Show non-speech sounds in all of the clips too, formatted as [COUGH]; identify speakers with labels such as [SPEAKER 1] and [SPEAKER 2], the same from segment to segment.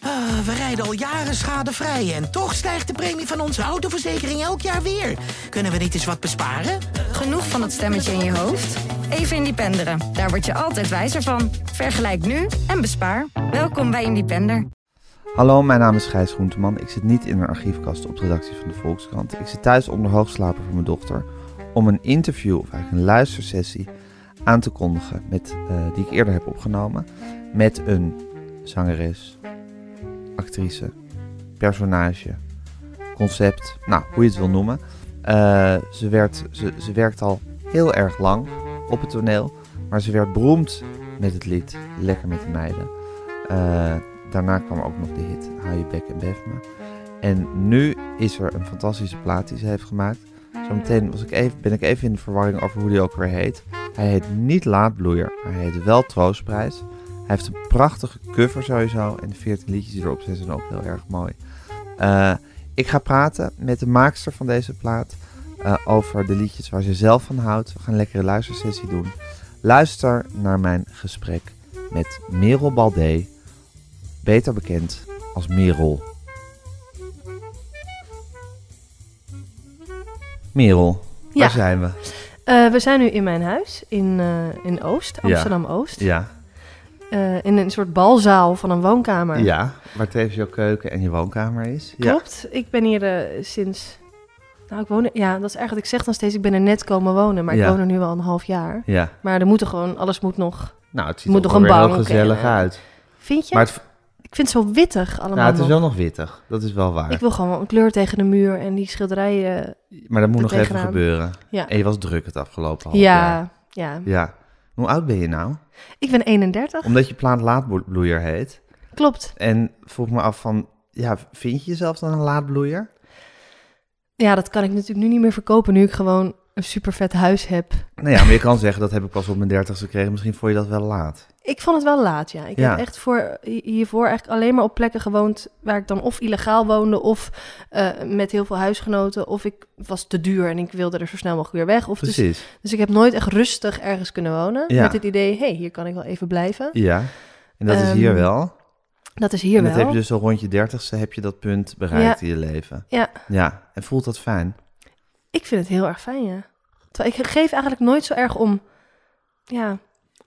[SPEAKER 1] Ah, we rijden al jaren schadevrij en toch stijgt de premie van onze autoverzekering elk jaar weer. Kunnen we niet eens wat besparen?
[SPEAKER 2] Genoeg van dat stemmetje in je hoofd? Even Independeren. Daar word je altijd wijzer van. Vergelijk nu en bespaar. Welkom bij Independer.
[SPEAKER 3] Hallo, mijn naam is Gijs Groenteman. Ik zit niet in een archiefkast op de redactie van de Volkskrant. Ik zit thuis onder hoogslapen van mijn dochter om een interview of eigenlijk een luistersessie aan te kondigen met, eh, die ik eerder heb opgenomen met een zangeres, actrice, personage, concept, nou, hoe je het wil noemen. Eh, ze, werd, ze, ze werkt al heel erg lang op het toneel, maar ze werd beroemd met het lied Lekker met de meiden. Eh, daarna kwam ook nog de hit Hou je bek en bef me. En nu is er een fantastische plaat die ze heeft gemaakt. Zometeen was ik even, ben ik even in de verwarring over hoe die ook weer heet. Hij heet niet Laadbloeier, maar hij heet wel Troostprijs. Hij heeft een prachtige cover sowieso en de 14 liedjes die erop zijn zijn ook heel erg mooi. Eh, ik ga praten met de maakster van deze plaat eh, over de liedjes waar ze zelf van houdt. We gaan een lekkere luistersessie doen. Luister naar mijn gesprek met Merel Baldé, beter bekend als Merel. Merel, waar
[SPEAKER 4] Ja.
[SPEAKER 3] zijn we?
[SPEAKER 4] Eh, we zijn nu in mijn huis in, eh, in Oost,
[SPEAKER 3] Ja.
[SPEAKER 4] Amsterdam-Oost.
[SPEAKER 3] Ja,
[SPEAKER 4] Eh, in een soort balzaal van een woonkamer.
[SPEAKER 3] ja waar tevens jouw keuken en je woonkamer is. Ja.
[SPEAKER 4] Klopt, ik ben hier eh, sinds... Nou, ik woon er- Ja, dat is eigenlijk... Ik zeg dan steeds, ik ben er net komen wonen, maar ik
[SPEAKER 3] Ja.
[SPEAKER 4] woon er nu al een half jaar.
[SPEAKER 3] Ja,
[SPEAKER 4] Maar er moeten gewoon, alles moet nog...
[SPEAKER 3] nou het ziet
[SPEAKER 4] Moet
[SPEAKER 3] er
[SPEAKER 4] nog een
[SPEAKER 3] wel heel
[SPEAKER 4] bank
[SPEAKER 3] gezellig
[SPEAKER 4] en, eh,
[SPEAKER 3] uit.
[SPEAKER 4] Vind je?
[SPEAKER 3] Maar het,
[SPEAKER 4] Ik vind het zo wittig allemaal
[SPEAKER 3] nou, het is
[SPEAKER 4] nog.
[SPEAKER 3] wel nog wittig, dat is wel waar.
[SPEAKER 4] Ik wil gewoon wel een kleur tegen de muur en die schilderijen...
[SPEAKER 3] Maar dat moet
[SPEAKER 4] er
[SPEAKER 3] nog even
[SPEAKER 4] tegenaan.
[SPEAKER 3] gebeuren.
[SPEAKER 4] Ja.
[SPEAKER 3] En je was druk het afgelopen half jaar.
[SPEAKER 4] ja, ja.
[SPEAKER 3] Ja. Hoe oud ben je nou?
[SPEAKER 4] Ik ben 31.
[SPEAKER 3] Omdat je plaat laadbloeier heet.
[SPEAKER 4] Klopt.
[SPEAKER 3] En vroeg me af van, ja, vind je jezelf dan een laadbloeier?
[SPEAKER 4] Ja, dat kan ik natuurlijk nu niet meer verkopen, nu ik gewoon een super vet huis heb.
[SPEAKER 3] Nou ja, maar je kan zeggen, dat heb ik pas op mijn dertigste gekregen. Misschien vond je dat wel laat.
[SPEAKER 4] Ik vond het wel laat, ja. Ik
[SPEAKER 3] Ja.
[SPEAKER 4] heb echt voor, hi- hiervoor eigenlijk alleen maar op plekken gewoond waar ik dan of illegaal woonde of eh, met heel veel huisgenoten. Of ik was te duur en ik wilde er zo snel mogelijk weer weg. Of dus,
[SPEAKER 3] Precies.
[SPEAKER 4] dus ik heb nooit echt rustig ergens kunnen wonen.
[SPEAKER 3] Ja.
[SPEAKER 4] Met het idee, hey, hier kan ik wel even blijven.
[SPEAKER 3] Ja. En dat is
[SPEAKER 4] Ehm,
[SPEAKER 3] hier wel.
[SPEAKER 4] Dat is hier
[SPEAKER 3] en dat
[SPEAKER 4] wel.
[SPEAKER 3] heb je dus al rond je dertigste, heb je dat punt bereikt in je leven.
[SPEAKER 4] Ja.
[SPEAKER 3] Ja. En voelt dat fijn?
[SPEAKER 4] Ik vind het heel erg fijn, ja. Terwijl ik geef eigenlijk nooit zo erg om, ja,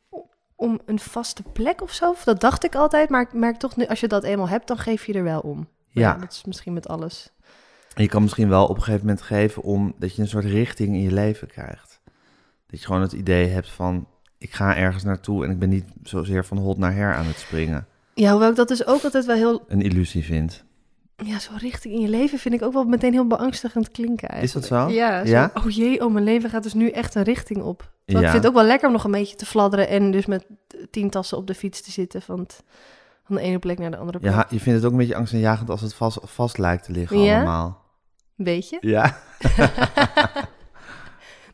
[SPEAKER 4] o- om een vaste plek of zo. Dat dacht ik altijd, maar ik merk toch nu, als je dat eenmaal hebt, dan geef je er wel om. Maar
[SPEAKER 3] Ja.
[SPEAKER 4] Dat is misschien met alles.
[SPEAKER 3] En je kan misschien wel op een gegeven moment geven om dat je een soort richting in je leven krijgt. Dat je gewoon het idee hebt van, ik ga ergens naartoe en ik ben niet zozeer van hot naar her aan het springen.
[SPEAKER 4] Ja, hoewel ik dat dus ook altijd wel heel
[SPEAKER 3] Een illusie vindt.
[SPEAKER 4] Ja, zo richting in je leven vind ik ook wel meteen heel beangstigend klinken
[SPEAKER 3] Is dat
[SPEAKER 4] eigenlijk.
[SPEAKER 3] zo?
[SPEAKER 4] Ja, zo,
[SPEAKER 3] Ja?
[SPEAKER 4] oh jee, oh mijn leven gaat dus nu echt een richting op. Terwijl
[SPEAKER 3] Ja.
[SPEAKER 4] Ik vind het ook wel lekker om nog een beetje te fladderen en dus met tien tassen op de fiets te zitten van, het- van de ene plek naar de andere
[SPEAKER 3] Je,
[SPEAKER 4] plek.
[SPEAKER 3] ha- je vindt het ook een beetje angstaanjagend als het vast, vast lijkt te liggen
[SPEAKER 4] Ja?
[SPEAKER 3] allemaal.
[SPEAKER 4] Weet je?
[SPEAKER 3] Ja.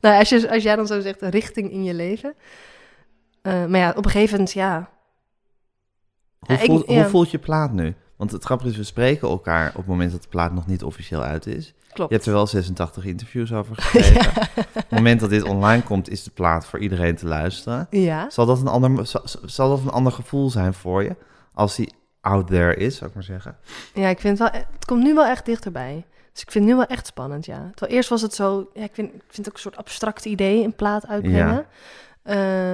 [SPEAKER 4] Nou, als, je, als jij dan zo zegt, een richting in je leven. Eh, maar ja, op een gegeven moment, ja.
[SPEAKER 3] Hoe,
[SPEAKER 4] Ja, ik-
[SPEAKER 3] voelt, hoe
[SPEAKER 4] ja.
[SPEAKER 3] voelt je plaat nu? Want het grappige is, we spreken elkaar op het moment dat de plaat nog niet officieel uit is.
[SPEAKER 4] Klopt.
[SPEAKER 3] Je hebt er wel 86 interviews over
[SPEAKER 4] [LAUGHS]
[SPEAKER 3] gegeven. Op het moment dat dit online komt, is de plaat voor iedereen te luisteren.
[SPEAKER 4] Ja.
[SPEAKER 3] Zal dat een ander, zal, zal dat een ander gevoel zijn voor je als die out there is, zou ik maar zeggen?
[SPEAKER 4] Ja, ik vind het wel. e-, Het komt nu wel echt dichterbij. Dus ik vind het nu wel echt spannend, ja. Terwijl eerst was het zo. Ja, ik vind, ik vind het ook een soort abstract idee, een plaat
[SPEAKER 3] Ja.
[SPEAKER 4] uitbrengen.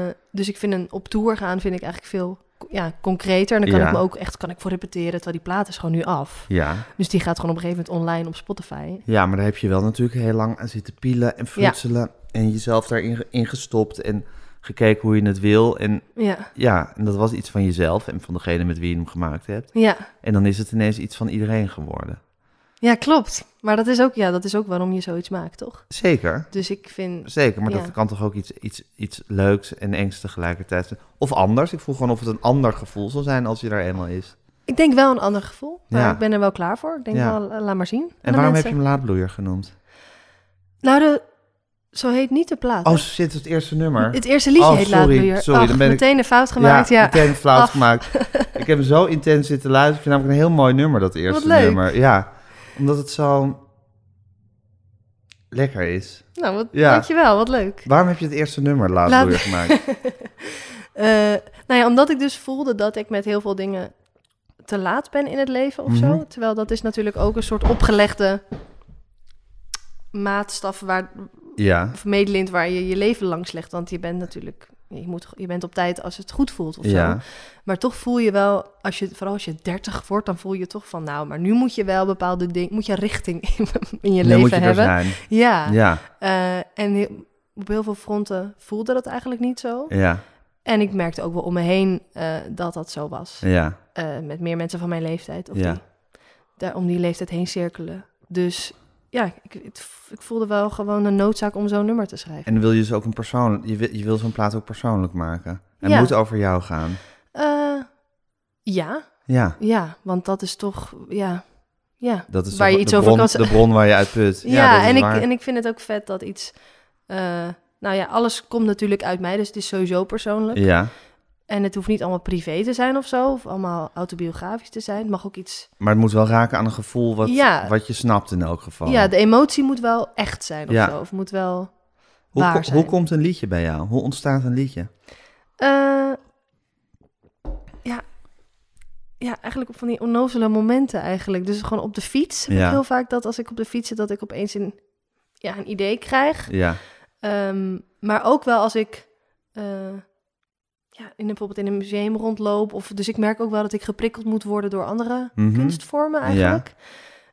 [SPEAKER 4] Eh, dus ik vind een op tour gaan vind ik eigenlijk veel ja, concreter. En dan kan
[SPEAKER 3] Ja.
[SPEAKER 4] ik me ook echt kan ik voor repeteren. Terwijl die plaat is gewoon nu af.
[SPEAKER 3] Ja.
[SPEAKER 4] Dus die gaat gewoon op een gegeven moment online op Spotify.
[SPEAKER 3] Ja, maar daar heb je wel natuurlijk heel lang aan zitten pielen en frutselen. En jezelf daarin ge- in gestopt en gekeken hoe je het wil. En
[SPEAKER 4] Ja,
[SPEAKER 3] ja, en dat was iets van jezelf en van degene met wie je hem gemaakt hebt.
[SPEAKER 4] ja.
[SPEAKER 3] En dan is het ineens iets van iedereen geworden.
[SPEAKER 4] ja klopt. Maar dat is, ook, ja, dat is ook waarom je zoiets maakt, toch?
[SPEAKER 3] Zeker,
[SPEAKER 4] Dus ik vind.
[SPEAKER 3] zeker. Maar
[SPEAKER 4] Ja.
[SPEAKER 3] dat kan toch ook iets, iets, iets leuks en engs tegelijkertijd zijn. Of anders. Ik vroeg gewoon of het een ander gevoel zal zijn als je daar eenmaal is.
[SPEAKER 4] Ik denk wel een ander gevoel. Maar
[SPEAKER 3] Ja.
[SPEAKER 4] ik ben er wel klaar voor. Ik denk
[SPEAKER 3] Ja.
[SPEAKER 4] wel, eh, laat maar zien. aan
[SPEAKER 3] En
[SPEAKER 4] de
[SPEAKER 3] waarom heb
[SPEAKER 4] mensen.
[SPEAKER 3] je hem laadbloeier genoemd?
[SPEAKER 4] Nou, de, zo heet niet de plaat. hè?
[SPEAKER 3] Oh, zit het eerste nummer.
[SPEAKER 4] [LAUGHS] het eerste liedje
[SPEAKER 3] Oh,
[SPEAKER 4] heet
[SPEAKER 3] sorry,
[SPEAKER 4] Laat Buur.
[SPEAKER 3] sorry, dan ben ik-
[SPEAKER 4] meteen een fout gemaakt. Ja,
[SPEAKER 3] meteen fout
[SPEAKER 4] Ach. [LAUGHS]
[SPEAKER 3] gemaakt. Ik heb hem zo intens zitten luisteren. Ik vind namelijk een heel mooi nummer, dat eerste
[SPEAKER 4] leuk.
[SPEAKER 3] nummer. Ja, omdat het zo lekker is.
[SPEAKER 4] Nou, wat,
[SPEAKER 3] Ja.
[SPEAKER 4] dankjewel. Wat leuk. [LAUGHS]
[SPEAKER 3] Waarom heb je het eerste nummer laat
[SPEAKER 4] Laat-
[SPEAKER 3] weer gemaakt?
[SPEAKER 4] Eh, nou ja, omdat ik dus voelde dat ik met heel veel dingen te laat ben in het leven of
[SPEAKER 3] Mhm.
[SPEAKER 4] zo. Terwijl dat is natuurlijk ook een soort opgelegde maatstaf waar,
[SPEAKER 3] Ja.
[SPEAKER 4] of medelint waar je je leven langs legt. Want je bent natuurlijk, je, moet, je bent op tijd als het goed voelt [LAUGHS] of zo.
[SPEAKER 3] Ja.
[SPEAKER 4] Maar toch voel je wel, als je, vooral als je 30 wordt, dan voel je toch van, nou, maar nu moet je wel bepaalde dingen, moet je richting [LAUGHS] in, in je
[SPEAKER 3] Nu
[SPEAKER 4] leven
[SPEAKER 3] moet je er
[SPEAKER 4] hebben.
[SPEAKER 3] zijn.
[SPEAKER 4] Ja.
[SPEAKER 3] Ja.
[SPEAKER 4] Eh, en heel- op heel veel fronten voelde dat eigenlijk niet zo.
[SPEAKER 3] Ja.
[SPEAKER 4] En ik merkte ook wel om me heen eh, dat dat zo was.
[SPEAKER 3] Ja.
[SPEAKER 4] Eh, met meer mensen van mijn leeftijd. Of
[SPEAKER 3] Ja.
[SPEAKER 4] die daar om die leeftijd heen cirkelen. Dus ja, ik, het v- ik voelde wel gewoon een noodzaak om zo'n nummer te schrijven.
[SPEAKER 3] En wil je dus ook een persoon, je wil, je wil zo'n plaat ook persoonlijk maken. En
[SPEAKER 4] Ja.
[SPEAKER 3] moet over jou gaan.
[SPEAKER 4] Eh, ja,
[SPEAKER 3] Ja.
[SPEAKER 4] ja, want dat is toch, ja, ja.
[SPEAKER 3] Dat is
[SPEAKER 4] Waar
[SPEAKER 3] toch
[SPEAKER 4] je iets
[SPEAKER 3] de,
[SPEAKER 4] over
[SPEAKER 3] bron,
[SPEAKER 4] kan z-
[SPEAKER 3] de bron waar je uit
[SPEAKER 4] [LAUGHS]
[SPEAKER 3] put.
[SPEAKER 4] Ja,
[SPEAKER 3] Ja, dat is
[SPEAKER 4] en, ik,
[SPEAKER 3] waar.
[SPEAKER 4] en ik vind het ook vet dat iets... eh, nou ja, alles komt natuurlijk uit mij, dus het is sowieso persoonlijk.
[SPEAKER 3] Ja,
[SPEAKER 4] En het hoeft niet allemaal privé te zijn of zo, of allemaal autobiografisch te zijn. Het mag ook iets...
[SPEAKER 3] maar het moet wel raken aan een gevoel wat,
[SPEAKER 4] Ja.
[SPEAKER 3] wat je snapt in elk geval.
[SPEAKER 4] Ja, de emotie moet wel echt zijn of
[SPEAKER 3] Ja.
[SPEAKER 4] zo, of moet wel
[SPEAKER 3] hoe,
[SPEAKER 4] waar
[SPEAKER 3] ko-
[SPEAKER 4] zijn.
[SPEAKER 3] hoe komt een liedje bij jou? Hoe ontstaat een liedje?
[SPEAKER 4] Eh, ja. ja, eigenlijk op van die onnozele momenten eigenlijk. Dus gewoon op de fiets heb ik
[SPEAKER 3] Ja.
[SPEAKER 4] heel vaak dat als ik op de fiets zit, dat ik opeens een, ja, een idee krijg.
[SPEAKER 3] Ja,
[SPEAKER 4] Ehm, maar ook wel als ik eh, ja, in, bijvoorbeeld in een museum rondloop. Of, dus ik merk ook wel dat ik geprikkeld moet worden door andere
[SPEAKER 3] Mhm.
[SPEAKER 4] kunstvormen eigenlijk.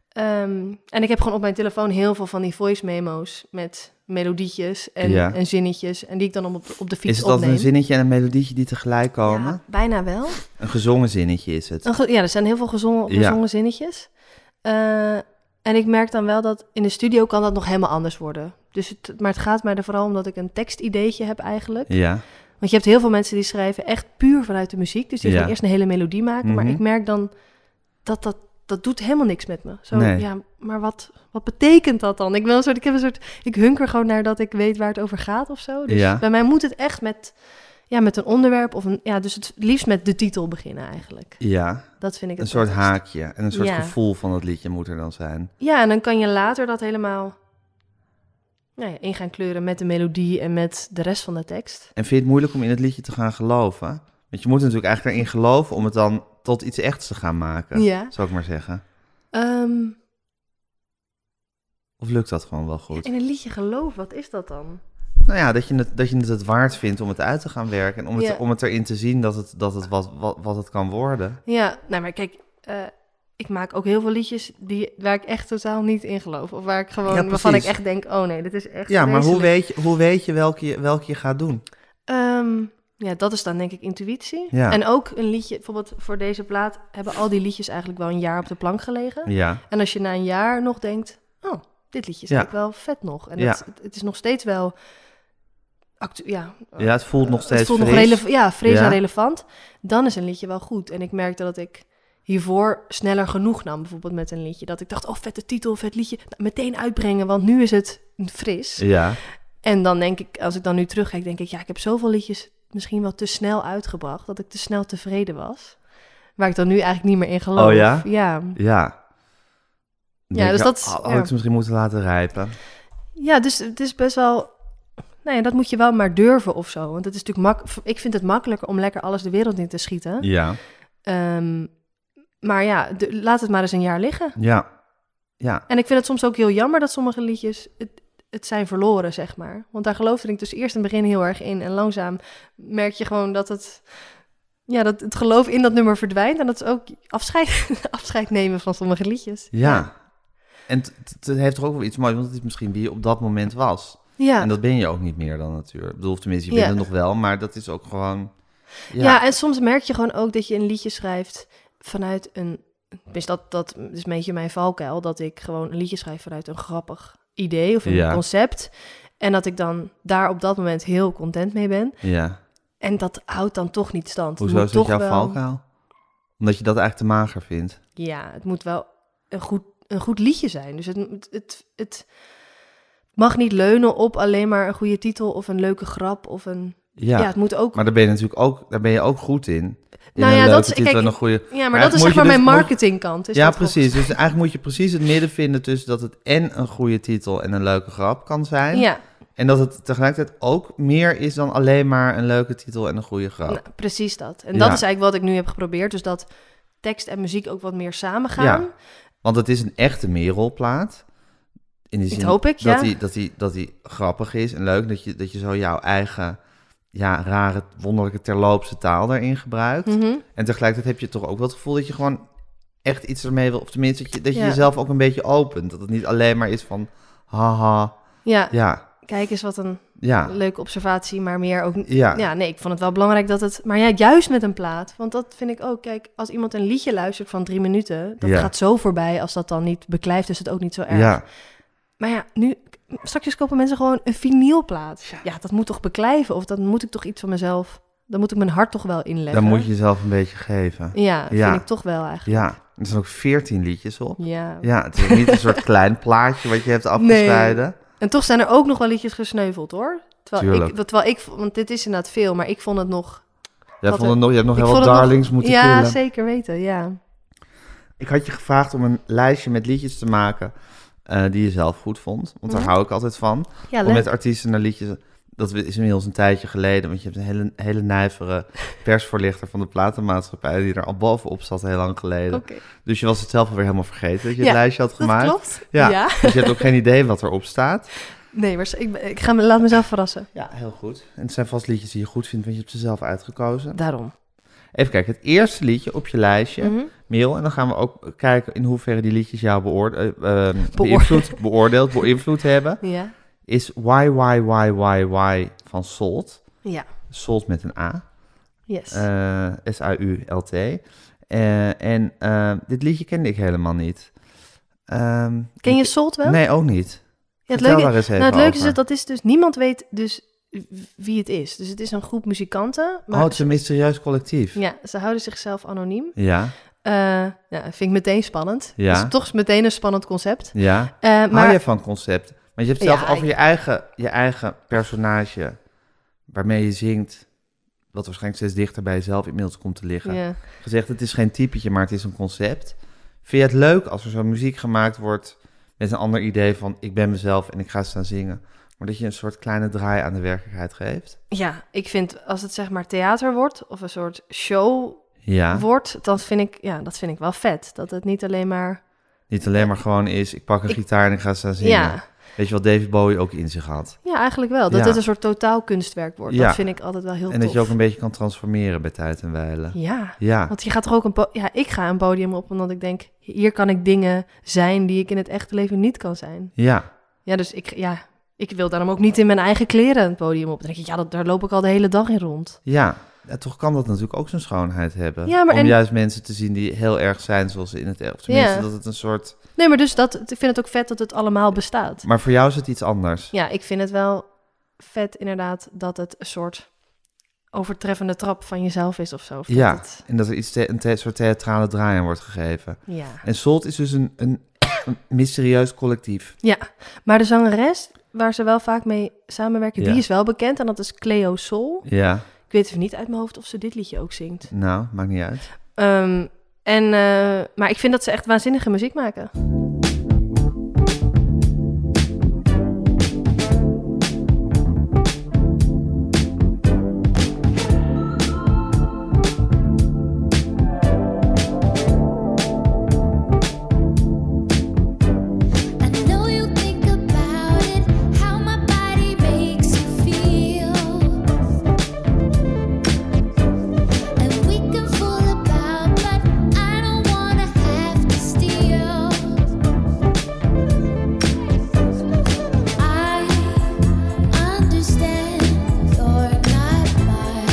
[SPEAKER 4] Ehm, en ik heb gewoon op mijn telefoon heel veel van die voice memo's met melodietjes en,
[SPEAKER 3] Ja.
[SPEAKER 4] en zinnetjes. En die ik dan op, op de fiets
[SPEAKER 3] is het altijd
[SPEAKER 4] opneem.
[SPEAKER 3] een zinnetje en een melodietje die tegelijk komen?
[SPEAKER 4] Ja, Oh. bijna wel.
[SPEAKER 3] Een gezongen zinnetje is het.
[SPEAKER 4] Een ge- ja, er zijn heel veel gezongen,
[SPEAKER 3] Ja.
[SPEAKER 4] gezongen zinnetjes. Eh, en ik merk dan wel dat in de studio kan dat nog helemaal anders worden. Dus het, maar het gaat mij er vooral om dat ik een tekstideetje heb eigenlijk.
[SPEAKER 3] Ja,
[SPEAKER 4] Want je hebt heel veel mensen die schrijven echt puur vanuit de muziek. Dus die
[SPEAKER 3] Ja.
[SPEAKER 4] gaan eerst een hele melodie maken. Maar
[SPEAKER 3] Mhm.
[SPEAKER 4] ik merk dan dat dat, dat doet helemaal niks met me. Zo,
[SPEAKER 3] Nee.
[SPEAKER 4] ja, maar wat, wat betekent dat dan? Ik, wil een soort, ik heb een soort, ik hunker gewoon naar dat ik weet waar het over gaat of zo. Dus
[SPEAKER 3] Ja.
[SPEAKER 4] bij mij moet het echt met, ja, met een onderwerp of een, ja, dus het liefst met de titel beginnen eigenlijk.
[SPEAKER 3] ja.
[SPEAKER 4] Dat vind ik
[SPEAKER 3] een
[SPEAKER 4] het
[SPEAKER 3] soort
[SPEAKER 4] prettigst.
[SPEAKER 3] haakje en een soort
[SPEAKER 4] Ja.
[SPEAKER 3] gevoel van dat liedje moet er dan zijn.
[SPEAKER 4] Ja, en dan kan je later dat helemaal nou ja, in gaan kleuren met de melodie en met de rest van de tekst.
[SPEAKER 3] En vind je het moeilijk om in het liedje te gaan geloven? Want je moet natuurlijk eigenlijk erin geloven om het dan tot iets echts te gaan maken,
[SPEAKER 4] Ja.
[SPEAKER 3] zou ik maar zeggen.
[SPEAKER 4] Ehm,
[SPEAKER 3] Of lukt dat gewoon wel goed?
[SPEAKER 4] in een liedje geloof, wat is dat dan?
[SPEAKER 3] Nou ja, dat je, het, dat je het het waard vindt om het uit te gaan werken. En om het,
[SPEAKER 4] Ja.
[SPEAKER 3] om het erin te zien dat het, dat het wat, wat, wat het kan worden.
[SPEAKER 4] Ja, nou maar kijk, eh, ik maak ook heel veel liedjes die, waar ik echt totaal niet in geloof. Of waar ik gewoon,
[SPEAKER 3] Ja,
[SPEAKER 4] waarvan ik
[SPEAKER 3] precies.
[SPEAKER 4] echt denk, oh nee, dit is echt
[SPEAKER 3] Ja, maar hoe weet
[SPEAKER 4] vreselijk.
[SPEAKER 3] je, hoe weet je welke, je welke je gaat doen?
[SPEAKER 4] Ehm, ja, dat is dan denk ik intuïtie.
[SPEAKER 3] Ja.
[SPEAKER 4] En ook een liedje, bijvoorbeeld voor deze plaat, hebben al die liedjes eigenlijk wel een jaar op de plank gelegen.
[SPEAKER 3] Ja,
[SPEAKER 4] En als je na een jaar nog denkt, oh, dit liedje is
[SPEAKER 3] Ja.
[SPEAKER 4] eigenlijk wel vet nog. En
[SPEAKER 3] Ja.
[SPEAKER 4] het, het- het is nog steeds wel, actu- ja,
[SPEAKER 3] ja het voelt nog steeds
[SPEAKER 4] het voelt nog
[SPEAKER 3] fris.
[SPEAKER 4] rele- ja, fris
[SPEAKER 3] Ja.
[SPEAKER 4] en relevant. Dan is een liedje wel goed. En ik merkte dat ik hiervoor sneller genoeg nam, bijvoorbeeld met een liedje. Dat ik dacht, oh, vette titel, vet liedje. Nou, meteen uitbrengen, want nu is het fris.
[SPEAKER 3] Ja,
[SPEAKER 4] En dan denk ik, als ik dan nu terugkijk, denk ik, ja, ik heb zoveel liedjes misschien wel te snel uitgebracht. Dat ik te snel tevreden was. Waar ik dan nu eigenlijk niet meer in geloof.
[SPEAKER 3] Oh ja?
[SPEAKER 4] Ja,
[SPEAKER 3] ja. Dan
[SPEAKER 4] Ja,
[SPEAKER 3] denk
[SPEAKER 4] dus
[SPEAKER 3] ik,
[SPEAKER 4] dat is-
[SPEAKER 3] "Ah, Had
[SPEAKER 4] ja.
[SPEAKER 3] ik het misschien moeten laten rijpen.
[SPEAKER 4] Ja, dus het is best wel. Nou ja, dat moet je wel maar durven of zo. Want het is natuurlijk mak. Ik vind het makkelijker om lekker alles de wereld in te schieten.
[SPEAKER 3] Ja,
[SPEAKER 4] Ehm, maar ja, de- laat het maar eens een jaar liggen.
[SPEAKER 3] ja, ja.
[SPEAKER 4] En ik vind het soms ook heel jammer dat sommige liedjes het, het zijn verloren, zeg maar. Want daar geloofde ik dus eerst in het begin heel erg in. En langzaam merk je gewoon dat het, ja, dat het geloof in dat nummer verdwijnt. En dat is ook afscheid, [LAUGHS] afscheid nemen van sommige liedjes.
[SPEAKER 3] ja. En t- t- het heeft toch ook wel iets moois, want het is misschien wie je op dat moment was.
[SPEAKER 4] Ja.
[SPEAKER 3] En dat ben je ook niet meer dan natuurlijk. Ik bedoel, tenminste, je
[SPEAKER 4] Ja.
[SPEAKER 3] bent het nog wel, maar dat is ook gewoon...
[SPEAKER 4] Ja. en soms merk je gewoon ook dat je een liedje schrijft vanuit een. Dus dat, dat is een beetje mijn valkuil, dat ik gewoon een liedje schrijf vanuit een grappig idee of een
[SPEAKER 3] Ja.
[SPEAKER 4] concept. En dat ik dan daar op dat moment heel content mee ben.
[SPEAKER 3] ja.
[SPEAKER 4] En dat houdt dan toch niet stand. Het
[SPEAKER 3] Hoezo
[SPEAKER 4] moet
[SPEAKER 3] is dat
[SPEAKER 4] toch
[SPEAKER 3] jouw
[SPEAKER 4] wel-
[SPEAKER 3] valkuil? Omdat je dat eigenlijk te mager vindt.
[SPEAKER 4] Ja, het moet wel een goed, een goed liedje zijn. Dus het, het, het, het mag niet leunen op alleen maar een goede titel of een leuke grap. Of een... ja.
[SPEAKER 3] Ja,
[SPEAKER 4] het moet ook.
[SPEAKER 3] maar daar ben je natuurlijk ook, daar ben je ook goed in. in
[SPEAKER 4] Nou ja,
[SPEAKER 3] een
[SPEAKER 4] dat is-
[SPEAKER 3] leuke titel
[SPEAKER 4] kijk,
[SPEAKER 3] en een goede...
[SPEAKER 4] ja, maar,
[SPEAKER 3] maar
[SPEAKER 4] dat
[SPEAKER 3] eigenlijk
[SPEAKER 4] is
[SPEAKER 3] moet
[SPEAKER 4] zeg maar
[SPEAKER 3] je
[SPEAKER 4] mijn
[SPEAKER 3] dus- moet-
[SPEAKER 4] marketingkant. is
[SPEAKER 3] Ja,
[SPEAKER 4] dat volgens
[SPEAKER 3] precies. Dus eigenlijk moet je precies het midden vinden tussen dat het en een goede titel en een leuke grap kan zijn.
[SPEAKER 4] Ja,
[SPEAKER 3] En dat het tegelijkertijd ook meer is dan alleen maar een leuke titel en een goede grap.
[SPEAKER 4] nou, precies dat. En
[SPEAKER 3] Ja.
[SPEAKER 4] dat is eigenlijk wat ik nu heb geprobeerd. Dus dat tekst en muziek ook wat meer samengaan.
[SPEAKER 3] Ja. Want het is een echte Merelplaat. In de
[SPEAKER 4] Dat
[SPEAKER 3] zin
[SPEAKER 4] hoop ik,
[SPEAKER 3] dat
[SPEAKER 4] ja.
[SPEAKER 3] Die, dat, die, dat die grappig is en leuk. Dat je, dat je zo jouw eigen ja, rare, wonderlijke terloopse taal daarin gebruikt.
[SPEAKER 4] Mhm.
[SPEAKER 3] En tegelijkertijd heb je toch ook wel het gevoel dat je gewoon echt iets ermee wil. Of tenminste, dat je, dat je
[SPEAKER 4] Ja.
[SPEAKER 3] jezelf ook een beetje opent. Dat het niet alleen maar is van haha.
[SPEAKER 4] ja,
[SPEAKER 3] Ja,
[SPEAKER 4] kijk eens wat een
[SPEAKER 3] ja,
[SPEAKER 4] leuke observatie, maar meer ook...
[SPEAKER 3] ja.
[SPEAKER 4] Ja, nee, ik vond het wel belangrijk dat het... Maar ja, juist met een plaat, want dat vind ik ook. Kijk, als iemand een liedje luistert van drie minuten, dat
[SPEAKER 3] Ja.
[SPEAKER 4] gaat zo voorbij. Als dat dan niet beklijft, is het ook niet zo erg.
[SPEAKER 3] ja.
[SPEAKER 4] Maar ja, nu, straks kopen mensen gewoon een vinylplaat. Ja. dat moet toch beklijven? Of dan moet ik toch iets van mezelf... Dan moet ik mijn hart toch wel inleggen.
[SPEAKER 3] Dan moet je jezelf een beetje geven.
[SPEAKER 4] Ja,
[SPEAKER 3] Ja.
[SPEAKER 4] vind ik toch wel eigenlijk.
[SPEAKER 3] Ja, er zijn ook veertien liedjes op.
[SPEAKER 4] Ja.
[SPEAKER 3] Ja, het is ook niet een soort
[SPEAKER 4] [LAUGHS]
[SPEAKER 3] klein plaatje wat je hebt afgescheiden.
[SPEAKER 4] En toch zijn er ook nog wel liedjes gesneuveld, hoor. Terwijl ik,
[SPEAKER 3] Tuurlijk.
[SPEAKER 4] terwijl ik, want dit is inderdaad veel, maar ik vond het nog...
[SPEAKER 3] Jij
[SPEAKER 4] Wat
[SPEAKER 3] vond
[SPEAKER 4] een-
[SPEAKER 3] het nog, je hebt nog
[SPEAKER 4] ik
[SPEAKER 3] heel wat
[SPEAKER 4] vond het nog-
[SPEAKER 3] darlings moeten
[SPEAKER 4] ja,
[SPEAKER 3] killen.
[SPEAKER 4] zeker weten, ja.
[SPEAKER 3] Ik had je gevraagd om een lijstje met liedjes te maken eh, die je zelf goed vond. Want daar
[SPEAKER 4] Mhm.
[SPEAKER 3] hou ik altijd van.
[SPEAKER 4] Ja,
[SPEAKER 3] om
[SPEAKER 4] leuk.
[SPEAKER 3] met artiesten naar liedjes... Dat is inmiddels een tijdje geleden, want je hebt een hele, hele nijvere persvoorlichter van de platenmaatschappij... die er al bovenop zat heel lang geleden.
[SPEAKER 4] Oké,
[SPEAKER 3] Dus je was het zelf alweer helemaal vergeten dat je
[SPEAKER 4] Ja,
[SPEAKER 3] het lijstje had
[SPEAKER 4] dat
[SPEAKER 3] gemaakt.
[SPEAKER 4] klopt.
[SPEAKER 3] Ja.
[SPEAKER 4] Ja.
[SPEAKER 3] Dus je hebt ook geen idee wat erop staat.
[SPEAKER 4] Nee, maar ik, ik ga me, laat mezelf verrassen.
[SPEAKER 3] Ja, heel goed. En het zijn vast liedjes die je goed vindt, want je hebt ze zelf uitgekozen.
[SPEAKER 4] Daarom.
[SPEAKER 3] Even kijken, het eerste liedje op je lijstje...
[SPEAKER 4] Mhm.
[SPEAKER 3] mail. En dan gaan we ook kijken in hoeverre die liedjes jou beoor- eh, eh, beïnvloed, beoordeeld, beïnvloed hebben.
[SPEAKER 4] Ja.
[SPEAKER 3] Is Why, Why, Why, Why, Why van Salt.
[SPEAKER 4] Ja.
[SPEAKER 3] Salt met een A.
[SPEAKER 4] Yes.
[SPEAKER 3] eh, S-A-U-L-T. Eh, en eh, dit liedje kende ik helemaal niet. Ehm,
[SPEAKER 4] Ken je
[SPEAKER 3] ik-
[SPEAKER 4] Salt wel?
[SPEAKER 3] Nee, ook niet.
[SPEAKER 4] ja, het
[SPEAKER 3] Vertel
[SPEAKER 4] leuke,
[SPEAKER 3] daar eens even
[SPEAKER 4] nou, het leuke is
[SPEAKER 3] over.
[SPEAKER 4] dat, dat is dus niemand weet dus wie het is. Dus het is een groep muzikanten. Maar
[SPEAKER 3] Oh, het is een mysterieus collectief.
[SPEAKER 4] Ja, ze houden zichzelf anoniem.
[SPEAKER 3] Ja,
[SPEAKER 4] Eh, ja, vind ik meteen spannend.
[SPEAKER 3] Ja.
[SPEAKER 4] Dus toch is meteen een spannend concept.
[SPEAKER 3] ja.
[SPEAKER 4] Eh,
[SPEAKER 3] Hou
[SPEAKER 4] maar
[SPEAKER 3] je van concept? Want je hebt zelf
[SPEAKER 4] Ja,
[SPEAKER 3] over
[SPEAKER 4] ik-
[SPEAKER 3] je eigen, je eigen personage, waarmee je zingt, wat waarschijnlijk steeds dichter bij jezelf inmiddels komt te liggen.
[SPEAKER 4] ja.
[SPEAKER 3] gezegd, het is geen typetje, maar het is een concept. Vind je het leuk als er zo muziek gemaakt wordt met een ander idee van ik ben mezelf en ik ga staan zingen? Maar dat je een soort kleine draai aan de werkelijkheid geeft?
[SPEAKER 4] ja, ik vind als het zeg maar theater wordt of een soort show
[SPEAKER 3] Ja,
[SPEAKER 4] wordt, dan vind ik, ja, dat vind ik wel vet. Dat het niet alleen maar...
[SPEAKER 3] niet alleen maar gewoon is ik pak een
[SPEAKER 4] Ik-
[SPEAKER 3] gitaar en ik ga staan zingen.
[SPEAKER 4] Ja.
[SPEAKER 3] Weet je wat David Bowie ook in zich had?
[SPEAKER 4] Ja, eigenlijk wel. Dat
[SPEAKER 3] Ja.
[SPEAKER 4] het een soort totaal kunstwerk wordt.
[SPEAKER 3] Ja.
[SPEAKER 4] Dat vind ik altijd wel heel
[SPEAKER 3] en dat
[SPEAKER 4] tof.
[SPEAKER 3] je ook een beetje kan transformeren bij tijd en wijlen.
[SPEAKER 4] Ja,
[SPEAKER 3] Ja,
[SPEAKER 4] want je gaat toch ook een... po- Ja, ik ga een podium op omdat ik denk... hier kan ik dingen zijn die ik in het echte leven niet kan zijn.
[SPEAKER 3] ja,
[SPEAKER 4] Ja, dus ik, ja, ik wil daarom ook niet in mijn eigen kleren een podium op. Dan denk ik, ja, dat, daar loop ik al de hele dag in rond.
[SPEAKER 3] ja. En toch kan dat natuurlijk ook zijn schoonheid hebben.
[SPEAKER 4] Ja, maar
[SPEAKER 3] Om
[SPEAKER 4] en-
[SPEAKER 3] juist mensen te zien die heel erg zijn zoals ze in het... Of tenminste,
[SPEAKER 4] Ja.
[SPEAKER 3] dat het een soort...
[SPEAKER 4] Nee, maar dus dat, ik vind het ook vet dat het allemaal bestaat.
[SPEAKER 3] Maar voor jou is het iets anders.
[SPEAKER 4] Ja, ik vind het wel vet inderdaad dat het een soort overtreffende trap van jezelf is of zo. Of dat
[SPEAKER 3] Ja.
[SPEAKER 4] het-
[SPEAKER 3] En dat er iets the- een the- soort theatrale draai aan wordt gegeven.
[SPEAKER 4] ja.
[SPEAKER 3] En Salt is dus een, een, [COUGHS] een mysterieus collectief.
[SPEAKER 4] Ja, maar de zangeres waar ze wel vaak mee samenwerken,
[SPEAKER 3] Ja.
[SPEAKER 4] die is wel bekend en dat is Cleo Sol.
[SPEAKER 3] Ja,
[SPEAKER 4] Ik weet even niet uit mijn hoofd of ze dit liedje ook zingt.
[SPEAKER 3] nou, maakt niet uit.
[SPEAKER 4] Ehm, en, eh, maar ik vind dat ze echt waanzinnige muziek maken.
[SPEAKER 5] I know you think about it, how my body makes you feel. And we can fool about, but I don't wanna have to steal. I understand you're not my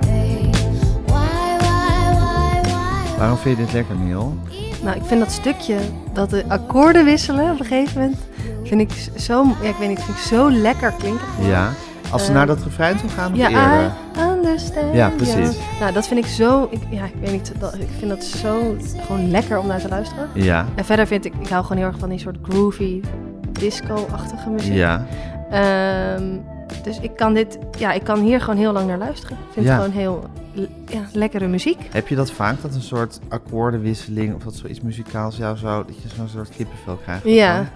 [SPEAKER 5] babe. Why, why, why, why?
[SPEAKER 3] Waarom vind je dit lekker, Neil?
[SPEAKER 4] Nou, ik vind dat stukje dat de akkoorden wisselen op een gegeven moment, vind ik zo, ja, ik weet niet, vind ik zo lekker klinken.
[SPEAKER 3] Ja. Als ze
[SPEAKER 4] Eh,
[SPEAKER 3] naar dat refrein toe gaan, of
[SPEAKER 4] Ja, ah. I
[SPEAKER 3] eerder?
[SPEAKER 4] understand.
[SPEAKER 3] Ja, precies.
[SPEAKER 4] you. Nou, dat vind ik zo, ik, ja, ik weet niet, dat, ik vind dat zo gewoon lekker om naar te luisteren.
[SPEAKER 3] Ja,
[SPEAKER 4] En verder vind ik, ik hou gewoon heel erg van die soort groovy, disco-achtige muziek.
[SPEAKER 3] ja.
[SPEAKER 4] Ehm, dus ik kan dit, ja, ik kan hier gewoon heel lang naar luisteren. Ik vind
[SPEAKER 3] Ja.
[SPEAKER 4] het gewoon heel l- ja, lekkere muziek.
[SPEAKER 3] Heb je dat vaak, dat een soort akkoordenwisseling of dat zoiets muzikaals jou zo, dat je zo'n soort kippenvel krijgt?
[SPEAKER 4] Ja.
[SPEAKER 3] ervan?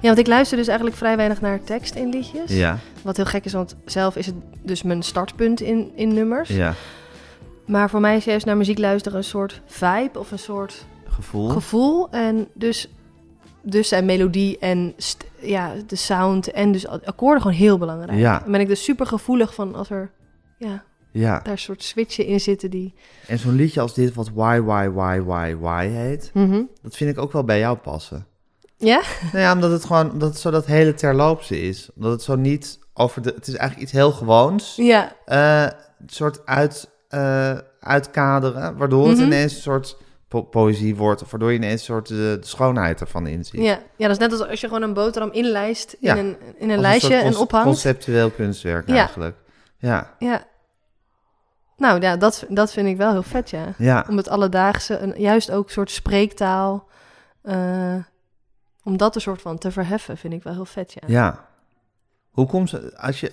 [SPEAKER 4] Ja, want ik luister dus eigenlijk vrij weinig naar tekst in liedjes.
[SPEAKER 3] Ja,
[SPEAKER 4] Wat heel gek is, want zelf is het dus mijn startpunt in, in nummers.
[SPEAKER 3] ja.
[SPEAKER 4] Maar voor mij is juist naar muziek luisteren een soort vibe of een soort
[SPEAKER 3] Gevoel.
[SPEAKER 4] gevoel. En dus, dus zijn melodie en st- ja, de sound en dus a- akkoorden gewoon heel belangrijk.
[SPEAKER 3] Ja.
[SPEAKER 4] Dan ben ik dus super gevoelig van als er ja,
[SPEAKER 3] ja.
[SPEAKER 4] daar soort switchen in zitten die...
[SPEAKER 3] En zo'n liedje als dit, wat Why, Why, Why, Why, Why heet, dat vind ik ook wel bij jou passen.
[SPEAKER 4] Ja?
[SPEAKER 3] Nou ja, omdat het gewoon, omdat het zo dat hele terloopse is. Omdat het zo niet over de, het is eigenlijk iets heel gewoons.
[SPEAKER 4] Ja,
[SPEAKER 3] eh, een soort uit, eh, uitkaderen, waardoor het
[SPEAKER 4] Mhm.
[SPEAKER 3] ineens een soort po- poëzie wordt, of waardoor je ineens een soort eh, de schoonheid ervan inziet.
[SPEAKER 4] ja. ja, dat is net als als je gewoon een boterham inlijst in
[SPEAKER 3] Ja.
[SPEAKER 4] een, in
[SPEAKER 3] Als
[SPEAKER 4] een
[SPEAKER 3] soort
[SPEAKER 4] lijstje en
[SPEAKER 3] cons-
[SPEAKER 4] ophangt.
[SPEAKER 3] Conceptueel kunstwerk
[SPEAKER 4] Ja.
[SPEAKER 3] eigenlijk. Ja,
[SPEAKER 4] Ja. Nou ja, dat, dat vind ik wel heel vet, ja.
[SPEAKER 3] ja.
[SPEAKER 4] Om het alledaagse, een, juist ook een soort spreektaal, eh, om dat een soort van te verheffen, vind ik wel heel vet, ja.
[SPEAKER 3] Ja. Hoe komt ze, als je,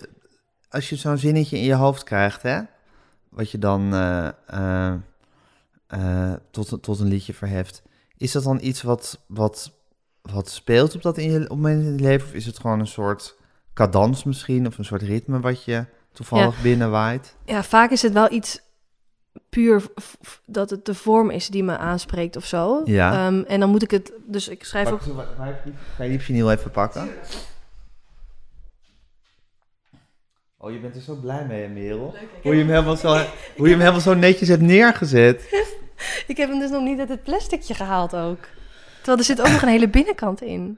[SPEAKER 3] als je zo'n zinnetje in je hoofd krijgt, hè? Wat je dan eh, eh, eh, tot, een- tot een liedje verheft. Is dat dan iets wat, wat, wat speelt op dat in je, op het moment in je leven? Of is het gewoon een soort cadans misschien? Of een soort ritme wat je toevallig binnenwaait?
[SPEAKER 4] Ja, vaak is het wel iets puur v- v- dat het de vorm is die me aanspreekt of zo.
[SPEAKER 3] Ja.
[SPEAKER 4] Ehm, en dan moet ik het, dus ik schrijf ook...
[SPEAKER 3] Pak- waar- waar heb je- Ga je die vinyl even pakken? Oh, je bent er zo blij mee, hè, Merel. Hoe je hem helemaal zo, hoe je hem helemaal zo netjes hebt neergezet.
[SPEAKER 4] Ik heb hem dus nog niet uit het plasticje gehaald ook. Terwijl er zit ook nog een hele binnenkant in.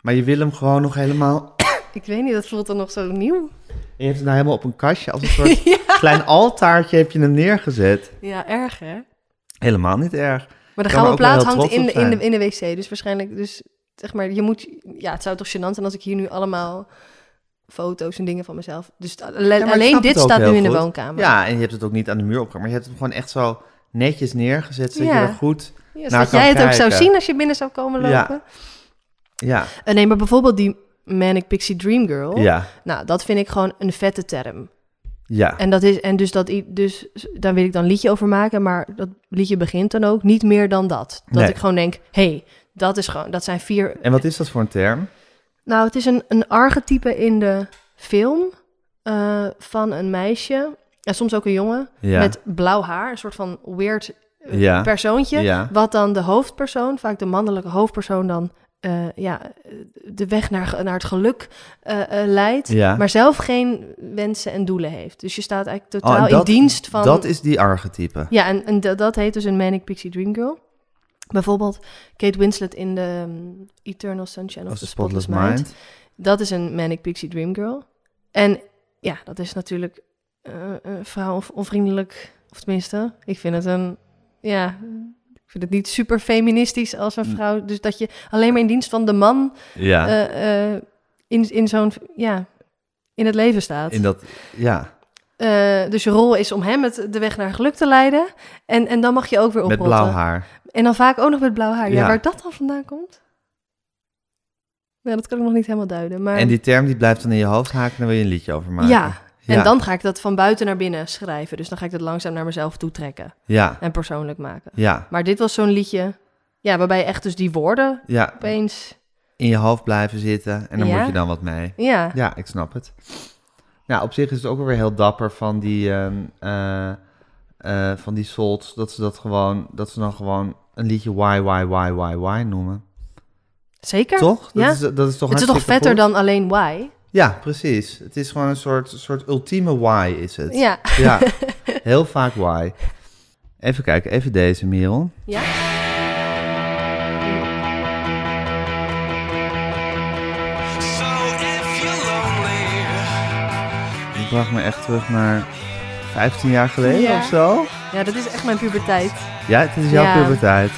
[SPEAKER 3] Maar je wil hem gewoon nog helemaal...
[SPEAKER 4] Ik weet niet, dat voelt dan nog zo nieuw.
[SPEAKER 3] Je hebt hem nou helemaal op een kastje, als een
[SPEAKER 4] [LAUGHS]
[SPEAKER 3] soort klein altaartje heb je hem neergezet.
[SPEAKER 4] Ja, erg hè?
[SPEAKER 3] Helemaal niet erg.
[SPEAKER 4] Maar de
[SPEAKER 3] Kan er
[SPEAKER 4] gouden
[SPEAKER 3] ook wel
[SPEAKER 4] plaat
[SPEAKER 3] heel
[SPEAKER 4] hangt in de,
[SPEAKER 3] trots op
[SPEAKER 4] in, de, in
[SPEAKER 3] zijn.
[SPEAKER 4] de wc. Dus waarschijnlijk, dus zeg maar, je moet... Ja, het zou toch gênant zijn als ik hier nu allemaal foto's en dingen van mezelf... Dus alle-
[SPEAKER 3] Ja, maar ik
[SPEAKER 4] alleen
[SPEAKER 3] snap
[SPEAKER 4] dit
[SPEAKER 3] het ook
[SPEAKER 4] staat
[SPEAKER 3] heel
[SPEAKER 4] nu in de
[SPEAKER 3] goed.
[SPEAKER 4] woonkamer.
[SPEAKER 3] Ja, en je hebt het ook niet aan de muur opgehangen, maar je hebt hem gewoon echt zo netjes neergezet, zodat
[SPEAKER 4] Ja.
[SPEAKER 3] je er goed...
[SPEAKER 4] Ja, zodat
[SPEAKER 3] Nou, kan
[SPEAKER 4] jij het ook zou
[SPEAKER 3] kijken.
[SPEAKER 4] zien als je binnen zou komen
[SPEAKER 3] Ja.
[SPEAKER 4] lopen.
[SPEAKER 3] Ja,
[SPEAKER 4] Eh, nee, maar bijvoorbeeld die Manic Pixie Dream Girl.
[SPEAKER 3] ja,
[SPEAKER 4] Nou, dat vind ik gewoon een vette term.
[SPEAKER 3] ja.
[SPEAKER 4] En, dat is, en dus, dat, i- dus daar wil ik dan een liedje over maken. Maar dat liedje begint dan ook niet meer dan dat. Dat
[SPEAKER 3] Nee.
[SPEAKER 4] ik gewoon denk, hey, dat, is gewoon, dat zijn vier...
[SPEAKER 3] En wat is dat voor een term?
[SPEAKER 4] Nou, het is een, een archetype in de film eh, van een meisje. En soms ook een jongen
[SPEAKER 3] Ja,
[SPEAKER 4] met blauw haar. Een soort van weird eh,
[SPEAKER 3] Ja.
[SPEAKER 4] persoontje.
[SPEAKER 3] ja.
[SPEAKER 4] Wat dan de hoofdpersoon, vaak de mannelijke hoofdpersoon, dan eh, ja, de weg naar, naar het geluk eh, eh, leidt.
[SPEAKER 3] Ja.
[SPEAKER 4] Maar zelf geen wensen en doelen heeft. Dus je staat eigenlijk
[SPEAKER 3] Oh, en
[SPEAKER 4] totaal
[SPEAKER 3] dat-
[SPEAKER 4] in dienst van.
[SPEAKER 3] Dat is die archetype.
[SPEAKER 4] Ja, en, en dat- dat heet dus een Manic Pixie Dream Girl. Bijvoorbeeld Kate Winslet in de ehm, Eternal Sunshine of,
[SPEAKER 3] Of
[SPEAKER 4] the
[SPEAKER 3] de
[SPEAKER 4] Spotless,
[SPEAKER 3] Spotless
[SPEAKER 4] Mind.
[SPEAKER 3] Mind.
[SPEAKER 4] Dat is een Manic Pixie Dream Girl. En ja, dat is natuurlijk eh, een vrouw of onvriendelijk. Of tenminste, ik vind het een. Ja, ik vind het niet super feministisch als een
[SPEAKER 3] Mm.
[SPEAKER 4] vrouw. Dus dat je alleen maar in dienst van de man
[SPEAKER 3] Ja,
[SPEAKER 4] eh, eh, in, in zo'n. Ja, in het leven staat.
[SPEAKER 3] in dat... Ja,
[SPEAKER 4] Eh, dus je rol is om hem het, de weg naar geluk te leiden. En, en dan mag je ook weer
[SPEAKER 3] met
[SPEAKER 4] oprotten.
[SPEAKER 3] blauw haar.
[SPEAKER 4] En dan vaak ook nog met blauw haar. Ja,
[SPEAKER 3] Ja.
[SPEAKER 4] waar dat dan vandaan komt? Nou, dat kan ik nog niet helemaal duiden. Maar...
[SPEAKER 3] En die term die blijft dan in je hoofd haken en daar wil je een liedje over maken.
[SPEAKER 4] Ja,
[SPEAKER 3] Ja.
[SPEAKER 4] En dan ga ik dat van buiten naar binnen schrijven. Dus dan ga ik dat langzaam naar mezelf toe trekken
[SPEAKER 3] Ja,
[SPEAKER 4] en persoonlijk maken.
[SPEAKER 3] ja,
[SPEAKER 4] Maar dit was zo'n liedje, ja, waarbij echt dus die woorden
[SPEAKER 3] ja.
[SPEAKER 4] opeens,
[SPEAKER 3] In je hoofd blijven zitten en daar
[SPEAKER 4] Ja.
[SPEAKER 3] moet je dan wat mee.
[SPEAKER 4] ja,
[SPEAKER 3] Ja, ik snap het. Nou, op zich is het ook wel weer heel dapper van die, ehm eh, eh, van die Souls, dat ze dat gewoon, dat ze dan gewoon een liedje why, why, why, why, why noemen.
[SPEAKER 4] zeker.
[SPEAKER 3] Toch? Dat
[SPEAKER 4] Ja.
[SPEAKER 3] is, dat is toch
[SPEAKER 4] het is toch
[SPEAKER 3] hartstikke
[SPEAKER 4] vetter
[SPEAKER 3] goed?
[SPEAKER 4] dan alleen why?
[SPEAKER 3] Ja, precies. Het is gewoon een soort, soort ultieme why is het.
[SPEAKER 4] Ja.
[SPEAKER 3] Ja, heel vaak why. Even kijken, even deze, Merel.
[SPEAKER 4] ja.
[SPEAKER 3] Die bracht me echt terug naar 15 jaar geleden
[SPEAKER 4] Ja.
[SPEAKER 3] of zo.
[SPEAKER 4] Ja, dat is echt mijn puberteit.
[SPEAKER 3] Ja, het is jouw
[SPEAKER 4] Ja.
[SPEAKER 3] puberteit.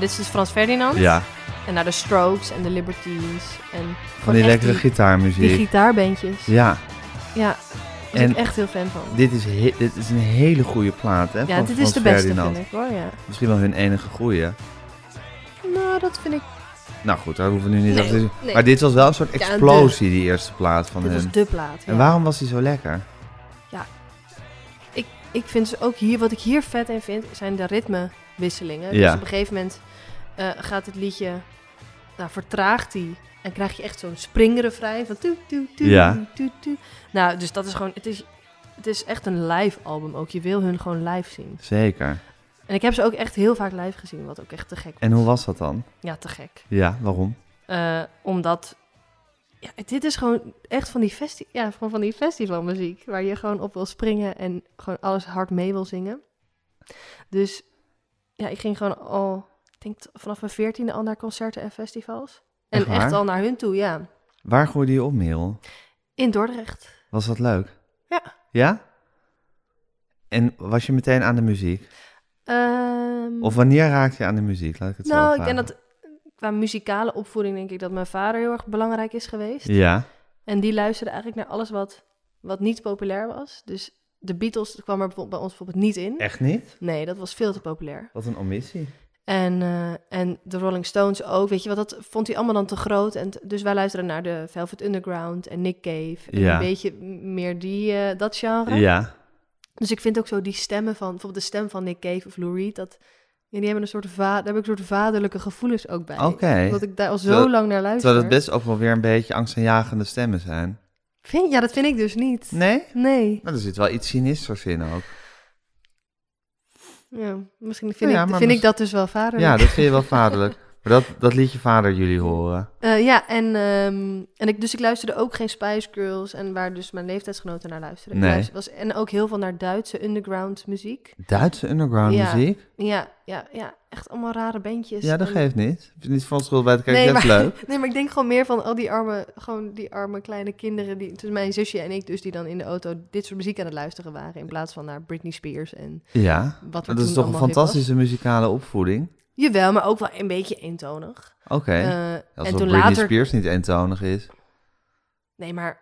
[SPEAKER 4] dit is dus Frans Ferdinand.
[SPEAKER 3] Ja,
[SPEAKER 4] En naar de Strokes en de Liberties. En
[SPEAKER 3] van die
[SPEAKER 4] echt
[SPEAKER 3] lekkere
[SPEAKER 4] die, die
[SPEAKER 3] gitaarmuziek.
[SPEAKER 4] gitaarbandjes. Ja,
[SPEAKER 3] Ja,
[SPEAKER 4] daar ben
[SPEAKER 3] En-
[SPEAKER 4] ik echt heel fan van.
[SPEAKER 3] dit is, he- dit is een hele goede plaat, hè?
[SPEAKER 4] Ja,
[SPEAKER 3] van
[SPEAKER 4] dit
[SPEAKER 3] Frans
[SPEAKER 4] is de beste,
[SPEAKER 3] Ferdinand.
[SPEAKER 4] vind ik hoor. Ja.
[SPEAKER 3] Misschien wel hun enige goede.
[SPEAKER 4] Nou, dat vind ik...
[SPEAKER 3] Nou goed, daar hoeven we nu niet
[SPEAKER 4] Nee,
[SPEAKER 3] achter te
[SPEAKER 4] nee.
[SPEAKER 3] Maar dit was wel een soort
[SPEAKER 4] Ja, de-
[SPEAKER 3] explosie, die eerste plaat van
[SPEAKER 4] dit
[SPEAKER 3] hun.
[SPEAKER 4] was de plaat.
[SPEAKER 3] En
[SPEAKER 4] Ja.
[SPEAKER 3] waarom was die zo lekker?
[SPEAKER 4] Ik vind dus ook hier, wat ik hier vet in vind, zijn de ritmewisselingen.
[SPEAKER 3] Ja.
[SPEAKER 4] Dus op een gegeven moment eh, gaat het liedje, nou vertraagt die. En krijg je echt zo'n springrefrein van tu, tu, tu,
[SPEAKER 3] Ja.
[SPEAKER 4] tu, tu, tu. Nou, dus dat is gewoon, het is, het is echt een live album ook. Je wil hun gewoon live zien.
[SPEAKER 3] Zeker.
[SPEAKER 4] En ik heb ze ook echt heel vaak live gezien, wat ook echt te gek was.
[SPEAKER 3] En hoe was dat dan?
[SPEAKER 4] Ja, te gek.
[SPEAKER 3] Ja, waarom?
[SPEAKER 4] Eh, omdat, ja, dit is gewoon echt van die, festi ja, gewoon van die festivalmuziek. Waar je gewoon op wil springen en gewoon alles hard mee wil zingen. Dus ja, ik ging gewoon al, ik denk t- vanaf mijn veertiende al naar concerten en festivals. En
[SPEAKER 3] Echt
[SPEAKER 4] echt,
[SPEAKER 3] waar?
[SPEAKER 4] al naar hun toe, ja.
[SPEAKER 3] Waar gooide je op, Merel?
[SPEAKER 4] In Dordrecht.
[SPEAKER 3] Was dat leuk?
[SPEAKER 4] Ja.
[SPEAKER 3] Ja? En was je meteen aan de muziek?
[SPEAKER 4] Mm. Ehm,
[SPEAKER 3] Of wanneer raakte je aan de muziek? Laat ik het zo
[SPEAKER 4] nou, ik
[SPEAKER 3] vragen.
[SPEAKER 4] denk dat qua muzikale opvoeding denk ik dat mijn vader heel erg belangrijk is geweest.
[SPEAKER 3] Ja,
[SPEAKER 4] En die luisterden eigenlijk naar alles wat, wat niet populair was. Dus de Beatles kwam er bijvo- bij ons bijvoorbeeld niet in.
[SPEAKER 3] echt niet?
[SPEAKER 4] Nee, dat was veel te populair.
[SPEAKER 3] Wat een omissie.
[SPEAKER 4] En, eh, en de Rolling Stones ook, weet je wat, dat vond hij allemaal dan te groot. En t- dus wij luisterden naar de Velvet Underground en Nick Cave. En
[SPEAKER 3] Ja.
[SPEAKER 4] een beetje m- meer die, eh, dat genre.
[SPEAKER 3] Ja,
[SPEAKER 4] Dus ik vind ook zo die stemmen van, bijvoorbeeld de stem van Nick Cave of Lou Reed, dat... ja, die hebben een soort, va- daar heb ik een soort vaderlijke gevoelens ook bij.
[SPEAKER 3] Oké.
[SPEAKER 4] Omdat ik daar al zo
[SPEAKER 3] Terwijl-
[SPEAKER 4] lang naar luister.
[SPEAKER 3] terwijl het best ook wel weer een beetje angstaanjagende stemmen zijn.
[SPEAKER 4] Vind, ja, dat vind ik dus niet.
[SPEAKER 3] Nee?
[SPEAKER 4] nee.
[SPEAKER 3] Nou, er zit wel iets sinisters in ook.
[SPEAKER 4] Ja, misschien
[SPEAKER 3] Nou
[SPEAKER 4] vind,
[SPEAKER 3] ja,
[SPEAKER 4] ik,
[SPEAKER 3] maar
[SPEAKER 4] vind
[SPEAKER 3] mis-
[SPEAKER 4] ik dat dus wel vader.
[SPEAKER 3] Ja, dat vind je wel vaderlijk. Maar dat, dat liet je vader jullie horen.
[SPEAKER 4] Eh, ja, en, ehm, en ik, dus ik luisterde ook geen Spice Girls en waar dus mijn leeftijdsgenoten naar luisterden. Ik
[SPEAKER 3] Nee.
[SPEAKER 4] luister- was, en ook heel veel naar Duitse underground muziek.
[SPEAKER 3] Duitse underground
[SPEAKER 4] Ja.
[SPEAKER 3] muziek?
[SPEAKER 4] Ja, ja, ja, echt allemaal rare bandjes.
[SPEAKER 3] Ja, dat
[SPEAKER 4] En-
[SPEAKER 3] geeft niet. Heb je niet van schuld bij het kijken?
[SPEAKER 4] nee,
[SPEAKER 3] dat is
[SPEAKER 4] maar, [LAUGHS]
[SPEAKER 3] leuk.
[SPEAKER 4] Nee, maar ik denk gewoon meer van al die arme, gewoon die arme kleine kinderen. Die, dus mijn zusje en ik dus, die dan in de auto dit soort muziek aan het luisteren waren. In plaats van naar Britney Spears en
[SPEAKER 3] Ja,
[SPEAKER 4] wat er
[SPEAKER 3] dat is
[SPEAKER 4] toen
[SPEAKER 3] toch een
[SPEAKER 4] allemaal hip was.
[SPEAKER 3] fantastische muzikale opvoeding.
[SPEAKER 4] Jawel, maar ook wel een beetje eentonig.
[SPEAKER 3] Oké,
[SPEAKER 4] Eh,
[SPEAKER 3] alsof
[SPEAKER 4] en toen
[SPEAKER 3] Britney
[SPEAKER 4] later...
[SPEAKER 3] Spears niet eentonig is.
[SPEAKER 4] Nee, maar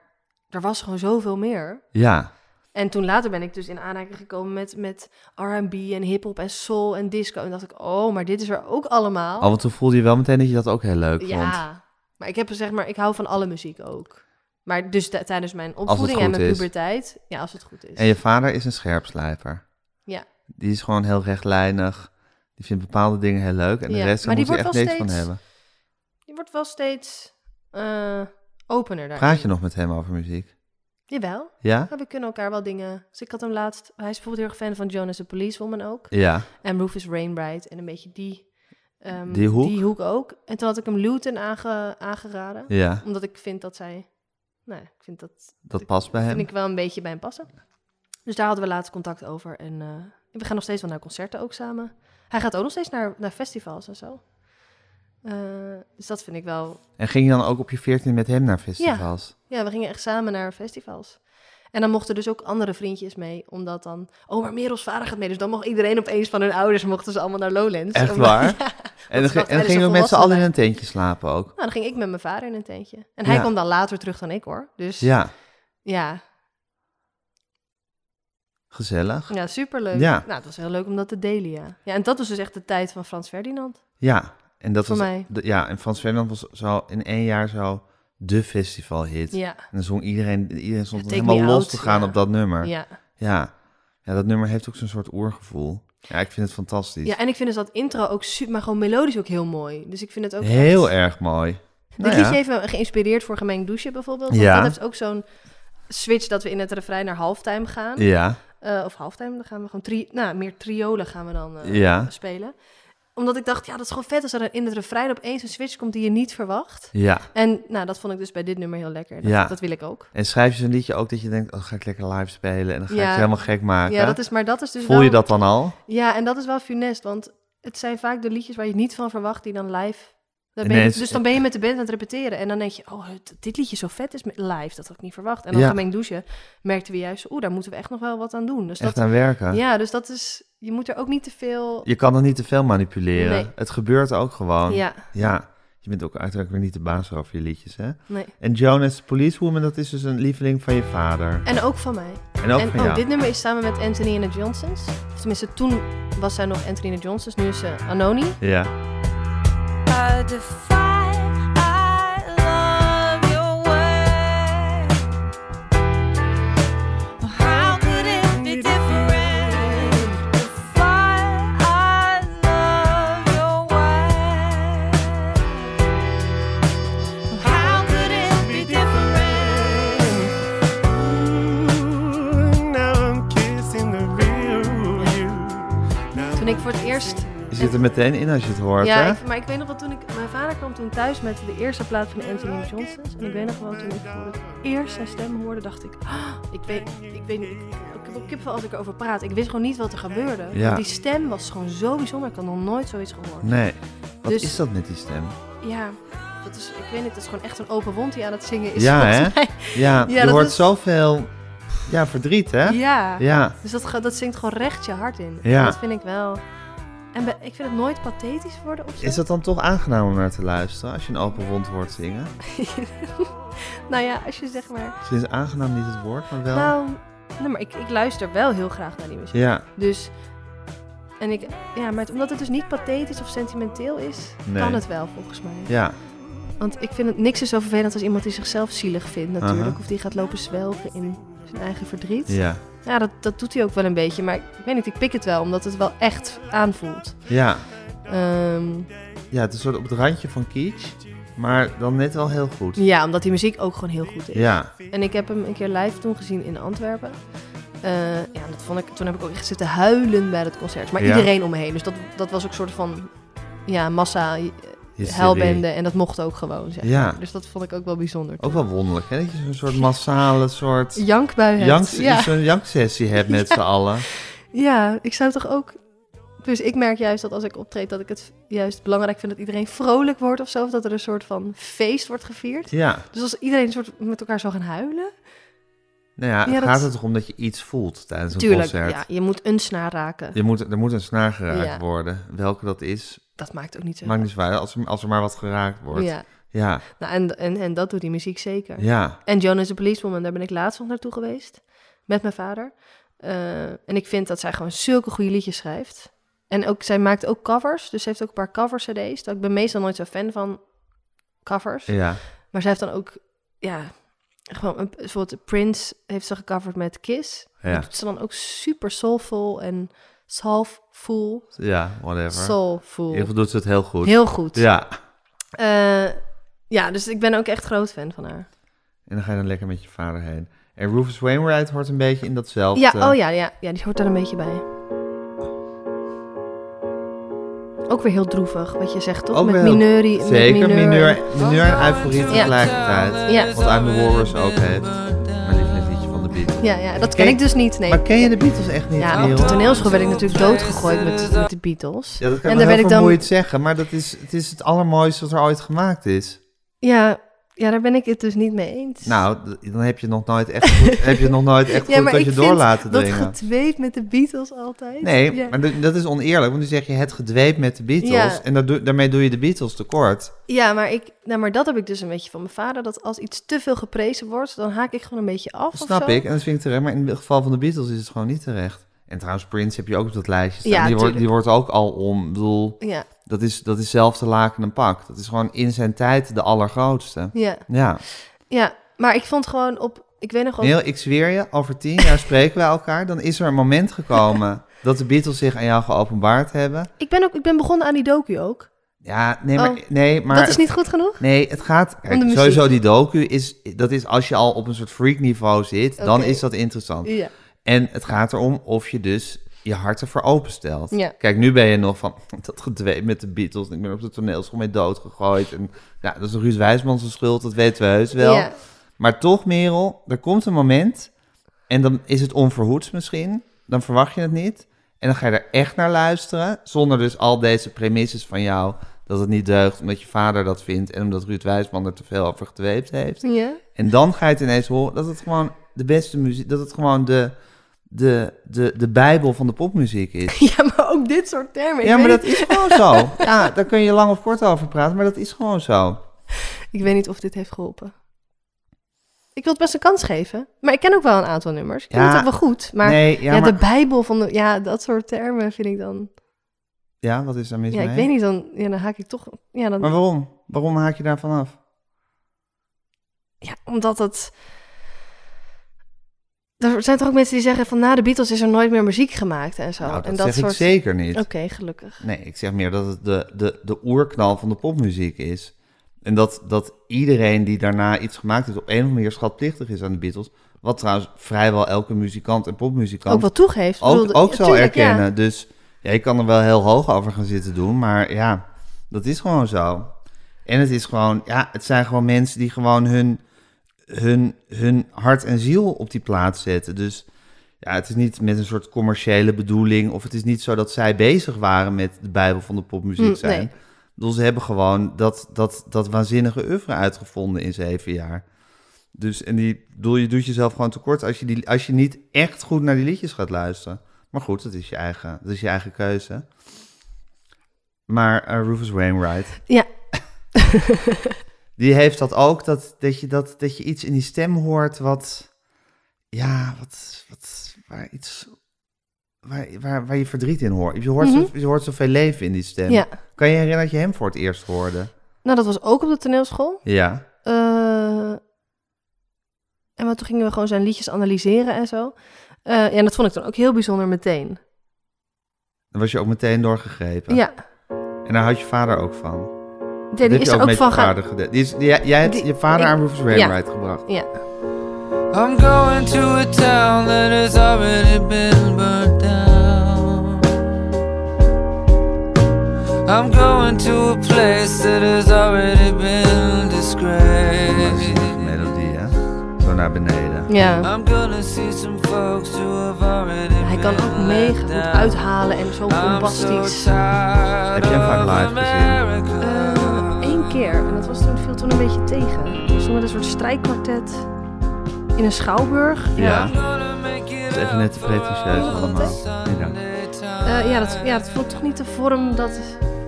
[SPEAKER 4] er was gewoon zoveel meer.
[SPEAKER 3] Ja,
[SPEAKER 4] En toen later ben ik dus in aanraking gekomen met, met R&B en hip-hop en soul en disco. En dacht ik, oh, maar dit is er ook allemaal.
[SPEAKER 3] al want toen voelde je wel meteen dat je dat ook heel leuk vond.
[SPEAKER 4] Oh. ja, maar ik heb zeg maar, ik hou van alle muziek ook. Maar dus t- tijdens mijn
[SPEAKER 3] het
[SPEAKER 4] opvoeding en
[SPEAKER 3] goed
[SPEAKER 4] mijn
[SPEAKER 3] is.
[SPEAKER 4] puberteit, ja, als het goed is.
[SPEAKER 3] En je vader is een scherpslijper.
[SPEAKER 4] dus- Ja.
[SPEAKER 3] Die is gewoon heel rechtlijnig. Die vindt bepaalde dingen heel leuk. En de
[SPEAKER 4] Ja,
[SPEAKER 3] rest daar
[SPEAKER 4] maar die
[SPEAKER 3] moet hij
[SPEAKER 4] wordt
[SPEAKER 3] echt niks
[SPEAKER 4] wel
[SPEAKER 3] van
[SPEAKER 4] steeds-
[SPEAKER 3] hebben.
[SPEAKER 4] Je wordt wel steeds eh, opener daar.
[SPEAKER 3] Praat je nog met hem over muziek?
[SPEAKER 4] Jawel,
[SPEAKER 3] Ja?
[SPEAKER 4] maar we kunnen elkaar wel dingen... Dus ik had hem laatst... Hij is bijvoorbeeld heel erg fan van Jonas the Policewoman ook.
[SPEAKER 3] Ja.
[SPEAKER 4] En Rufus Rainbright en een beetje die... ehm,
[SPEAKER 3] Die hoek.
[SPEAKER 4] Die hoek ook. En toen had ik hem Luton aange, aangeraden.
[SPEAKER 3] Ja,
[SPEAKER 4] Omdat ik vind dat zij... Nou, ik vind dat
[SPEAKER 3] dat past bij hem.
[SPEAKER 4] vind ik wel een beetje bij hem passen. Dus daar hadden we laatst contact over. En eh, we gaan nog steeds wel naar concerten ook samen. Hij gaat ook nog steeds naar, naar festivals en zo. Eh, dus dat vind ik wel...
[SPEAKER 3] En ging je dan ook op je 14 met hem naar festivals?
[SPEAKER 4] Ja, we gingen echt samen naar festivals. En dan mochten dus ook andere vriendjes mee, omdat dan... Oh, maar Merel's vader gaat mee, dus dan mocht iedereen opeens van hun ouders... mochten ze allemaal naar Lowlands.
[SPEAKER 3] Echt
[SPEAKER 4] Omdat-
[SPEAKER 3] waar?
[SPEAKER 4] Ja.
[SPEAKER 3] en dan,
[SPEAKER 4] dat
[SPEAKER 3] ging-
[SPEAKER 4] dacht
[SPEAKER 3] en
[SPEAKER 4] hij,
[SPEAKER 3] dan gingen
[SPEAKER 4] dus
[SPEAKER 3] we
[SPEAKER 4] een
[SPEAKER 3] met z'n allen in
[SPEAKER 4] volwassene.
[SPEAKER 3] een tentje slapen ook.
[SPEAKER 4] [LAUGHS] Nou, dan ging ik met mijn vader in een tentje. En hij
[SPEAKER 3] Ja.
[SPEAKER 4] kwam dan later terug dan ik, hoor. Dus ja,
[SPEAKER 3] Ja,
[SPEAKER 4] ja,
[SPEAKER 3] gezellig.
[SPEAKER 4] superleuk.
[SPEAKER 3] Ja.
[SPEAKER 4] Nou, het was heel leuk om dat te delen, ja. Ja, en dat was dus echt de tijd van Frans Ferdinand.
[SPEAKER 3] Ja, en dat
[SPEAKER 4] Voor
[SPEAKER 3] was,
[SPEAKER 4] mij.
[SPEAKER 3] d- Ja, en Frans Ferdinand was zo in één jaar zo de festivalhit.
[SPEAKER 4] Ja,
[SPEAKER 3] En dan zong iedereen, iedereen stond
[SPEAKER 4] Take
[SPEAKER 3] helemaal
[SPEAKER 4] Me
[SPEAKER 3] los
[SPEAKER 4] Out,
[SPEAKER 3] te gaan
[SPEAKER 4] ja.
[SPEAKER 3] op dat nummer.
[SPEAKER 4] ja.
[SPEAKER 3] Ja. ja, dat nummer heeft ook zo'n soort oergevoel. Ja, ik vind het fantastisch.
[SPEAKER 4] ja, en ik vind dus dat intro ook super, maar gewoon melodisch ook heel mooi. Dus ik vind het ook
[SPEAKER 3] Heel
[SPEAKER 4] echt-
[SPEAKER 3] erg mooi.
[SPEAKER 4] Dit
[SPEAKER 3] Nou ja.
[SPEAKER 4] liedje heeft me geïnspireerd voor Gemengd Douchen bijvoorbeeld. Want
[SPEAKER 3] Ja.
[SPEAKER 4] dat heeft ook zo'n switch dat we in het refrein naar halftime gaan.
[SPEAKER 3] Ja,
[SPEAKER 4] Eh, of halftime, dan gaan we gewoon tri nou, meer triolen gaan we dan eh,
[SPEAKER 3] ja,
[SPEAKER 4] spelen. Omdat ik dacht, ja, dat is gewoon vet als er in het refrein opeens een switch komt die je niet verwacht.
[SPEAKER 3] ja.
[SPEAKER 4] En nou, dat vond ik dus bij dit nummer heel lekker. Dat,
[SPEAKER 3] Ja.
[SPEAKER 4] dat wil ik ook.
[SPEAKER 3] En schrijf je zo'n liedje ook dat je denkt, oh, ga ik lekker live spelen en dan ga ik
[SPEAKER 4] Ja.
[SPEAKER 3] ze helemaal gek maken.
[SPEAKER 4] Ja, dat is, maar dat is dus
[SPEAKER 3] Voel je
[SPEAKER 4] wel-
[SPEAKER 3] dat dan al?
[SPEAKER 4] Ja, en dat is wel funest, want het zijn vaak de liedjes waar je niet van verwacht die dan live. Dan ben je-
[SPEAKER 3] Ineens-
[SPEAKER 4] dus dan ben je met de band aan het repeteren en dan denk je, oh, het- dit liedje zo vet is met- live, dat had ik niet verwacht. En dan
[SPEAKER 3] Ja.
[SPEAKER 4] gemengd douchen merkten we juist, oeh, daar moeten we echt nog wel wat aan doen. Dus
[SPEAKER 3] Echt
[SPEAKER 4] dat,
[SPEAKER 3] aan werken?
[SPEAKER 4] ja, dus dat is, je moet er ook niet te veel...
[SPEAKER 3] Je kan er niet te veel manipuleren.
[SPEAKER 4] Nee.
[SPEAKER 3] Het gebeurt ook gewoon.
[SPEAKER 4] Ja,
[SPEAKER 3] Ja. Je bent ook uiteraard weer niet de baas over je liedjes, hè?
[SPEAKER 4] nee.
[SPEAKER 3] En Jonas Policewoman, dat is dus een lieveling van je vader.
[SPEAKER 4] En ook van mij.
[SPEAKER 3] En ook
[SPEAKER 4] en
[SPEAKER 3] van
[SPEAKER 4] oh,
[SPEAKER 3] jou.
[SPEAKER 4] dit nummer is samen met Anthony and the Johnsons. Of tenminste, toen was zij nog Anthony and the Johnsons. Nu is ze Anoni.
[SPEAKER 3] Ja.
[SPEAKER 6] I defy, I love your way. How could it be different? Defy, I love your way. How could it be different?
[SPEAKER 7] Now I'm kissing the real you. Now
[SPEAKER 4] Toen ik voor het eerst...
[SPEAKER 3] Je zit er meteen in als je het hoort,
[SPEAKER 4] ja,
[SPEAKER 3] hè?
[SPEAKER 4] ik- maar ik weet nog wel toen ik... Mijn vader kwam toen thuis met de eerste plaat van Anthony and the Johnsons. En ik weet nog wel toen ik voor het eerst zijn stem hoorde, dacht ik... "Ah, ik weet, ik weet niet... Ik, ik heb ook kipvel als ik erover praat. Ik wist gewoon niet wat er gebeurde.
[SPEAKER 3] Ja.
[SPEAKER 4] Want Die stem was gewoon zo bijzonder. Ik had nog nooit zoiets gehoord.
[SPEAKER 3] Nee. Wat
[SPEAKER 4] Dus-
[SPEAKER 3] is dat met die stem?
[SPEAKER 4] Ja, dat is... Ik weet niet, dat is gewoon echt een open wond die aan het zingen is.
[SPEAKER 3] Ja,
[SPEAKER 4] volgens
[SPEAKER 3] hè?
[SPEAKER 4] mij.
[SPEAKER 3] Ja,
[SPEAKER 4] Ja,
[SPEAKER 3] je
[SPEAKER 4] dat
[SPEAKER 3] hoort
[SPEAKER 4] is-
[SPEAKER 3] zoveel ja, verdriet, hè?
[SPEAKER 4] Ja.
[SPEAKER 3] Ja.
[SPEAKER 4] Dus dat, ge- dat zingt gewoon recht je hart in.
[SPEAKER 3] Ja.
[SPEAKER 4] Dat vind ik wel. En be- ik vind het nooit pathetisch worden of zo.
[SPEAKER 3] Is dat dan toch aangenaam om naar te luisteren als je een open wond hoort zingen?
[SPEAKER 4] [LAUGHS] Nou ja, als je zeg maar...
[SPEAKER 3] Misschien is aangenaam niet het woord, maar wel.
[SPEAKER 4] Nou, nee, maar ik, ik luister wel heel graag naar die muziek.
[SPEAKER 3] Ja,
[SPEAKER 4] Dus... En ik... Ja, maar het- omdat het dus niet pathetisch of sentimenteel is,
[SPEAKER 3] Nee.
[SPEAKER 4] kan het wel volgens mij.
[SPEAKER 3] ja,
[SPEAKER 4] Want ik vind het niks is zo vervelend als iemand die zichzelf zielig vindt natuurlijk.
[SPEAKER 3] Aha.
[SPEAKER 4] Of die gaat lopen zwelgen in zijn eigen verdriet.
[SPEAKER 3] ja,
[SPEAKER 4] Ja, dat, dat doet hij ook wel een beetje. Maar ik, ik weet niet, ik pik het wel, omdat het wel echt aanvoelt.
[SPEAKER 3] ja.
[SPEAKER 4] Ehm,
[SPEAKER 3] Ja, het is een soort op het randje van kitsch, maar dan net wel heel goed.
[SPEAKER 4] ja, omdat die muziek ook gewoon heel goed is.
[SPEAKER 3] Ja,
[SPEAKER 4] En ik heb hem een keer live toen gezien in Antwerpen. Eh, ja, dat vond ik, toen heb ik ook echt zitten huilen bij dat concert. Maar
[SPEAKER 3] Ja.
[SPEAKER 4] iedereen om me heen. Dus dat, dat was ook een soort van ja, massa eh,
[SPEAKER 3] hysterie.
[SPEAKER 4] huilbende. En dat mocht ook gewoon. Zeg.
[SPEAKER 3] Ja,
[SPEAKER 4] Dus dat vond ik ook wel bijzonder.
[SPEAKER 3] ook wel wonderlijk, hè? Dat je zo'n soort massale soort
[SPEAKER 4] Jankbui hebt.
[SPEAKER 3] janks,
[SPEAKER 4] ja.
[SPEAKER 3] zo'n janksessie hebt met
[SPEAKER 4] [LAUGHS]
[SPEAKER 3] z'n allen.
[SPEAKER 4] ja, ik zou toch ook... Dus ik merk juist dat als ik optreed, dat ik het juist belangrijk vind dat iedereen vrolijk wordt of zo. Of dat er een soort van feest wordt gevierd.
[SPEAKER 3] Ja,
[SPEAKER 4] Dus als iedereen een soort met elkaar zou gaan huilen.
[SPEAKER 3] nou ja,
[SPEAKER 4] Ja, dat-
[SPEAKER 3] gaat het toch om dat je iets voelt tijdens een
[SPEAKER 4] Tuurlijk,
[SPEAKER 3] concert?
[SPEAKER 4] ja, je moet een snaar raken.
[SPEAKER 3] Je moet, er moet een snaar geraakt
[SPEAKER 4] Ja.
[SPEAKER 3] worden. Welke dat is,
[SPEAKER 4] Dat maakt ook niet zo
[SPEAKER 3] maakt niet zwaar. Als er, als er maar wat geraakt wordt.
[SPEAKER 4] Ja,
[SPEAKER 3] ja.
[SPEAKER 4] nou, en, en, en dat doet die muziek zeker.
[SPEAKER 3] ja.
[SPEAKER 4] En Jonas the Policewoman, daar ben ik laatst nog naartoe geweest. Met mijn vader. Eh, en ik vind dat zij gewoon zulke goede liedjes schrijft. En ook, zij maakt ook covers. Dus ze heeft ook een paar cover cd's. Ik ben meestal nooit zo fan van covers.
[SPEAKER 3] Ja,
[SPEAKER 4] Maar zij heeft dan ook, ja... Gewoon, een- bijvoorbeeld Prince heeft ze gecoverd met Kiss.
[SPEAKER 3] ja,
[SPEAKER 4] Dat doet ze dan ook super soulful en soulful.
[SPEAKER 3] ja, whatever. In
[SPEAKER 4] Soulful.
[SPEAKER 3] ieder geval doet ze het heel goed.
[SPEAKER 4] Heel goed.
[SPEAKER 3] Ja,
[SPEAKER 4] Eh, ja, dus ik ben ook echt groot fan van haar.
[SPEAKER 3] en dan ga je dan lekker met je vader heen. En Rufus Wainwright hoort een beetje in datzelfde.
[SPEAKER 4] Ja, oh ja, ja, ja, die hoort daar een beetje bij. Ook weer heel droevig, wat je zegt, toch?
[SPEAKER 3] Ook
[SPEAKER 4] met
[SPEAKER 3] wel.
[SPEAKER 4] mineurie, met
[SPEAKER 3] Zeker,
[SPEAKER 4] mineur. Oh.
[SPEAKER 3] mineur, mineur en euforie tegelijkertijd.
[SPEAKER 4] Ja.
[SPEAKER 3] Wat I'm the Walrus ook heeft. Maar dit is het liedje van de Beatles.
[SPEAKER 4] Ja, ja, dat
[SPEAKER 3] Ken-
[SPEAKER 4] ken ik dus niet, nee.
[SPEAKER 3] Maar ken je de Beatles echt niet,
[SPEAKER 4] ja,
[SPEAKER 3] Niel?
[SPEAKER 4] op de toneelschool werd ik natuurlijk doodgegooid met, met de Beatles.
[SPEAKER 3] Ja, dat kan
[SPEAKER 4] En
[SPEAKER 3] en heel
[SPEAKER 4] daar ben ik dan-
[SPEAKER 3] vermoeiend zeggen, maar dat is, het is het allermooiste wat er ooit gemaakt is.
[SPEAKER 4] Ja, ja, daar ben ik het dus niet mee eens.
[SPEAKER 3] Nou, d- dan heb je nog nooit echt goed,
[SPEAKER 4] [LAUGHS]
[SPEAKER 3] heb je nog nooit echt
[SPEAKER 4] Ja,
[SPEAKER 3] goed
[SPEAKER 4] maar
[SPEAKER 3] dat
[SPEAKER 4] ik
[SPEAKER 3] je
[SPEAKER 4] vind
[SPEAKER 3] door laten
[SPEAKER 4] dat
[SPEAKER 3] dringen.
[SPEAKER 4] gedweep met de Beatles altijd.
[SPEAKER 3] Nee,
[SPEAKER 4] ja.
[SPEAKER 3] maar d- dat is oneerlijk, want nu zeg je het gedweep met de Beatles.
[SPEAKER 4] Ja.
[SPEAKER 3] En dat doe- daarmee doe je de Beatles tekort.
[SPEAKER 4] Ja, maar, ik, nou, maar dat heb ik dus een beetje van mijn vader. Dat als iets te veel geprezen wordt, dan haak ik gewoon een beetje af.
[SPEAKER 3] Dat
[SPEAKER 4] of
[SPEAKER 3] snap
[SPEAKER 4] zo.
[SPEAKER 3] ik, en dat vind ik terecht. Maar in het geval van de Beatles is het gewoon niet terecht. En trouwens, Prince heb je ook op dat lijstje staan.
[SPEAKER 4] Ja,
[SPEAKER 3] die, wordt, die
[SPEAKER 4] tuurlijk.
[SPEAKER 3] wordt ook al om. Ik bedoel,
[SPEAKER 4] Ja,
[SPEAKER 3] dat is, dat is zelf te laken een pak. Dat is gewoon in zijn tijd de allergrootste.
[SPEAKER 4] ja,
[SPEAKER 3] Ja.
[SPEAKER 4] ja. Maar ik vond gewoon op... Ik weet nog wel...
[SPEAKER 3] Neil, ik zweer je, over tien jaar [LAUGHS] spreken wij elkaar. Dan is er een moment
[SPEAKER 4] [LAUGHS]
[SPEAKER 3] gekomen dat de Beatles zich aan jou geopenbaard hebben.
[SPEAKER 4] Ik ben, ook, ik ben begonnen aan die docu ook.
[SPEAKER 3] Ja, nee, maar...
[SPEAKER 4] Oh,
[SPEAKER 3] nee, maar
[SPEAKER 4] dat is niet goed genoeg?
[SPEAKER 3] Nee, het gaat. Kijk,
[SPEAKER 4] muziek.
[SPEAKER 3] sowieso die docu is. Dat is als je al op een soort freakniveau zit, dan
[SPEAKER 4] Oké.
[SPEAKER 3] is dat interessant.
[SPEAKER 4] Ja.
[SPEAKER 3] En het gaat erom of je dus je hart ervoor openstelt.
[SPEAKER 4] Ja.
[SPEAKER 3] Kijk, nu ben je nog van [LAUGHS] dat gedwee met de Beatles. en Ik ben op de toneelschool mee doodgegooid. En ja, dat is Ruud Wijsman zijn schuld, dat weten we heus wel.
[SPEAKER 4] Ja.
[SPEAKER 3] Maar toch, Merel, er komt een moment. En dan is het onverhoeds misschien. Dan verwacht je het niet. En dan ga je er echt naar luisteren. Zonder dus al deze premisses van jou. Dat het niet deugt omdat je vader dat vindt. En omdat Ruud Wijsman er te veel over gedweept heeft.
[SPEAKER 4] ja.
[SPEAKER 3] En dan ga je het ineens horen dat het gewoon de beste muziek. Dat het gewoon de, de, de, de bijbel van de popmuziek is.
[SPEAKER 4] [LAUGHS] Ja, maar ook dit soort termen.
[SPEAKER 3] Ja,
[SPEAKER 4] ik,
[SPEAKER 3] maar
[SPEAKER 4] weet
[SPEAKER 3] dat is gewoon zo.
[SPEAKER 4] [LAUGHS]
[SPEAKER 3] Ja, daar kun je lang of kort over praten, maar dat is gewoon zo.
[SPEAKER 4] niet, ik weet niet of dit heeft geholpen. Ik wil het best een kans geven. Maar ik ken ook wel een aantal nummers. Ik ken
[SPEAKER 3] Ja,
[SPEAKER 4] het ook wel goed. Maar,
[SPEAKER 3] nee, ja,
[SPEAKER 4] ja,
[SPEAKER 3] maar-
[SPEAKER 4] de Bijbel van de... Ja, dat soort termen vind ik dan...
[SPEAKER 3] Ja, wat is daar mis
[SPEAKER 4] Ja, ik
[SPEAKER 3] mee?
[SPEAKER 4] weet niet, dan, ja, dan haak ik toch... Ja, dan,
[SPEAKER 3] Maar waarom? Waarom haak je daarvan af?
[SPEAKER 4] ja, omdat het... Er zijn toch ook mensen die zeggen van na de Beatles is er nooit meer muziek gemaakt en zo.
[SPEAKER 3] nou, dat,
[SPEAKER 4] en dat
[SPEAKER 3] zeg
[SPEAKER 4] soort...
[SPEAKER 3] ik zeker niet.
[SPEAKER 4] Oké, gelukkig.
[SPEAKER 3] Nee, ik zeg meer dat het de, de, de oerknal van de popmuziek is. En dat, dat iedereen die daarna iets gemaakt heeft op een of andere manier schatplichtig is aan de Beatles. Wat trouwens vrijwel elke muzikant en popmuzikant
[SPEAKER 4] Ook wat toegeeft. Ik
[SPEAKER 3] ook,
[SPEAKER 4] bedoel,
[SPEAKER 3] ook
[SPEAKER 4] ja,
[SPEAKER 3] zal
[SPEAKER 4] tuurlijk, ja.
[SPEAKER 3] erkennen. Dus ja, ik kan er wel heel hoog over gaan zitten doen, maar ja, dat is gewoon zo. En het is gewoon, ja, het zijn gewoon mensen die gewoon hun, hun, hun hart en ziel op die plaats zetten. Dus ja, het is niet met een soort commerciële bedoeling, of het is niet zo dat zij bezig waren met de Bijbel van de popmuziek
[SPEAKER 4] Mm,
[SPEAKER 3] zijn.
[SPEAKER 4] nee.
[SPEAKER 3] Ik bedoel, ze hebben gewoon dat, dat, dat waanzinnige oeuvre uitgevonden in zeven jaar. Dus en die, ik bedoel, je doet jezelf gewoon tekort als je, die, als je niet echt goed naar die liedjes gaat luisteren. Maar goed, dat is je eigen, dat is je eigen keuze. Maar eh, Rufus Wainwright,
[SPEAKER 4] Ja,
[SPEAKER 3] die heeft dat ook, dat, dat, je, dat, dat je iets in die stem hoort wat, ja, wat, wat waar iets, waar, waar, waar je verdriet in hoort. Je hoort, zo, je hoort zoveel leven in die stem.
[SPEAKER 4] Mhm. ja.
[SPEAKER 3] Kan je herinneren dat je hem voor het eerst hoorde?
[SPEAKER 4] Nou, dat was ook op de toneelschool.
[SPEAKER 3] Ja.
[SPEAKER 4] Eh, en maar toen gingen we gewoon zijn liedjes analyseren en zo. Eh, ja, en dat vond ik dan ook heel bijzonder meteen.
[SPEAKER 3] Dan was je ook meteen doorgegrepen.
[SPEAKER 4] Ja,
[SPEAKER 3] En daar had je vader ook van.
[SPEAKER 4] die, die
[SPEAKER 3] Dat heb
[SPEAKER 4] is
[SPEAKER 3] je
[SPEAKER 4] er ook
[SPEAKER 3] met
[SPEAKER 4] van
[SPEAKER 3] je
[SPEAKER 4] gaan.
[SPEAKER 3] vader gedaan. Die is, die- jij, jij hebt
[SPEAKER 4] Die-
[SPEAKER 3] je vader
[SPEAKER 4] ik-
[SPEAKER 3] aan Rufus Wainwright gebracht.
[SPEAKER 4] Ja.
[SPEAKER 6] I'm going to a town that has already been burnt down. I'm going to a place that has already been
[SPEAKER 3] Dat is
[SPEAKER 6] disgraced.
[SPEAKER 3] de melodie, hè? Zo naar beneden.
[SPEAKER 4] Ja.
[SPEAKER 6] I'm gonna see some folks who have already
[SPEAKER 4] Hij kan ook
[SPEAKER 6] been
[SPEAKER 4] mega
[SPEAKER 6] let
[SPEAKER 4] goed
[SPEAKER 6] down.
[SPEAKER 4] uithalen en zo
[SPEAKER 6] I'm so
[SPEAKER 4] bombastisch.
[SPEAKER 6] tired
[SPEAKER 3] Heb je hem vaak
[SPEAKER 6] of
[SPEAKER 3] live gezien?
[SPEAKER 6] America.
[SPEAKER 4] Eén keer. En dat was toen, viel toen een beetje tegen. Het was toen met een soort strijkkwartet in een schouwburg.
[SPEAKER 3] Ja.
[SPEAKER 6] I'm gonna make it
[SPEAKER 3] Het is even net te pretentieus allemaal. Nee, dank.
[SPEAKER 4] Eh, ja, dat, ja, dat vond ik toch niet de vorm dat...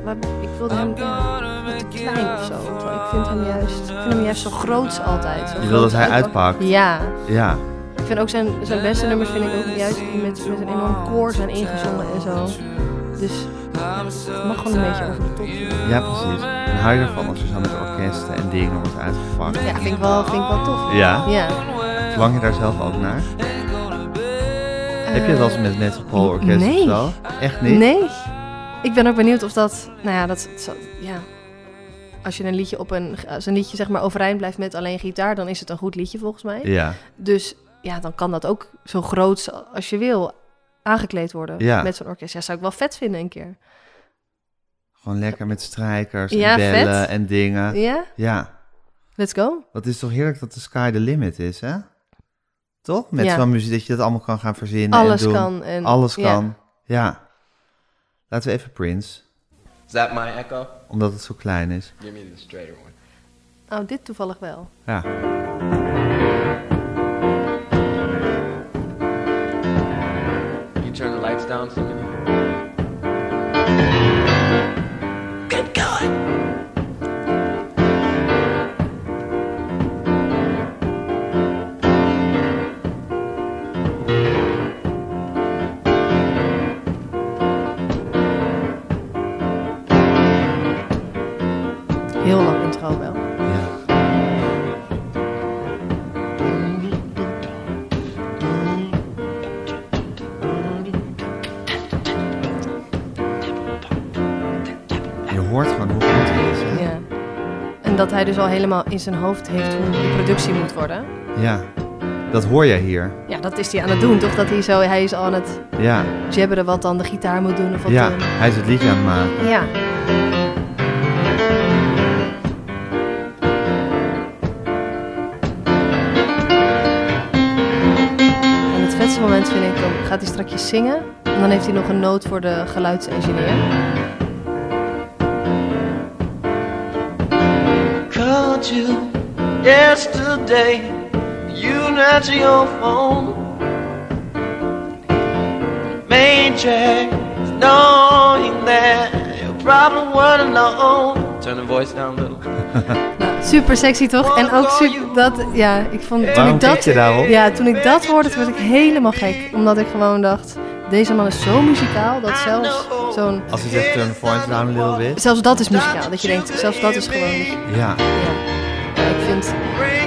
[SPEAKER 4] Maar ik wilde hem ja, wat te klein of zo. Terwijl ik vind hem juist, ik vind hem juist zo groots altijd. Zo
[SPEAKER 3] Je wil
[SPEAKER 4] groot
[SPEAKER 3] dat hij
[SPEAKER 4] en-
[SPEAKER 3] uitpakt.
[SPEAKER 4] Ja.
[SPEAKER 3] Ja.
[SPEAKER 4] Ik vind ook zijn, zijn beste nummers vind ik ook juist die met, met een enorm koor zijn ingezongen en zo. Dus ja, het mag gewoon een beetje over de top.
[SPEAKER 3] Ja, precies. En hou je ervan als je zo met orkesten en dingen wordt uitgepakt?
[SPEAKER 4] Ja, vind ik wel, vind ik wel tof.
[SPEAKER 3] Ja?
[SPEAKER 4] Ja.
[SPEAKER 3] Lang je daar zelf ook naar? Heb je het als met metropoolorkest
[SPEAKER 4] nee.
[SPEAKER 3] of zo? Echt niet?
[SPEAKER 4] Nee. Ik ben ook benieuwd of dat, nou ja, dat, zo- ja. Als je een liedje op een, als een liedje zeg maar overeind blijft met alleen gitaar, dan is het een goed liedje volgens mij.
[SPEAKER 3] Ja.
[SPEAKER 4] Dus ja, dan kan dat ook zo groot als je wil aangekleed worden
[SPEAKER 3] Ja.
[SPEAKER 4] met zo'n orkest. Ja, zou ik wel vet vinden een keer.
[SPEAKER 3] Gewoon lekker met strijkers en
[SPEAKER 4] Ja,
[SPEAKER 3] bellen
[SPEAKER 4] vet.
[SPEAKER 3] en dingen.
[SPEAKER 4] Ja?
[SPEAKER 3] Ja.
[SPEAKER 4] Let's go.
[SPEAKER 3] Wat is toch heerlijk dat de sky the limit is, hè? Toch? Met
[SPEAKER 4] Ja.
[SPEAKER 3] zo'n muziek dat je dat allemaal kan gaan verzinnen
[SPEAKER 4] Alles
[SPEAKER 3] en doen.
[SPEAKER 4] kan en-
[SPEAKER 3] Alles
[SPEAKER 4] ja.
[SPEAKER 3] kan. Ja. Laten we even Prince,
[SPEAKER 8] Is that my echo?
[SPEAKER 3] omdat het zo klein is.
[SPEAKER 8] Give me the straighter one.
[SPEAKER 4] Nou, dit toevallig wel.
[SPEAKER 3] Ja.
[SPEAKER 8] Can you turn the lights down, Symphony?
[SPEAKER 4] Heel lang intro wel.
[SPEAKER 3] ja. Je hoort gewoon hoe goed het is, hè?
[SPEAKER 4] Ja. En dat hij dus al helemaal in zijn hoofd heeft hoe de productie moet worden.
[SPEAKER 3] Ja. Dat hoor je hier.
[SPEAKER 4] Ja, dat is hij aan het doen, toch? Dat hij zo, hij is al aan het
[SPEAKER 3] Ja.
[SPEAKER 4] jabberen wat dan de gitaar moet doen of wat
[SPEAKER 3] Ja.
[SPEAKER 4] dan-
[SPEAKER 3] Hij is het liedje aan het maken.
[SPEAKER 4] Ja. En het vetste moment vind ik, dan gaat hij strakjes zingen. En dan heeft hij nog een noot voor de geluidsengineer.
[SPEAKER 6] called you yesterday. You not your phone.
[SPEAKER 9] changes, knowing that you probably weren't alone.
[SPEAKER 8] Turn the voice down a little.
[SPEAKER 4] Nou, super sexy toch? En ook super, dat, ja, ik vond toen
[SPEAKER 3] Waarom
[SPEAKER 4] ik dat,
[SPEAKER 3] kijk je daarop?
[SPEAKER 4] ja, toen ik dat hoorde, toen werd ik helemaal gek. Omdat ik gewoon dacht, deze man is zo muzikaal dat zelfs zo'n,
[SPEAKER 3] Als hij zegt turn the voice down a little bit.
[SPEAKER 4] zelfs dat is muzikaal. Dat je denkt, zelfs dat is gewoon
[SPEAKER 3] Ja.
[SPEAKER 4] Ja, ik vind,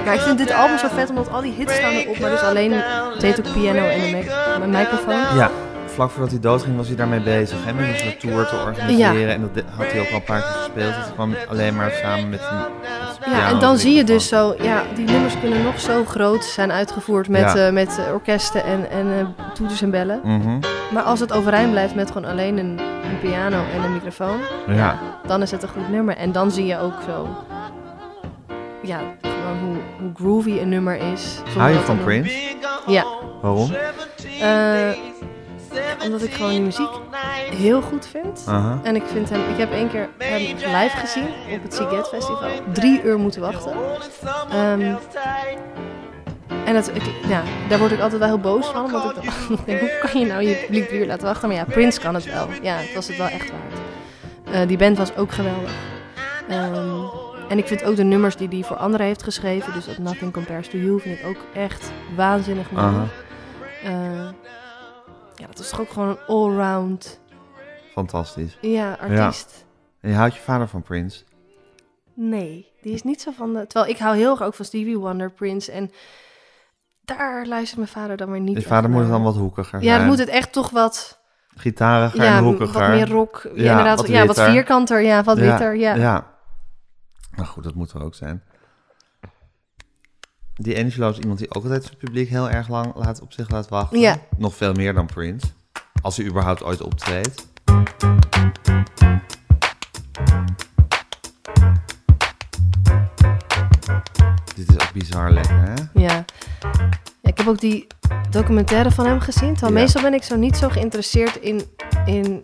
[SPEAKER 4] maar ik vind dit album zo vet, omdat al die hits staan erop. Maar dus alleen, het heet ook piano en een mic- een microfoon.
[SPEAKER 3] ja. Vlak voordat hij doodging was hij daarmee bezig. En met een tour te organiseren. En dat de- had hij ook al een paar keer gespeeld. Dus het kwam alleen maar samen met een
[SPEAKER 4] Ja, en dan zie je dus zo, ja, die nummers kunnen nog zo groot zijn uitgevoerd met,
[SPEAKER 3] Ja.
[SPEAKER 4] eh, met eh, orkesten en, en eh, toeters en bellen.
[SPEAKER 3] Mhm.
[SPEAKER 4] Maar als het overeind blijft met gewoon alleen een, een piano en een microfoon,
[SPEAKER 3] Ja.
[SPEAKER 4] dan is het een goed nummer. En dan zie je ook zo, ja, gewoon hoe, hoe groovy een nummer is. zonder
[SPEAKER 3] Hou je
[SPEAKER 4] dat
[SPEAKER 3] van
[SPEAKER 4] dan-
[SPEAKER 3] Prince?
[SPEAKER 4] Ja.
[SPEAKER 3] Waarom?
[SPEAKER 4] Eh, omdat ik gewoon die muziek heel goed vind.
[SPEAKER 3] Aha.
[SPEAKER 4] En ik vind hem, ik heb één keer hem live gezien op het Siget Festival. Drie uur moeten wachten. Ehm, en dat, ik, ja, daar word ik altijd wel heel boos van. Want ik dan [LAUGHS] denk, hoe kan je nou je publiek drie uur laten wachten? Maar ja, Prince kan het wel. Ja, het was het wel echt waard. Eh, die band was ook geweldig. Ehm, en ik vind ook de nummers die hij voor anderen heeft geschreven. Dus dat Nothing Compares to You vind ik ook echt waanzinnig mooi.
[SPEAKER 3] Aha.
[SPEAKER 4] Eh, ja, dat is toch ook gewoon een allround
[SPEAKER 3] Fantastisch.
[SPEAKER 4] ja, artiest.
[SPEAKER 3] En je houdt je vader van Prince?
[SPEAKER 4] Nee, die is niet zo van de... Terwijl ik hou heel erg ook van Stevie Wonder, Prince en... Daar luistert mijn vader dan weer niet
[SPEAKER 3] Je vader
[SPEAKER 4] echt
[SPEAKER 3] moet het
[SPEAKER 4] naar.
[SPEAKER 3] dan wat hoekiger
[SPEAKER 4] Ja, dan
[SPEAKER 3] zijn.
[SPEAKER 4] moet het echt toch wat...
[SPEAKER 3] Gitariger
[SPEAKER 4] Ja,
[SPEAKER 3] en
[SPEAKER 4] m-
[SPEAKER 3] hoekiger.
[SPEAKER 4] wat meer rock. Ja,
[SPEAKER 3] Ja,
[SPEAKER 4] inderdaad.
[SPEAKER 3] wat
[SPEAKER 4] ja, wat
[SPEAKER 3] witter.
[SPEAKER 4] vierkanter. Ja, wat witter. Ja.
[SPEAKER 3] ja. Nou goed, dat moet er ook zijn. Die Angelo is iemand die ook altijd zijn publiek heel erg lang laat, op zich laat wachten.
[SPEAKER 4] Ja.
[SPEAKER 3] Nog veel meer dan Prince. Als hij überhaupt ooit optreedt. Dit is ook bizar lekker, hè?
[SPEAKER 4] Ja. Ja, ik heb ook die documentaire van hem gezien. Terwijl
[SPEAKER 3] Ja.
[SPEAKER 4] meestal ben ik zo niet zo geïnteresseerd in, in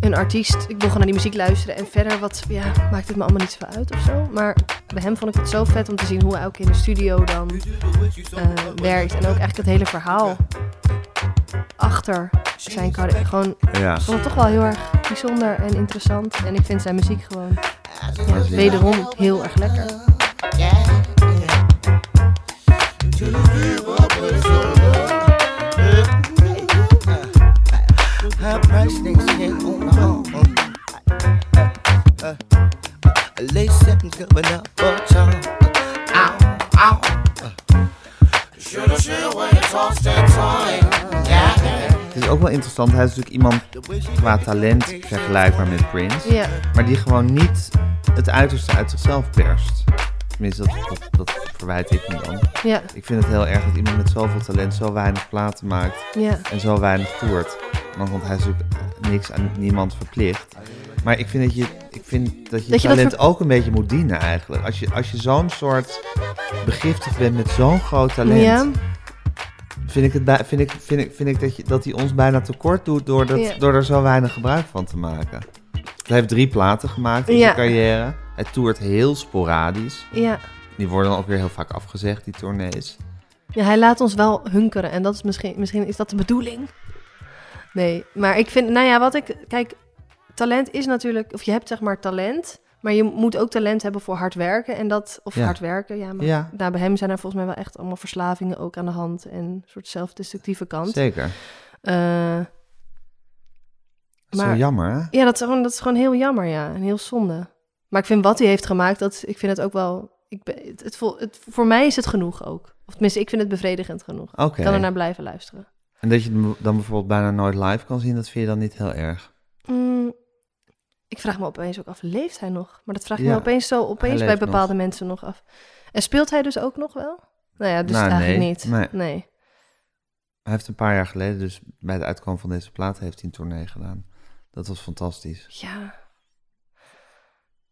[SPEAKER 4] een artiest. Ik wil gewoon naar die muziek luisteren. En verder wat, ja, maakt het me allemaal niet zoveel uit of zo. Maar bij hem vond ik het zo vet om te zien hoe hij ook in de studio dan eh, werkt. En ook eigenlijk het hele verhaal achter zijn carrière. Gewoon,
[SPEAKER 3] Ja.
[SPEAKER 4] ik vond het toch wel heel erg bijzonder en interessant. En ik vind zijn muziek gewoon ja,
[SPEAKER 3] Waanzinnig.
[SPEAKER 4] wederom heel erg lekker.
[SPEAKER 9] Her price things ain't on my own. Uh, uh, uh, Late second coming up for time. Ow, ow.
[SPEAKER 3] Het is ook wel interessant. Hij is natuurlijk iemand qua talent vergelijkbaar met Prince.
[SPEAKER 4] Ja,
[SPEAKER 3] Maar die gewoon niet het uiterste uit zichzelf perst. Tenminste, dat, dat, dat verwijt ik me dan.
[SPEAKER 4] ja,
[SPEAKER 3] Ik vind het heel erg dat iemand met zoveel talent zo weinig platen maakt
[SPEAKER 4] ja.
[SPEAKER 3] en zo weinig toert. Want, want hij is natuurlijk eh, niks aan niemand verplicht. Maar ik vind dat je, ik vind dat je,
[SPEAKER 4] Dat je dat
[SPEAKER 3] talent
[SPEAKER 4] ver-
[SPEAKER 3] ook een beetje moet dienen eigenlijk. Als je, als je zo'n soort begiftigd bent met zo'n groot talent,
[SPEAKER 4] Ja.
[SPEAKER 3] vind, ik het bij, vind, ik, vind, ik, vind ik dat je dat hij ons bijna tekort doet door, dat,
[SPEAKER 4] Ja.
[SPEAKER 3] door er zo weinig gebruik van te maken. Hij heeft drie platen gemaakt in
[SPEAKER 4] Ja.
[SPEAKER 3] zijn carrière. Hij toert heel sporadisch.
[SPEAKER 4] Ja.
[SPEAKER 3] Die worden dan ook weer heel vaak afgezegd, die tournees.
[SPEAKER 4] Ja, hij laat ons wel hunkeren. En dat is misschien, misschien is dat de bedoeling. Nee, maar ik vind, nou ja, wat ik, kijk, talent is natuurlijk, of je hebt zeg maar talent, maar je moet ook talent hebben voor hard werken. En dat, of
[SPEAKER 3] Ja.
[SPEAKER 4] hard werken, ja, maar
[SPEAKER 3] Ja.
[SPEAKER 4] Nou, bij hem zijn er volgens mij wel echt allemaal verslavingen ook aan de hand. En een soort zelfdestructieve kant.
[SPEAKER 3] Zeker.
[SPEAKER 4] Eh,
[SPEAKER 3] Dat is
[SPEAKER 4] Maar-
[SPEAKER 3] zo jammer, hè?
[SPEAKER 4] ja, dat is, gewoon, dat is gewoon heel jammer, ja. En heel zonde. Maar ik vind wat hij heeft gemaakt, dat, ik vind het ook wel, ik ben, het, het, voel- het, voor mij is het genoeg ook. Of tenminste, ik vind het bevredigend genoeg.
[SPEAKER 3] Oké.
[SPEAKER 4] Ik kan er naar blijven luisteren.
[SPEAKER 3] En dat je hem dan bijvoorbeeld bijna nooit live kan zien, dat vind je dan niet heel erg.
[SPEAKER 4] Mm, ik vraag me opeens ook af, leeft hij nog? Maar dat vraag ik
[SPEAKER 3] Ja,
[SPEAKER 4] me opeens zo opeens bij
[SPEAKER 3] leeft
[SPEAKER 4] bepaalde mensen nog af. En speelt hij dus ook nog wel? Nou ja, dus
[SPEAKER 3] Nou,
[SPEAKER 4] eigenlijk
[SPEAKER 3] nee,
[SPEAKER 4] niet.
[SPEAKER 3] nee.
[SPEAKER 4] nee.
[SPEAKER 3] Hij heeft een paar jaar geleden, dus bij het uitkomen van deze plaat, heeft hij een tournee gedaan. Dat was fantastisch.
[SPEAKER 4] Ja.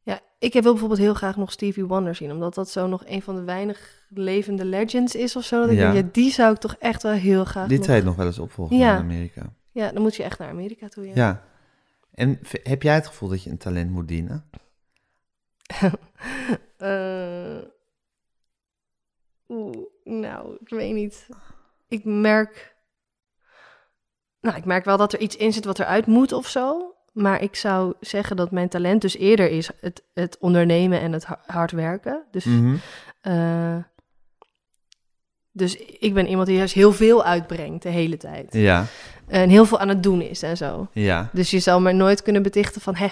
[SPEAKER 4] Ja, ik wil bijvoorbeeld heel graag nog Stevie Wonder zien. Omdat dat zo nog een van de weinig levende legends is of zo. Dat ik
[SPEAKER 3] Ja.
[SPEAKER 4] denk, ja, die zou ik toch echt wel heel graag
[SPEAKER 3] Die
[SPEAKER 4] nog-
[SPEAKER 3] treedt nog wel eens op volgens
[SPEAKER 4] Ja.
[SPEAKER 3] mij in Amerika.
[SPEAKER 4] Ja, dan moet je echt naar Amerika toe. Ja.
[SPEAKER 3] Ja. En v- heb jij het gevoel dat je een talent moet dienen?
[SPEAKER 4] Eh, Oeh, nou, ik weet niet. Ik merk Nou, ik merk wel dat er iets in zit wat eruit moet of zo. Maar ik zou zeggen dat mijn talent dus eerder is het, het ondernemen en het ha- hard werken. Dus,
[SPEAKER 3] Mhm.
[SPEAKER 4] eh, dus ik ben iemand die juist heel veel uitbrengt de hele tijd.
[SPEAKER 3] Ja,
[SPEAKER 4] En heel veel aan het doen is en zo.
[SPEAKER 3] ja.
[SPEAKER 4] Dus je zou me nooit kunnen betichten van, hè,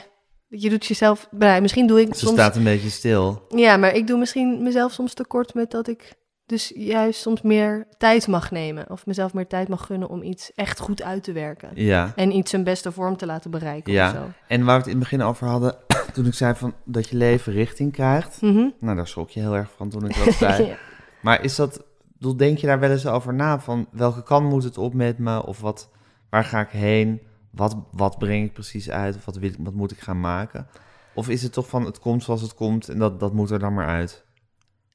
[SPEAKER 4] je doet jezelf... Nou, misschien doe ik
[SPEAKER 3] Ze
[SPEAKER 4] soms...
[SPEAKER 3] staat een beetje stil.
[SPEAKER 4] Ja, maar ik doe misschien mezelf soms tekort met dat ik dus juist soms meer tijd mag nemen. Of mezelf meer tijd mag gunnen om iets echt goed uit te werken.
[SPEAKER 3] Ja.
[SPEAKER 4] En iets zijn beste vorm te laten bereiken
[SPEAKER 3] Ja.
[SPEAKER 4] of zo.
[SPEAKER 3] En waar we het in het begin over hadden, [CLEARS THROAT] toen ik zei van dat je leven richting krijgt.
[SPEAKER 4] Mhm.
[SPEAKER 3] Nou, daar schrok je heel erg van toen ik dat zei.
[SPEAKER 4] Ja.
[SPEAKER 3] Maar is dat, bedoel, denk je daar wel eens over na? Van welke kant moet het op met me? Of wat, waar ga ik heen? Wat, wat breng ik precies uit? Of wat, wil, ik- wat moet ik gaan maken? Of is het toch van het komt zoals het komt en dat, dat moet er dan maar uit?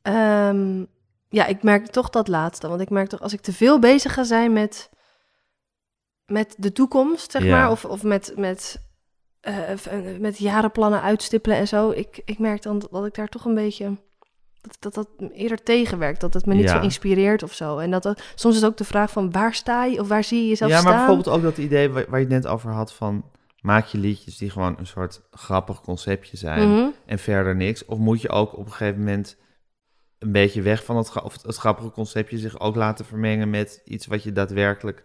[SPEAKER 4] Ehm, ja, ik merk toch dat laatste. Want ik merk toch, als ik te veel bezig ga zijn met, met de toekomst, zeg
[SPEAKER 3] Ja.
[SPEAKER 4] maar. Of, of met, met, eh, v- eh, met jarenplannen uitstippelen en zo. Ik, ik merk dan dat ik daar toch een beetje... Dat dat, dat eerder tegenwerkt. Dat het me niet
[SPEAKER 3] Ja.
[SPEAKER 4] zo inspireert of zo. En dat, dat soms is ook de vraag van waar sta je of waar zie je
[SPEAKER 3] Ja,
[SPEAKER 4] jezelf
[SPEAKER 3] maar
[SPEAKER 4] staan?
[SPEAKER 3] bijvoorbeeld ook dat idee waar, waar je het net over had van... maak je liedjes die gewoon een soort grappig conceptje zijn
[SPEAKER 4] Mhm.
[SPEAKER 3] en verder niks? Of moet je ook op een gegeven moment een beetje weg van het, gra- of het grappige conceptje... zich ook laten vermengen met iets wat je daadwerkelijk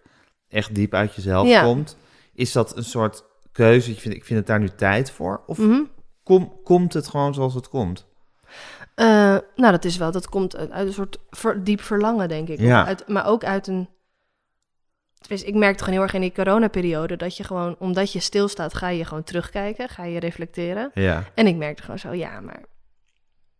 [SPEAKER 3] echt diep uit jezelf
[SPEAKER 4] Ja.
[SPEAKER 3] komt? Is dat een soort keuze? Ik vind, ik vind het daar nu tijd voor. Of
[SPEAKER 4] Mhm.
[SPEAKER 3] kom, komt het gewoon zoals het komt?
[SPEAKER 4] Eh, nou, dat is wel. Dat komt uit, uit een soort ver- diep verlangen, denk ik.
[SPEAKER 3] Ja.
[SPEAKER 4] Of Uit, maar ook uit een. Dus ik merkte gewoon heel erg in die coronaperiode dat je gewoon, omdat je stilstaat, ga je gewoon terugkijken, ga je reflecteren.
[SPEAKER 3] Ja,
[SPEAKER 4] En ik merkte gewoon zo, ja, maar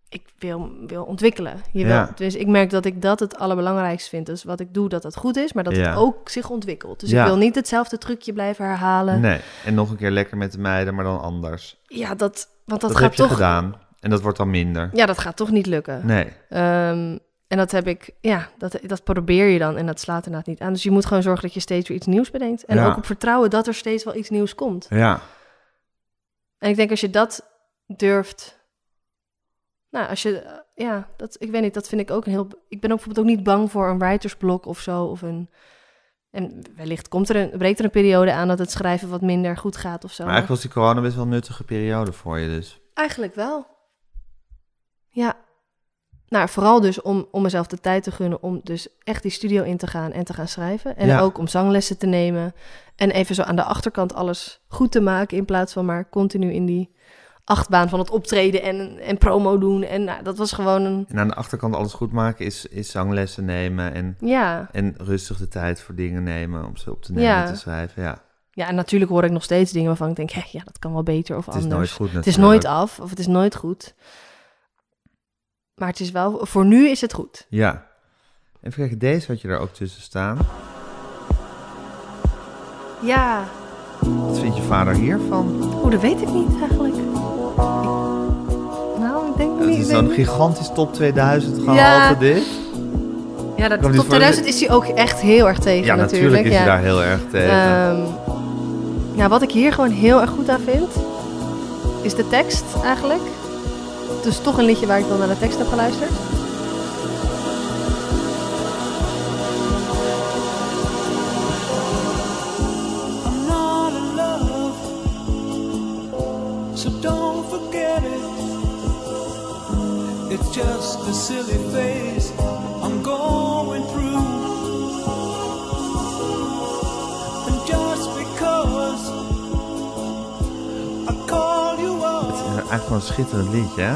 [SPEAKER 4] ik wil, wil ontwikkelen. Je
[SPEAKER 3] Ja.
[SPEAKER 4] wil, dus ik merk dat ik dat het allerbelangrijkste vind. Dus wat ik doe, dat dat goed is, maar dat
[SPEAKER 3] Ja.
[SPEAKER 4] het ook zich ontwikkelt. Dus
[SPEAKER 3] Ja.
[SPEAKER 4] ik wil niet hetzelfde trucje blijven herhalen.
[SPEAKER 3] nee. En nog een keer lekker met de meiden, maar dan anders.
[SPEAKER 4] Ja, Eh. dat, want dat,
[SPEAKER 3] Dat,
[SPEAKER 4] gaat
[SPEAKER 3] heb je
[SPEAKER 4] toch.
[SPEAKER 3] gedaan. En dat wordt dan minder.
[SPEAKER 4] Ja, dat gaat toch niet lukken.
[SPEAKER 3] Nee.
[SPEAKER 4] Ehm, en dat heb ik, ja, dat, dat probeer je dan en dat slaat inderdaad niet aan. Dus je moet gewoon zorgen dat je steeds weer iets nieuws bedenkt. En
[SPEAKER 3] Ja.
[SPEAKER 4] ook op vertrouwen dat er steeds wel iets nieuws komt.
[SPEAKER 3] Ja.
[SPEAKER 4] En ik denk als je dat durft. Nou, als je, eh, ja, dat, ik weet niet, dat vind ik ook een heel. Ik ben ook bijvoorbeeld ook niet bang voor een writersblok of zo. Of een, en wellicht komt er een, breekt er een periode aan dat het schrijven wat minder goed gaat of zo.
[SPEAKER 3] Maar eigenlijk was die corona best wel een nuttige periode voor je dus.
[SPEAKER 4] Eigenlijk wel. Ja. Nou, vooral dus om, om mezelf de tijd te gunnen om dus echt die studio in te gaan en te gaan schrijven. En
[SPEAKER 3] Ja.
[SPEAKER 4] ook om zanglessen te nemen. En even zo aan de achterkant alles goed te maken in plaats van maar continu in die achtbaan van het optreden en, en promo doen. En nou, dat was gewoon een...
[SPEAKER 3] En aan de achterkant alles goed maken is, is zanglessen nemen en,
[SPEAKER 4] Ja.
[SPEAKER 3] en rustig de tijd voor dingen nemen om ze op te nemen
[SPEAKER 4] Ja.
[SPEAKER 3] en te schrijven. Ja,
[SPEAKER 4] ja, en natuurlijk hoor ik nog steeds dingen waarvan ik denk, hé, ja, dat kan wel beter of
[SPEAKER 3] het is
[SPEAKER 4] anders.
[SPEAKER 3] nooit goed natuurlijk.
[SPEAKER 4] het is nooit af of het is nooit goed. Maar het is wel... Voor nu is het goed.
[SPEAKER 3] Ja. Even kijken, deze had je er ook tussen staan.
[SPEAKER 4] Ja.
[SPEAKER 3] Wat vindt je vader hiervan?
[SPEAKER 4] Oeh, Oh, dat weet ik niet eigenlijk. Ik- Nou, ik denk
[SPEAKER 3] Het
[SPEAKER 4] niet.
[SPEAKER 3] is
[SPEAKER 4] ik denk
[SPEAKER 3] zo'n
[SPEAKER 4] niet.
[SPEAKER 3] gigantisch top 2000 gehalte
[SPEAKER 4] Ja.
[SPEAKER 3] dit.
[SPEAKER 4] Ja, dat
[SPEAKER 3] Komt niet
[SPEAKER 4] top
[SPEAKER 3] voor-
[SPEAKER 4] 2000 is hij ook echt heel erg tegen
[SPEAKER 3] Ja, natuurlijk,
[SPEAKER 4] natuurlijk.
[SPEAKER 3] is
[SPEAKER 4] ja.
[SPEAKER 3] je daar heel erg tegen.
[SPEAKER 4] Ehm, ja, wat ik hier gewoon heel erg goed aan vind, is de tekst eigenlijk. Dus toch een liedje waar ik dan naar de tekst heb geluisterd.
[SPEAKER 6] I'm not in love, so don't forget it. It's just a silly phase I'm going through. And just because I call you
[SPEAKER 3] het is
[SPEAKER 6] up,
[SPEAKER 3] eigenlijk gewoon een schitterend liedje, hè?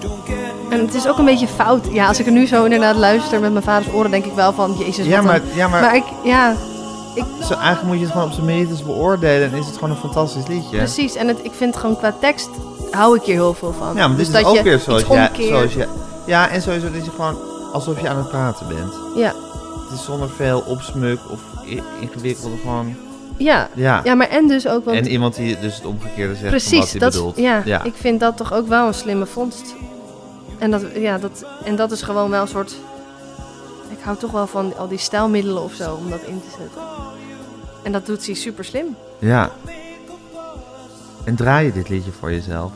[SPEAKER 6] don't get me
[SPEAKER 4] En het is ook een beetje fout. Ja, als ik er nu zo inderdaad luister met mijn vaders oren, denk ik wel van, jezus,
[SPEAKER 3] Ja,
[SPEAKER 4] wat
[SPEAKER 3] maar,
[SPEAKER 4] een-
[SPEAKER 3] ja, maar,
[SPEAKER 4] Maar ik, ja,
[SPEAKER 3] zo, eigenlijk moet je het gewoon op zijn merites beoordelen en is het gewoon een fantastisch liedje.
[SPEAKER 4] Precies, en het, ik vind gewoon qua tekst hou ik hier heel veel van.
[SPEAKER 3] Ja, maar dit
[SPEAKER 4] Dus
[SPEAKER 3] is
[SPEAKER 4] dat
[SPEAKER 3] ook
[SPEAKER 4] je
[SPEAKER 3] weer zoals
[SPEAKER 4] iets
[SPEAKER 3] jij,
[SPEAKER 4] omkeert.
[SPEAKER 3] zoals jij... Ja, en sowieso dat je gewoon alsof je aan het praten bent.
[SPEAKER 4] Ja,
[SPEAKER 3] Het is zonder veel opsmuk of i- ingewikkelde gewoon...
[SPEAKER 4] ja.
[SPEAKER 3] Ja,
[SPEAKER 4] ja, maar en dus ook, want
[SPEAKER 3] en iemand die dus het omgekeerde zegt van wat
[SPEAKER 4] precies,
[SPEAKER 3] hij
[SPEAKER 4] dat,
[SPEAKER 3] bedoelt.
[SPEAKER 4] ja,
[SPEAKER 3] ja.
[SPEAKER 4] ik vind dat toch ook wel een slimme vondst. En dat, ja, dat, en dat is gewoon wel een soort, ik hou toch wel van al die stijlmiddelen of zo, om dat in te zetten. En dat doet hij super slim.
[SPEAKER 3] Ja. En draai je dit liedje voor jezelf?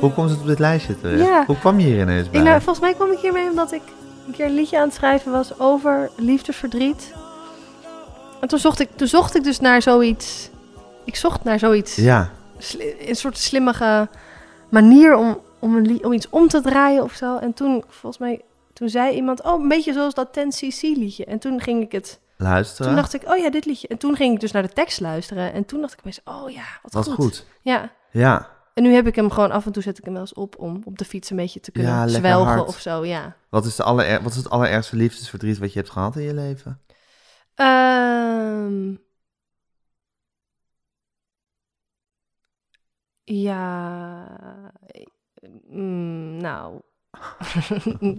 [SPEAKER 3] Hoe komt het op dit lijstje terecht?
[SPEAKER 4] Ja.
[SPEAKER 3] Hoe kwam je hier ineens bij?
[SPEAKER 4] Ik, nou, volgens mij kwam ik hiermee omdat ik een keer een liedje aan het schrijven was over liefdesverdriet. En toen zocht ik, toen zocht ik dus naar zoiets. Ik zocht naar zoiets.
[SPEAKER 3] Ja.
[SPEAKER 4] sli- een soort slimmige manier om, om, een lied- om iets om te draaien of zo. En toen, volgens mij, toen zei iemand, oh, een beetje zoals dat 10cc liedje. En toen ging ik het,
[SPEAKER 3] Luisteren.
[SPEAKER 4] toen dacht ik, oh ja, dit liedje. En toen ging ik dus naar de tekst luisteren. En toen dacht ik opeens, oh ja, wat,
[SPEAKER 3] Wat
[SPEAKER 4] goed.
[SPEAKER 3] goed.
[SPEAKER 4] Ja,
[SPEAKER 3] Ja.
[SPEAKER 4] en nu heb ik hem gewoon, af en toe zet ik hem wel eens op om op de fiets een beetje te kunnen
[SPEAKER 3] Ja, lekker
[SPEAKER 4] zwelgen
[SPEAKER 3] hard.
[SPEAKER 4] of zo, ja.
[SPEAKER 3] Wat is, de aller, wat is het allerergste liefdesverdriet wat je hebt gehad in je leven?
[SPEAKER 4] Ehm. ja. eh, mm, nou. [LAUGHS]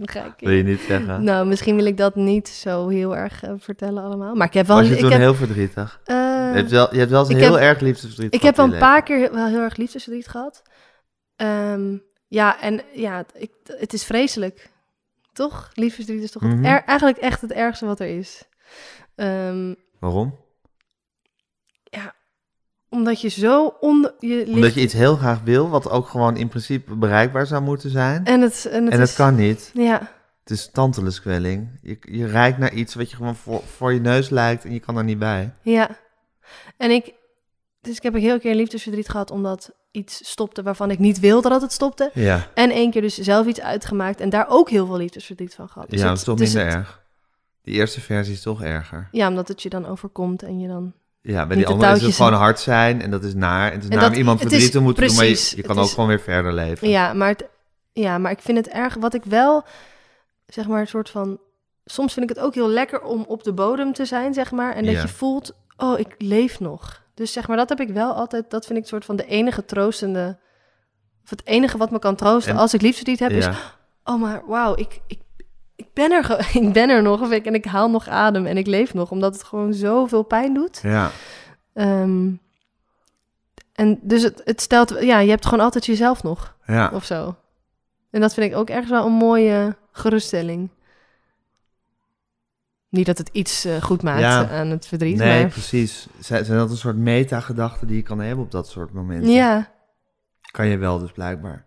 [SPEAKER 4] Ga ik-
[SPEAKER 3] Wil je niet zeggen?
[SPEAKER 4] Nou, misschien wil ik dat niet zo heel erg eh, vertellen allemaal. Maar ik heb wel.
[SPEAKER 3] Was je
[SPEAKER 4] ik
[SPEAKER 3] toen
[SPEAKER 4] heb,
[SPEAKER 3] heel verdrietig?
[SPEAKER 4] eh,
[SPEAKER 3] je, hebt wel, je hebt wel eens een
[SPEAKER 4] ik
[SPEAKER 3] heel
[SPEAKER 4] heb-
[SPEAKER 3] erg liefdesverdriet
[SPEAKER 4] ik
[SPEAKER 3] gehad
[SPEAKER 4] heb wel
[SPEAKER 3] in
[SPEAKER 4] een
[SPEAKER 3] je
[SPEAKER 4] paar keer wel heel erg liefdesverdriet gehad. Ehm, ja, en ja, ik, het is vreselijk. Toch? Liefdesverdriet is toch het
[SPEAKER 3] Mhm.
[SPEAKER 4] er- eigenlijk echt het ergste wat er is. Ehm,
[SPEAKER 3] leven. Waarom?
[SPEAKER 4] omdat je zo onder je ligt
[SPEAKER 3] Omdat je iets heel graag wil, wat ook gewoon in principe bereikbaar zou moeten zijn.
[SPEAKER 4] En het, en het
[SPEAKER 3] en
[SPEAKER 4] is-
[SPEAKER 3] dat kan niet.
[SPEAKER 4] Ja,
[SPEAKER 3] Het is tanteluskwelling. Je, je reikt naar iets wat je gewoon voor, voor je neus lijkt en je kan er niet bij.
[SPEAKER 4] ja. En ik, dus ik heb een heel keer liefdesverdriet gehad omdat iets stopte waarvan ik niet wilde dat het stopte.
[SPEAKER 3] Ja.
[SPEAKER 4] En één keer dus zelf iets uitgemaakt en daar ook heel veel liefdesverdriet van gehad. Dus
[SPEAKER 3] ja, dat
[SPEAKER 4] het-
[SPEAKER 3] is toch
[SPEAKER 4] dus
[SPEAKER 3] minder
[SPEAKER 4] het-
[SPEAKER 3] erg. Die eerste versie is toch erger.
[SPEAKER 4] Ja, omdat het je dan overkomt en je dan...
[SPEAKER 3] Ja, bij
[SPEAKER 4] Niet
[SPEAKER 3] die
[SPEAKER 4] de
[SPEAKER 3] andere is het
[SPEAKER 4] touwtjes
[SPEAKER 3] gewoon hard zijn en dat is naar. En het is
[SPEAKER 4] En
[SPEAKER 3] naar om
[SPEAKER 4] dat-
[SPEAKER 3] iemand
[SPEAKER 4] het is
[SPEAKER 3] verdriet te moeten doen, maar
[SPEAKER 4] precies,
[SPEAKER 3] je, je
[SPEAKER 4] het
[SPEAKER 3] kan ook
[SPEAKER 4] is-
[SPEAKER 3] gewoon weer verder leven.
[SPEAKER 4] Ja, maar, het, ja, maar ik vind het erg. Wat ik wel, zeg maar, een soort van... Soms vind ik het ook heel lekker om op de bodem te zijn, zeg maar. En dat
[SPEAKER 3] Ja.
[SPEAKER 4] je voelt, oh, ik leef nog. Dus zeg maar, dat heb ik wel altijd... Dat vind ik een soort van de enige troostende... Of het enige wat me kan troosten
[SPEAKER 3] En-
[SPEAKER 4] als ik liefdesverdriet heb, is...
[SPEAKER 3] Ja.
[SPEAKER 4] Oh, maar wauw, ik, ik, ik, ben er, ge- [LAUGHS] ik ben er nog. Of ik, en ik haal nog adem en ik leef nog. Omdat het gewoon zoveel pijn doet.
[SPEAKER 3] ja.
[SPEAKER 4] Ehm, en dus het, het stelt... Ja, je hebt gewoon altijd jezelf nog
[SPEAKER 3] Ja.
[SPEAKER 4] of zo. En dat vind ik ook ergens wel een mooie geruststelling. Niet dat het iets eh, goed maakt
[SPEAKER 3] Ja.
[SPEAKER 4] aan het verdriet,
[SPEAKER 3] Nee,
[SPEAKER 4] maar...
[SPEAKER 3] precies. Zijn, zijn dat een soort metagedachten die je kan hebben op dat soort momenten?
[SPEAKER 4] Ja.
[SPEAKER 3] Kan je wel dus blijkbaar.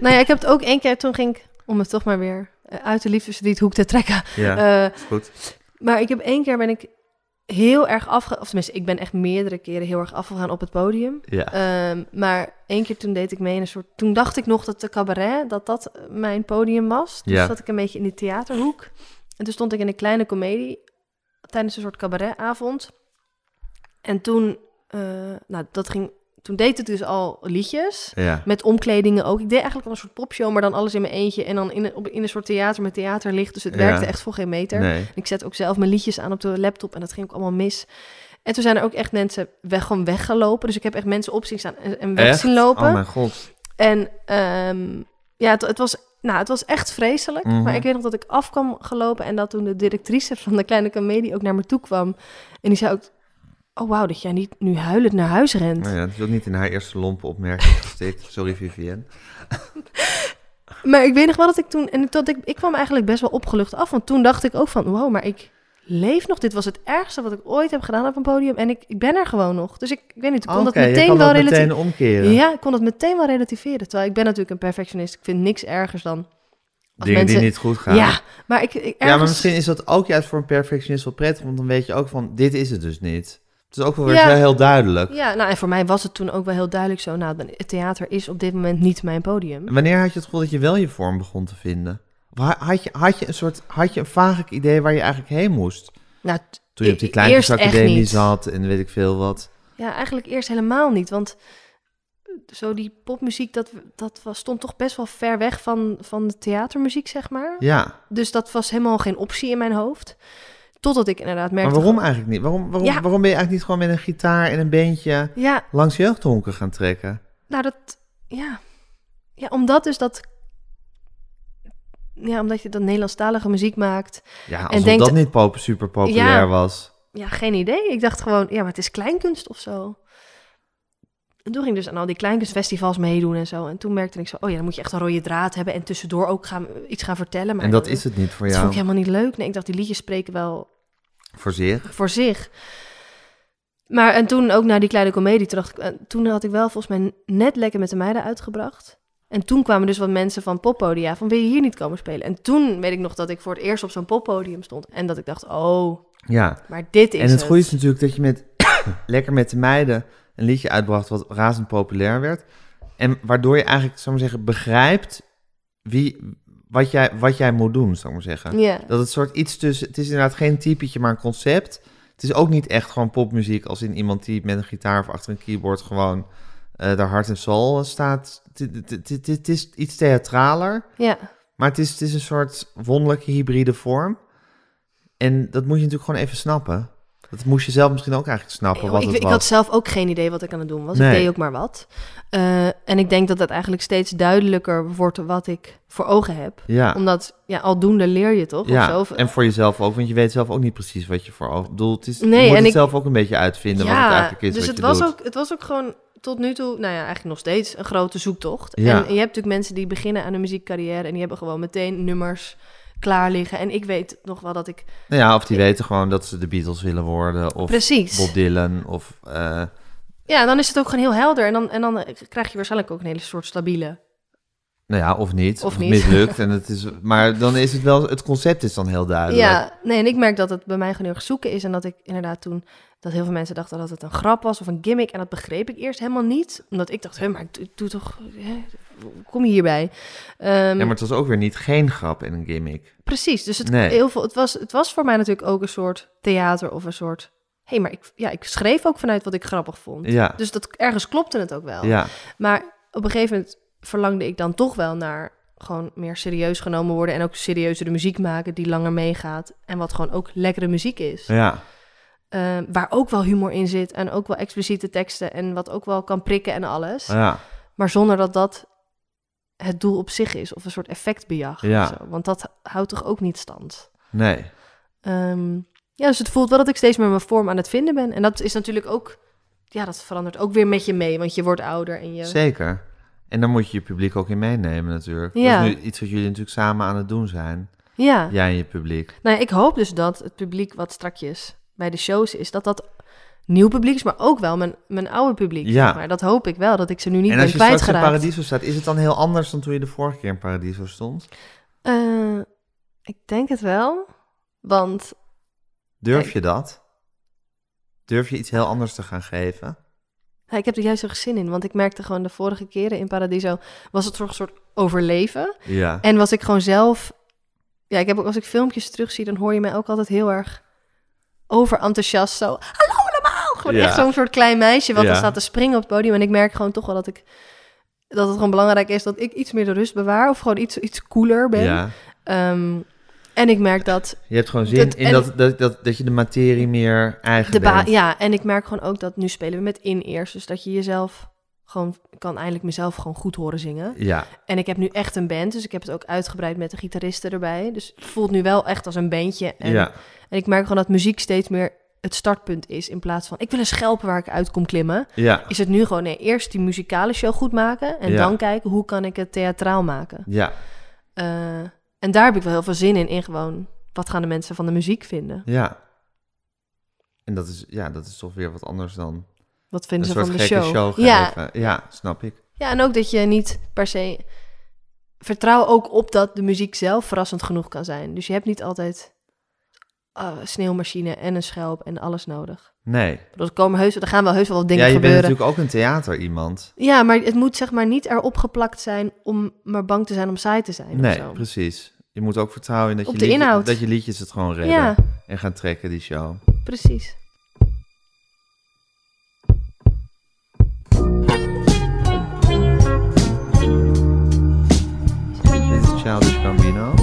[SPEAKER 4] Nou ja, ik heb het ook één keer, toen ging ik, om het toch maar weer eh, uit de liefdesverdriet hoek te trekken.
[SPEAKER 3] Ja,
[SPEAKER 4] Eh,
[SPEAKER 3] is goed.
[SPEAKER 4] maar ik heb één keer ben ik heel erg afge... Of tenminste, ik ben echt meerdere keren heel erg afgegaan op het podium.
[SPEAKER 3] Ja.
[SPEAKER 4] Ehm, maar één keer toen deed ik mee in een soort... Toen dacht ik nog dat de cabaret, dat dat mijn podium was. Dus
[SPEAKER 3] Ja.
[SPEAKER 4] zat ik een beetje in die theaterhoek. En toen stond ik in een kleine komedie tijdens een soort cabaretavond. En toen, eh, nou, dat ging, toen deed het dus al liedjes.
[SPEAKER 3] ja.
[SPEAKER 4] Met omkledingen ook. Ik deed eigenlijk al een soort popshow, maar dan alles in mijn eentje. En dan in een, op, in een soort theater met theaterlicht. Dus het
[SPEAKER 3] Ja.
[SPEAKER 4] werkte echt voor geen meter.
[SPEAKER 3] Nee.
[SPEAKER 4] Ik zet ook zelf mijn liedjes aan op de laptop en dat ging ook allemaal mis. En toen zijn er ook echt mensen weg, gewoon weggelopen. Dus ik heb echt mensen op zien staan en, en weg
[SPEAKER 3] Echt?
[SPEAKER 4] zien lopen.
[SPEAKER 3] Oh mijn god.
[SPEAKER 4] En ehm, ja, het, het was, nou, het was echt vreselijk.
[SPEAKER 3] Mhm.
[SPEAKER 4] Maar ik weet nog dat ik af kwam gelopen en dat toen de directrice van de kleine comedie ook naar me toe kwam. En die zei ook, oh wauw, dat jij niet nu huilend naar huis rent.
[SPEAKER 3] Nou ja, dat is ook niet in haar eerste lompen opmerking [LAUGHS] gestikt. Sorry, Vivienne.
[SPEAKER 4] Maar ik weet nog wel dat ik toen, en dat ik, ik kwam eigenlijk best wel opgelucht af. Want toen dacht ik ook van, wow, maar ik leef nog. Dit was het ergste wat ik ooit heb gedaan op een podium. En ik, ik ben er gewoon nog. Dus ik, ik weet niet, ik kon
[SPEAKER 3] Oké,
[SPEAKER 4] dat
[SPEAKER 3] je
[SPEAKER 4] meteen
[SPEAKER 3] kan
[SPEAKER 4] wel
[SPEAKER 3] dat
[SPEAKER 4] relati-
[SPEAKER 3] meteen omkeren.
[SPEAKER 4] Ja, ik kon dat meteen wel relativeren. Terwijl ik ben natuurlijk een perfectionist. Ik vind niks ergers dan... als
[SPEAKER 3] Dingen
[SPEAKER 4] mensen-
[SPEAKER 3] die niet goed gaan.
[SPEAKER 4] Ja, maar ik, ik ergens...
[SPEAKER 3] Ja, maar misschien is dat ook juist voor een perfectionist wel prettig, want dan weet je ook van, dit is het dus niet. Het is ook wel weer
[SPEAKER 4] Ja.
[SPEAKER 3] zo heel duidelijk.
[SPEAKER 4] Ja, nou en voor mij was het toen ook wel heel duidelijk zo. Nou, dan- het theater is op dit moment niet mijn podium.
[SPEAKER 3] En wanneer had je het gevoel dat je wel je vorm begon te vinden? Of ha- had je, had je een soort, had je een vage idee waar je eigenlijk heen moest?
[SPEAKER 4] Nou, t-
[SPEAKER 3] Toen je op die
[SPEAKER 4] e- eerst echt
[SPEAKER 3] kleinkunstacademie
[SPEAKER 4] niet.
[SPEAKER 3] zat en weet ik veel wat.
[SPEAKER 4] Ja, eigenlijk eerst helemaal niet. Want zo die popmuziek, dat, dat was, stond toch best wel ver weg van, van de theatermuziek, zeg maar.
[SPEAKER 3] Ja,
[SPEAKER 4] Dus dat was helemaal geen optie in mijn hoofd. Totdat ik inderdaad merkte...
[SPEAKER 3] maar waarom eigenlijk niet? Waarom, waarom,
[SPEAKER 4] Ja.
[SPEAKER 3] waarom ben je eigenlijk niet gewoon met een gitaar en een beentje
[SPEAKER 4] Ja,
[SPEAKER 3] langs jeugdhonken gaan trekken?
[SPEAKER 4] nou dat... Ja. Ja, omdat dus dat... Ja, omdat je dan Nederlandstalige muziek maakt.
[SPEAKER 3] Ja, alsof
[SPEAKER 4] denkt-
[SPEAKER 3] dat niet pop- super populair
[SPEAKER 4] Ja.
[SPEAKER 3] was.
[SPEAKER 4] Ja, geen idee. Ik dacht gewoon, ja, maar het is kleinkunst of zo. En toen ging ik dus aan al die kleinkunstfestivals meedoen en zo. En toen merkte ik zo, oh ja, dan moet je echt een rode draad hebben... en tussendoor ook gaan, iets gaan vertellen. Maar
[SPEAKER 3] En dat is het niet voor
[SPEAKER 4] Dat vond
[SPEAKER 3] jou.
[SPEAKER 4] ik helemaal niet leuk. Nee, ik dacht, die liedjes spreken wel
[SPEAKER 3] Voor zich.
[SPEAKER 4] voor zich. Maar en toen ook naar die kleine komedie, toen, dacht ik, eh, toen had ik wel volgens mij net Lekker met de Meiden uitgebracht. En toen kwamen dus wat mensen van poppodia van wil je hier niet komen spelen? En toen weet ik nog dat ik voor het eerst op zo'n poppodium stond. En dat ik dacht, oh,
[SPEAKER 3] Ja.
[SPEAKER 4] Maar dit is
[SPEAKER 3] en het
[SPEAKER 4] het.
[SPEAKER 3] goede is natuurlijk dat je met [COUGHS] lekker met de meiden een liedje uitbracht wat razend populair werd. En waardoor je eigenlijk, zou ik maar zeggen, begrijpt wie, wat, jij, wat jij moet doen, zou ik maar zeggen.
[SPEAKER 4] Ja.
[SPEAKER 3] Dat het soort iets tussen. Het is inderdaad geen typetje, maar een concept. Het is ook niet echt gewoon popmuziek als in iemand die met een gitaar of achter een keyboard gewoon eh daar hart en soul staat. Het- Het het- het- het is iets theatraler.
[SPEAKER 4] Ja.
[SPEAKER 3] Maar het is, het is een soort wonderlijke hybride vorm. En dat moet je natuurlijk gewoon even snappen. Dat moest je zelf misschien ook eigenlijk snappen
[SPEAKER 4] Joh,
[SPEAKER 3] wat
[SPEAKER 4] Oh, ik,
[SPEAKER 3] het
[SPEAKER 4] ik
[SPEAKER 3] was.
[SPEAKER 4] had zelf ook geen idee wat ik aan het doen was. Ik
[SPEAKER 3] Nee.
[SPEAKER 4] deed ook maar wat. Eh, en ik denk dat het eigenlijk steeds duidelijker wordt wat ik voor ogen heb.
[SPEAKER 3] Ja,
[SPEAKER 4] Omdat, ja, aldoende leer je toch?
[SPEAKER 3] ja.
[SPEAKER 4] Of zo. Of-
[SPEAKER 3] en voor jezelf ook, want je weet zelf ook niet precies wat je voor ogen... bedoel, het is,
[SPEAKER 4] Nee,
[SPEAKER 3] je moet
[SPEAKER 4] en
[SPEAKER 3] het
[SPEAKER 4] ik-
[SPEAKER 3] zelf ook een beetje uitvinden wat het eigenlijk is
[SPEAKER 4] dus
[SPEAKER 3] wat
[SPEAKER 4] het
[SPEAKER 3] je
[SPEAKER 4] was
[SPEAKER 3] doet.
[SPEAKER 4] ook, het was ook gewoon tot nu toe, nou ja, eigenlijk nog steeds een grote zoektocht.
[SPEAKER 3] Ja.
[SPEAKER 4] En je hebt natuurlijk mensen die beginnen aan een muziekcarrière en die hebben gewoon meteen nummers klaar liggen. En ik weet nog wel dat ik
[SPEAKER 3] Nou ja, of die weten gewoon dat ze de Beatles willen worden, of
[SPEAKER 4] precies.
[SPEAKER 3] Bob Dylan, of... eh,
[SPEAKER 4] Ja, dan is het ook gewoon heel helder en dan en dan eh, krijg je waarschijnlijk ook een hele soort stabiele.
[SPEAKER 3] nou ja, of niet.
[SPEAKER 4] Of niet.
[SPEAKER 3] mislukt. En
[SPEAKER 4] [LAUGHS]
[SPEAKER 3] het is, maar dan is het wel... Het concept is dan heel duidelijk.
[SPEAKER 4] Ja, nee, en ik merk dat het bij mij gewoon heel erg zoeken is en dat ik inderdaad toen dat heel veel mensen dachten dat het een grap was of een gimmick en dat begreep ik eerst helemaal niet, omdat ik dacht, hé, maar ik doe, doe toch, hè, hoe kom je hierbij? Ehm,
[SPEAKER 3] Ja, maar het was ook weer niet geen grap en een gimmick.
[SPEAKER 4] Precies, dus het,
[SPEAKER 3] Nee.
[SPEAKER 4] heel veel, het, was, het was voor mij natuurlijk ook een soort theater of een soort... Hé, maar ik, ja, ik schreef ook vanuit wat ik grappig vond.
[SPEAKER 3] Ja,
[SPEAKER 4] Dus dat, ergens klopte het ook wel.
[SPEAKER 3] ja.
[SPEAKER 4] Maar op een gegeven moment verlangde ik dan toch wel naar gewoon meer serieus genomen worden... en ook serieuzere muziek maken die langer meegaat... en wat gewoon ook lekkere muziek is.
[SPEAKER 3] ja.
[SPEAKER 4] Eh, waar ook wel humor in zit en ook wel expliciete teksten... en wat ook wel kan prikken en alles.
[SPEAKER 3] ja.
[SPEAKER 4] Maar zonder dat dat het doel op zich is of een soort effectbejag.
[SPEAKER 3] Ja.
[SPEAKER 4] of zo. Want dat houdt toch ook niet stand?
[SPEAKER 3] Nee.
[SPEAKER 4] Ehm, ja, dus het voelt wel dat ik steeds meer mijn vorm aan het vinden ben. En dat is natuurlijk ook... Ja, dat verandert ook weer met je mee, want je wordt ouder en je...
[SPEAKER 3] Zeker. En dan moet je je publiek ook in meenemen natuurlijk.
[SPEAKER 4] Ja.
[SPEAKER 3] Dat is nu iets wat jullie natuurlijk samen aan het doen zijn.
[SPEAKER 4] Ja.
[SPEAKER 3] Jij en je publiek.
[SPEAKER 4] Nou, ja, ik hoop dus dat het publiek wat strakjes bij de shows is, dat dat nieuw publiek is, maar ook wel mijn, mijn oude publiek.
[SPEAKER 3] Ja.
[SPEAKER 4] zeg Maar dat hoop ik wel, dat ik ze nu niet
[SPEAKER 3] en
[SPEAKER 4] ben
[SPEAKER 3] als je straks in
[SPEAKER 4] kwijtgeraakt.
[SPEAKER 3] Paradiso staat, is het dan heel anders dan toen je de vorige keer in Paradiso stond?
[SPEAKER 4] Eh, ik denk het wel, want
[SPEAKER 3] Durf
[SPEAKER 4] Kijk.
[SPEAKER 3] je dat? Durf je iets heel anders te gaan geven?
[SPEAKER 4] ja, ik heb er juist heel erg zin in. Want ik merkte gewoon de vorige keren in Paradiso, was het toch een soort overleven.
[SPEAKER 3] Ja.
[SPEAKER 4] En was ik gewoon zelf. Ja, ik heb ook als ik filmpjes terugzie, dan hoor je mij ook altijd heel erg overenthousiast. Zo, hallo allemaal! Gewoon
[SPEAKER 3] Ja.
[SPEAKER 4] echt zo'n soort klein meisje wat
[SPEAKER 3] Ja.
[SPEAKER 4] dan staat te springen op het podium. En ik merk gewoon toch wel dat ik dat het gewoon belangrijk is dat ik iets meer de rust bewaar of gewoon iets, iets cooler ben.
[SPEAKER 3] ja.
[SPEAKER 4] Ehm, en ik merk dat
[SPEAKER 3] Je hebt gewoon zin
[SPEAKER 4] Dat-
[SPEAKER 3] in
[SPEAKER 4] en-
[SPEAKER 3] dat, dat, dat, dat je de materie meer eigen
[SPEAKER 4] de ba
[SPEAKER 3] bent.
[SPEAKER 4] ja, en ik merk gewoon ook dat nu spelen we met in-ears, dus dat je jezelf gewoon ik kan eindelijk mezelf gewoon goed horen zingen.
[SPEAKER 3] Ja.
[SPEAKER 4] En ik heb nu echt een band, dus ik heb het ook uitgebreid met de gitaristen erbij. Dus het voelt nu wel echt als een bandje. En
[SPEAKER 3] ja.
[SPEAKER 4] En ik merk gewoon dat muziek steeds meer het startpunt is. In plaats van ik wil een schelp waar ik uit kom klimmen.
[SPEAKER 3] Ja.
[SPEAKER 4] Is het nu gewoon nee, eerst die muzikale show goed maken. En
[SPEAKER 3] Ja.
[SPEAKER 4] dan kijken hoe kan ik het theatraal maken.
[SPEAKER 3] Ja.
[SPEAKER 4] Eh, en daar heb ik wel heel veel zin in. In gewoon wat gaan de mensen van de muziek vinden?
[SPEAKER 3] Ja. En dat is, ja, dat is toch weer wat anders dan
[SPEAKER 4] Wat
[SPEAKER 3] een
[SPEAKER 4] vinden ze
[SPEAKER 3] soort
[SPEAKER 4] van de
[SPEAKER 3] gekke
[SPEAKER 4] show?
[SPEAKER 3] show,
[SPEAKER 4] ja,
[SPEAKER 3] geven. Ja, snap ik.
[SPEAKER 4] ja, en ook dat je niet per se. Vertrouw ook op dat de muziek zelf verrassend genoeg kan zijn. Dus je hebt niet altijd ah, een sneeuwmachine en een schelp en alles nodig.
[SPEAKER 3] Nee.
[SPEAKER 4] Ik bedoel, Er, komen heus, er gaan wel heus wel wat dingen
[SPEAKER 3] ja, je
[SPEAKER 4] gebeuren.
[SPEAKER 3] bent natuurlijk ook een theater iemand.
[SPEAKER 4] Ja, maar het moet zeg maar niet erop geplakt zijn om maar bang te zijn om saai te zijn. of
[SPEAKER 3] Nee,
[SPEAKER 4] zo.
[SPEAKER 3] precies. Je moet ook vertrouwen in dat,
[SPEAKER 4] Op
[SPEAKER 3] je,
[SPEAKER 4] de
[SPEAKER 3] liedje-
[SPEAKER 4] inhoud.
[SPEAKER 3] dat je liedjes het gewoon redden
[SPEAKER 4] Ja,
[SPEAKER 3] en gaan trekken, die show.
[SPEAKER 4] precies.
[SPEAKER 3] Dit is Childish Gambino.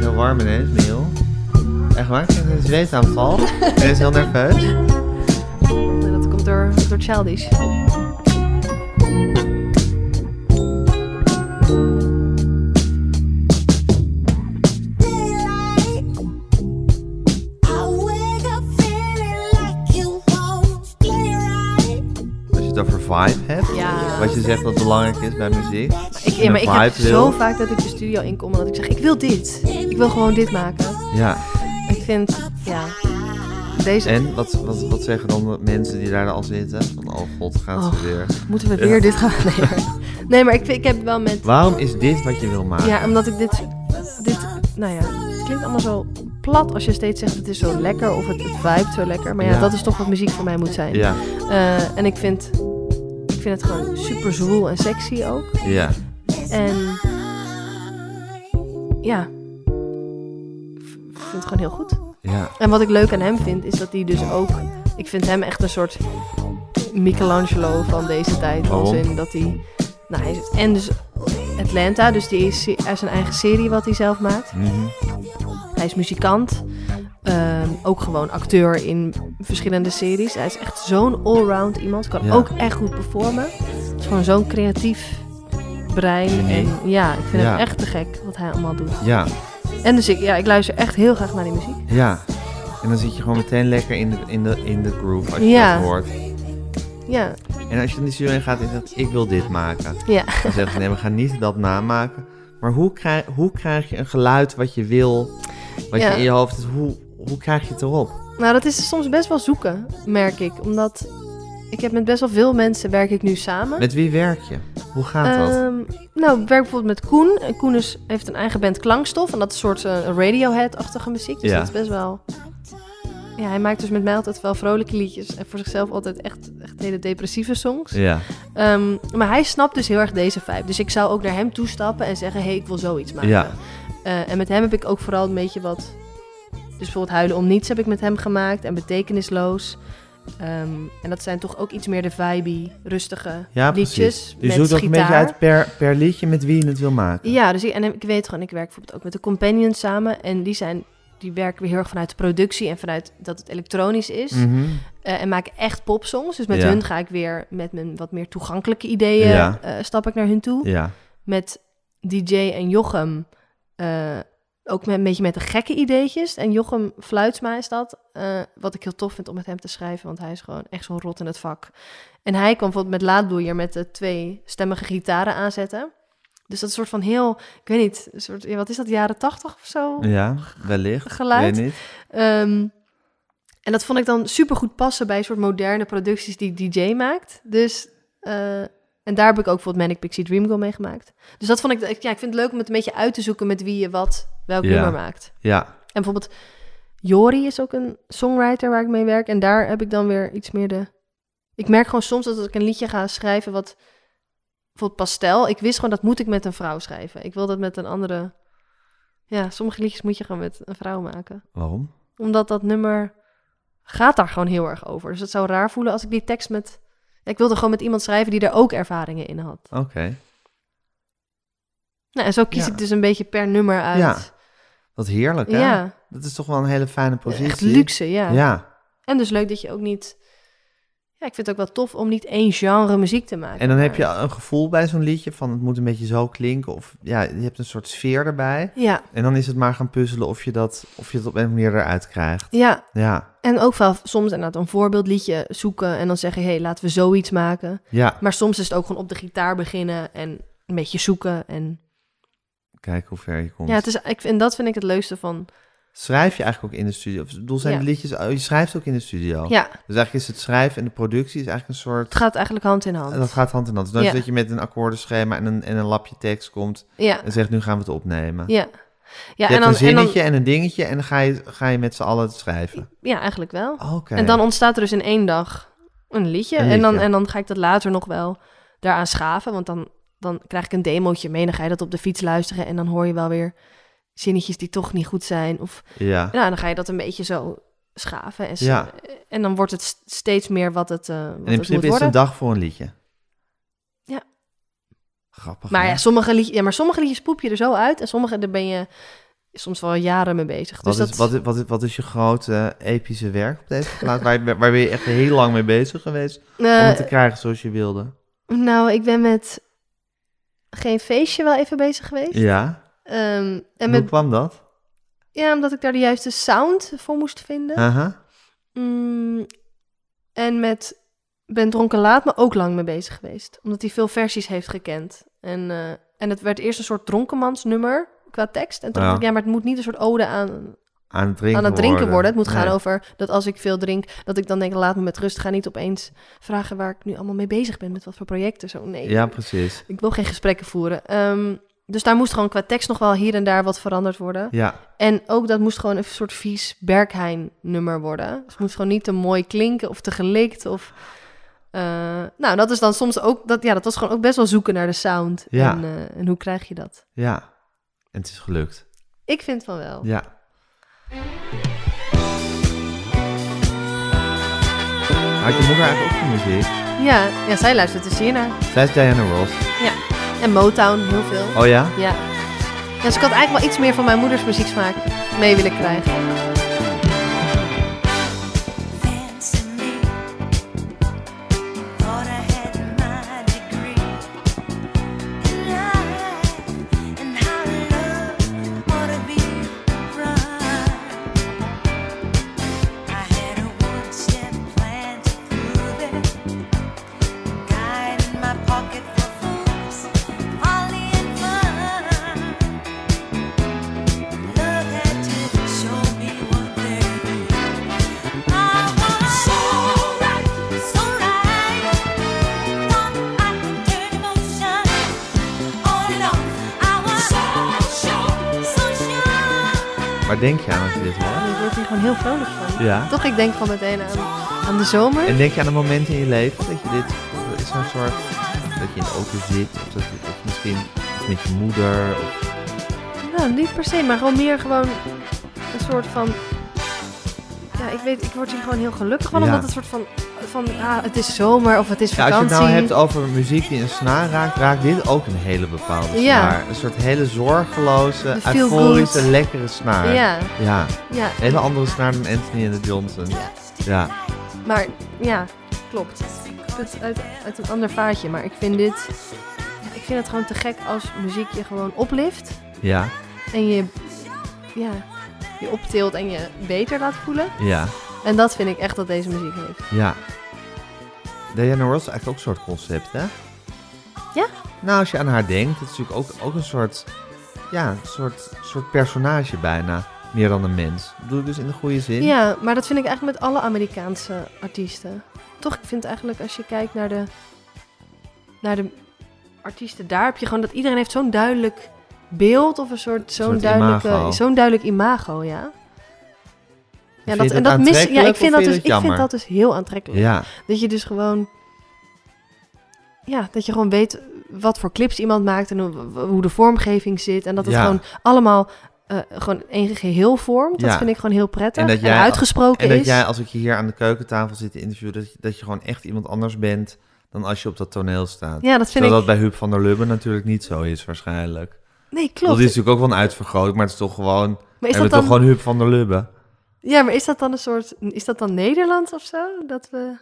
[SPEAKER 3] Heel warm ineens, Miel. Echt waar, ik heb een
[SPEAKER 4] [LAUGHS]
[SPEAKER 3] zweetaanval. Hij is heel nerveus.
[SPEAKER 4] En dat komt door, door Childish.
[SPEAKER 3] Als je het over vibe hebt,
[SPEAKER 4] Ja.
[SPEAKER 3] wat je zegt wat belangrijk is bij muziek.
[SPEAKER 4] [LAUGHS] Ik,
[SPEAKER 3] En
[SPEAKER 4] ja, maar
[SPEAKER 3] een
[SPEAKER 4] ik heb
[SPEAKER 3] vibe
[SPEAKER 4] zo
[SPEAKER 3] wil.
[SPEAKER 4] vaak dat ik de studio inkom en dat ik zeg, ik wil dit. Ik wil gewoon dit maken.
[SPEAKER 3] Ja,
[SPEAKER 4] Ik vind, ja, deze...
[SPEAKER 3] en wat, wat, wat zeggen dan de mensen die daar al zitten? Van, oh god, gaan ze
[SPEAKER 4] Oh.
[SPEAKER 3] weer.
[SPEAKER 4] Moeten we
[SPEAKER 3] Ja.
[SPEAKER 4] weer dit gaan? [LAUGHS] Nee, maar, nee, maar ik, vind- ik heb wel met...
[SPEAKER 3] Waarom is dit wat je wil maken?
[SPEAKER 4] Ja, omdat ik dit... dit nou ja, het klinkt allemaal zo plat als je steeds zegt het is zo lekker of het, het vibe zo lekker. Maar ja,
[SPEAKER 3] Ja.
[SPEAKER 4] dat is toch wat muziek voor mij moet zijn.
[SPEAKER 3] Ja,
[SPEAKER 4] Eh, en ik vind, ik vind het gewoon super zwoel en sexy ook.
[SPEAKER 3] ja.
[SPEAKER 4] En ja, ik vind het gewoon heel goed.
[SPEAKER 3] Ja,
[SPEAKER 4] En wat ik leuk aan hem vind, is dat hij dus ook... Ik vind hem echt een soort Michelangelo van deze tijd. Als
[SPEAKER 3] Waarom?
[SPEAKER 4] in dat hij... Nou, hij is, en dus Atlanta, dus die is, hij heeft zijn eigen serie wat hij zelf maakt.
[SPEAKER 3] mhm.
[SPEAKER 4] Hij is muzikant. ehm, ook gewoon acteur in verschillende series. Hij is echt zo'n allround iemand. Kan
[SPEAKER 3] Ja.
[SPEAKER 4] ook echt goed performen. Het is gewoon zo'n creatief brein.
[SPEAKER 3] Genie.
[SPEAKER 4] En ja, ik vind
[SPEAKER 3] Ja.
[SPEAKER 4] hem echt te gek wat hij allemaal doet.
[SPEAKER 3] ja,
[SPEAKER 4] En dus ik, ja, ik luister echt heel graag naar die muziek.
[SPEAKER 3] ja. En dan zit je gewoon meteen lekker in de, in de, in de groove als je
[SPEAKER 4] Ja.
[SPEAKER 3] dat hoort.
[SPEAKER 4] Ja,
[SPEAKER 3] En als je dan die studio in gaat en zegt, ik wil dit maken.
[SPEAKER 4] ja.
[SPEAKER 3] Dan zegt ze, nee, we gaan niet dat namaken. Maar hoe krijg, hoe krijg je een geluid wat je wil, wat
[SPEAKER 4] Ja.
[SPEAKER 3] je in je hoofd is, hoe, hoe krijg je het erop?
[SPEAKER 4] Nou, dat is soms best wel zoeken, merk ik. Omdat ik heb met best wel veel mensen werk ik nu samen.
[SPEAKER 3] Met wie werk je? Hoe gaat dat?
[SPEAKER 4] Ehm, nou, ik werk bijvoorbeeld met Koen. En Koen is, heeft een eigen band Klankstof. En dat is een soort eh, Radiohead-achtige muziek. Dus
[SPEAKER 3] Ja.
[SPEAKER 4] dat is best wel... Ja, hij maakt dus met mij altijd wel vrolijke liedjes. En voor zichzelf altijd echt, echt hele depressieve songs.
[SPEAKER 3] Ja,
[SPEAKER 4] Ehm, maar hij snapt dus heel erg deze vibe. Dus ik zou ook naar hem toestappen en zeggen... Hé, hey, ik wil zoiets maken.
[SPEAKER 3] ja,
[SPEAKER 4] Eh, en met hem heb ik ook vooral een beetje wat... Dus bijvoorbeeld Huilen om Niets heb ik met hem gemaakt. En Betekenisloos. Ehm, en dat zijn toch ook iets meer de vibe rustige
[SPEAKER 3] ja precies.
[SPEAKER 4] liedjes.
[SPEAKER 3] je
[SPEAKER 4] met
[SPEAKER 3] zoekt ook een beetje
[SPEAKER 4] gitaar.
[SPEAKER 3] uit per, per liedje met wie je het wil maken.
[SPEAKER 4] Ja, dus ik, en ik weet gewoon, ik werk bijvoorbeeld ook met de Companions samen. En die zijn, die werken weer heel erg vanuit de productie en vanuit dat het elektronisch is.
[SPEAKER 3] Mhm.
[SPEAKER 4] Eh, en maken echt popsongs. Dus met
[SPEAKER 3] Ja.
[SPEAKER 4] hun ga ik weer met mijn wat meer toegankelijke ideeën,
[SPEAKER 3] Ja.
[SPEAKER 4] eh, stap ik naar hun toe.
[SPEAKER 3] ja.
[SPEAKER 4] Met DJ en Jochem, eh, ook met, een beetje met de gekke ideetjes. En Jochem Fluitsma is dat, eh, wat ik heel tof vind om met hem te schrijven. Want hij is gewoon echt zo'n rot in het vak. En hij kwam bijvoorbeeld met laadboeier met de twee stemmige gitaren aanzetten. Dus dat is een soort van heel, ik weet niet, een soort, ja, wat is dat, jaren tachtig of zo?
[SPEAKER 3] Ja, wellicht.
[SPEAKER 4] Geluid?
[SPEAKER 3] Weet niet.
[SPEAKER 4] Ehm, en dat vond ik dan super goed passen bij een soort moderne producties die DJ maakt. Dus, eh, en daar heb ik ook bijvoorbeeld Manic Pixie Dream Girl mee gemaakt. Dus dat vond ik, ik- ja, ik vind het leuk om het een beetje uit te zoeken met wie je wat, welk
[SPEAKER 3] Ja.
[SPEAKER 4] nummer maakt.
[SPEAKER 3] Ja,
[SPEAKER 4] En bijvoorbeeld Jori is ook een songwriter waar ik mee werk. En daar heb ik dan weer iets meer de... Ik merk gewoon soms dat als ik een liedje ga schrijven wat... Bijvoorbeeld pastel. Ik wist gewoon dat moet ik met een vrouw schrijven. Ik wil dat met een andere... Ja, sommige liedjes moet je gewoon met een vrouw maken
[SPEAKER 3] waarom?
[SPEAKER 4] omdat dat nummer gaat daar gewoon heel erg over. Dus het zou raar voelen als ik die tekst met... Ik wilde gewoon met iemand schrijven die daar ook ervaringen in had.
[SPEAKER 3] Oké.
[SPEAKER 4] Nou, en zo kies
[SPEAKER 3] Ja.
[SPEAKER 4] ik dus een beetje per nummer uit.
[SPEAKER 3] Ja, Wat heerlijk, hè?
[SPEAKER 4] Ja,
[SPEAKER 3] Dat is toch wel een hele fijne positie.
[SPEAKER 4] echt luxe, ja.
[SPEAKER 3] Ja,
[SPEAKER 4] En dus leuk dat je ook niet... Ja, ik vind het ook wel tof om niet één genre muziek te maken.
[SPEAKER 3] en dan heb
[SPEAKER 4] maar-
[SPEAKER 3] je een gevoel bij zo'n liedje van het moet een beetje zo klinken. Of ja, je hebt een soort sfeer erbij.
[SPEAKER 4] Ja,
[SPEAKER 3] En dan is het maar gaan puzzelen of je dat, of je het op een of andere manier eruit krijgt.
[SPEAKER 4] ja.
[SPEAKER 3] Ja,
[SPEAKER 4] En ook wel soms inderdaad een voorbeeldliedje zoeken en dan zeggen... hé, hey, laten we zoiets maken.
[SPEAKER 3] ja.
[SPEAKER 4] Maar soms is het ook gewoon op de gitaar beginnen en een beetje zoeken. En
[SPEAKER 3] Kijk hoe ver je komt.
[SPEAKER 4] ja, het is, ik, en dat vind ik het leukste van...
[SPEAKER 3] Schrijf je eigenlijk ook in de studio? Of ik bedoel, zijn
[SPEAKER 4] Ja.
[SPEAKER 3] de liedjes, oh, je schrijft ook in de studio.
[SPEAKER 4] Ja,
[SPEAKER 3] Dus eigenlijk is het schrijven en de productie is eigenlijk een soort...
[SPEAKER 4] Het gaat eigenlijk hand in hand.
[SPEAKER 3] Dat gaat hand in hand. Dus dan
[SPEAKER 4] Ja.
[SPEAKER 3] is dat je met een akkoordenschema en een, en een lapje tekst komt
[SPEAKER 4] Ja,
[SPEAKER 3] en zegt, nu gaan we het opnemen.
[SPEAKER 4] ja. Ja,
[SPEAKER 3] je hebt
[SPEAKER 4] en dan,
[SPEAKER 3] een
[SPEAKER 4] en dan-
[SPEAKER 3] zinnetje en, een dingetje en dan ga je, ga je met z'n allen het schrijven.
[SPEAKER 4] ja, eigenlijk wel.
[SPEAKER 3] Oké.
[SPEAKER 4] En dan ontstaat er dus in één dag een liedje.
[SPEAKER 3] Een
[SPEAKER 4] En, dan,
[SPEAKER 3] liedje.
[SPEAKER 4] en dan ga ik dat later nog wel daaraan schaven. Want dan, dan krijg ik een demootje mee. Dan ga je dat op de fiets luisteren. En dan hoor je wel weer zinnetjes die toch niet goed zijn. Of
[SPEAKER 3] Ja.
[SPEAKER 4] nou, dan ga je dat een beetje zo schaven. En, s-
[SPEAKER 3] Ja.
[SPEAKER 4] en dan wordt het st- steeds meer wat het, eh, wat
[SPEAKER 3] En in
[SPEAKER 4] het moet
[SPEAKER 3] principe is het
[SPEAKER 4] worden.
[SPEAKER 3] een dag voor een liedje.
[SPEAKER 4] Ja.
[SPEAKER 3] Grappig.
[SPEAKER 4] Maar
[SPEAKER 3] hè?
[SPEAKER 4] ja, sommige, liedjes, ja, maar sommige liedjes poep je er zo uit. En sommige daar ben je soms wel jaren mee bezig.
[SPEAKER 3] Wat,
[SPEAKER 4] dus
[SPEAKER 3] is,
[SPEAKER 4] dat...
[SPEAKER 3] wat, is, wat, is, wat is je grote eh, epische werk op deze plaat? waar, waar ben je echt heel lang mee bezig geweest om
[SPEAKER 4] Eh,
[SPEAKER 3] het te krijgen zoals je wilde?
[SPEAKER 4] Nou, ik ben met geen feestje wel even bezig geweest.
[SPEAKER 3] Ja.
[SPEAKER 4] Ehm, en
[SPEAKER 3] Hoe
[SPEAKER 4] met,
[SPEAKER 3] kwam dat?
[SPEAKER 4] ja, omdat ik daar de juiste sound voor moest vinden.
[SPEAKER 3] Aha.
[SPEAKER 4] Mm, en met Ben Dronken Laat me ook lang mee bezig geweest. Omdat hij veel versies heeft gekend. En, eh, en het werd eerst een soort dronkenmansnummer qua tekst. En toen
[SPEAKER 3] Ja.
[SPEAKER 4] dacht ik, ja, maar het moet niet een soort ode aan,
[SPEAKER 3] Aan het drinken
[SPEAKER 4] aan het drinken worden. Het moet gaan
[SPEAKER 3] Nee.
[SPEAKER 4] over dat als ik veel drink, dat ik dan denk, laat me met rust. Ga niet opeens vragen waar ik nu allemaal mee bezig ben. Met wat voor projecten. Zo, nee.
[SPEAKER 3] Ja, precies.
[SPEAKER 4] Ik wil geen gesprekken voeren. Ehm, Dus daar moest gewoon qua tekst nog wel hier en daar wat veranderd worden.
[SPEAKER 3] Ja,
[SPEAKER 4] En ook dat moest gewoon een soort vies Berghain-nummer worden. Dus het moest gewoon niet te mooi klinken of te gelikt. Of, eh, nou, dat is dan soms ook... Dat, ja, dat was gewoon ook best wel zoeken naar de sound.
[SPEAKER 3] Ja.
[SPEAKER 4] En, eh, en hoe krijg je dat?
[SPEAKER 3] ja. En het is gelukt.
[SPEAKER 4] Ik vind van wel.
[SPEAKER 3] Ja. Had je moeder eigenlijk ook van muziek?
[SPEAKER 4] Ja, ja zij luistert dus hier naar.
[SPEAKER 3] Zij is Diana Ross.
[SPEAKER 4] En Motown, heel veel.
[SPEAKER 3] Oh ja?
[SPEAKER 4] Ja. ja. Dus ik had eigenlijk wel iets meer van mijn moeders muzieksmaak mee willen krijgen.
[SPEAKER 10] Show me what there is. I
[SPEAKER 3] Waar denk je aan als je dit hoort?
[SPEAKER 4] Ik word hier gewoon heel vrolijk van.
[SPEAKER 3] Ja.
[SPEAKER 4] Toch, ik denk van meteen aan, aan de zomer.
[SPEAKER 3] En denk je aan een moment in je leven dat je dit dat is zo'n soort dat je in de auto zit of dat, je- dat je misschien iets met je moeder of
[SPEAKER 4] Nou, niet per se, maar gewoon meer gewoon een soort van... Ja, ik weet, ik word hier gewoon heel gelukkig van.
[SPEAKER 3] Ja.
[SPEAKER 4] Omdat het soort van, van, ah, het is zomer of het is
[SPEAKER 3] ja, als je het
[SPEAKER 4] vakantie.
[SPEAKER 3] nou hebt over muziek die een snaar raakt, raakt dit ook een hele bepaalde
[SPEAKER 4] Ja.
[SPEAKER 3] snaar. Een soort hele zorgeloze,
[SPEAKER 4] De feel
[SPEAKER 3] euforische,
[SPEAKER 4] good.
[SPEAKER 3] lekkere snaar.
[SPEAKER 4] Ja,
[SPEAKER 3] Ja,
[SPEAKER 4] ja,
[SPEAKER 3] een hele andere snaar dan Anthony en de Johnson. Ja,
[SPEAKER 4] maar ja, klopt. Het is uit, uit een ander vaatje, maar ik vind dit... ja, ik vind het gewoon te gek als muziek je gewoon oplift.
[SPEAKER 3] ja,
[SPEAKER 4] En je, ja, je optilt en je beter laat voelen.
[SPEAKER 3] ja,
[SPEAKER 4] En dat vind ik echt dat deze muziek heeft.
[SPEAKER 3] ja. Diana Ross is eigenlijk ook een soort concept, hè?
[SPEAKER 4] Ja.
[SPEAKER 3] Nou, als je aan haar denkt, het is natuurlijk ook, ook een soort, ja, een soort, soort personage bijna. Meer dan een mens. Dat bedoel ik dus in de goede zin.
[SPEAKER 4] Ja, maar dat vind ik eigenlijk met alle Amerikaanse artiesten. Toch, ik vind eigenlijk als je kijkt naar de, naar de artiesten daar, heb je gewoon dat iedereen heeft zo'n duidelijk beeld of een soort zo'n
[SPEAKER 3] soort
[SPEAKER 4] duidelijke,
[SPEAKER 3] imago.
[SPEAKER 4] zo'n duidelijk imago, ja. Ja,
[SPEAKER 3] je
[SPEAKER 4] dat,
[SPEAKER 3] dat
[SPEAKER 4] en dat mis, ja, ik
[SPEAKER 3] aantrekkelijk of
[SPEAKER 4] vind dat
[SPEAKER 3] vind je
[SPEAKER 4] dus,
[SPEAKER 3] het
[SPEAKER 4] ik vind
[SPEAKER 3] jammer?
[SPEAKER 4] dat dus heel aantrekkelijk.
[SPEAKER 3] Ja,
[SPEAKER 4] Dat je dus gewoon. Ja, dat je gewoon weet wat voor clips iemand maakt en hoe, hoe de vormgeving zit. En dat het
[SPEAKER 3] Ja.
[SPEAKER 4] gewoon allemaal eh, gewoon één geheel vormt. Dat
[SPEAKER 3] Ja.
[SPEAKER 4] vind ik gewoon heel prettig. En,
[SPEAKER 3] En dat jij-
[SPEAKER 4] uitgesproken
[SPEAKER 3] En dat
[SPEAKER 4] is.
[SPEAKER 3] jij, als ik je hier aan de keukentafel zit te interviewen, dat je, dat je gewoon echt iemand anders bent dan als je op dat toneel staat.
[SPEAKER 4] ja, dat vind
[SPEAKER 3] Terwijl
[SPEAKER 4] ik.
[SPEAKER 3] dat bij Huub van der Lubbe natuurlijk niet zo is, waarschijnlijk. Ik
[SPEAKER 4] Nee,
[SPEAKER 3] bedoel,
[SPEAKER 4] klopt.
[SPEAKER 3] Die is natuurlijk ook wel een uitvergroting, maar het is toch gewoon...
[SPEAKER 4] maar is
[SPEAKER 3] we hebben
[SPEAKER 4] dat
[SPEAKER 3] toch
[SPEAKER 4] dan,
[SPEAKER 3] gewoon Huub van der Lubbe?
[SPEAKER 4] Ja, maar is dat dan een soort. Is dat dan Nederlands of zo? Dat we.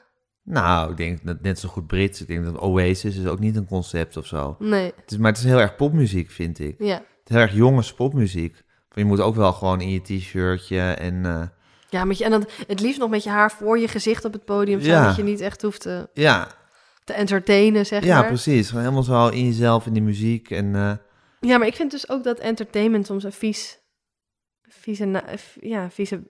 [SPEAKER 3] Nou, ik denk dat net zo goed Brits. Ik denk dat Oasis is ook niet een concept of zo.
[SPEAKER 4] Nee,
[SPEAKER 3] Het is, maar het is heel erg popmuziek, vind ik.
[SPEAKER 4] ja.
[SPEAKER 3] Het is heel erg jongens popmuziek. Want Je moet ook wel gewoon in je t-shirtje en... eh,
[SPEAKER 4] Ja, met je, en dan het liefst nog met je haar voor je gezicht op het podium.
[SPEAKER 3] Ja.
[SPEAKER 4] Zodat je niet echt hoeft te,
[SPEAKER 3] ja,
[SPEAKER 4] te entertainen, zeg
[SPEAKER 3] ja,
[SPEAKER 4] maar.
[SPEAKER 3] precies. Gewoon helemaal zo in jezelf, in die muziek en... eh,
[SPEAKER 4] Ja, maar ik vind dus ook dat entertainment soms een vies, vieze, na- eh, v- ja, vieze,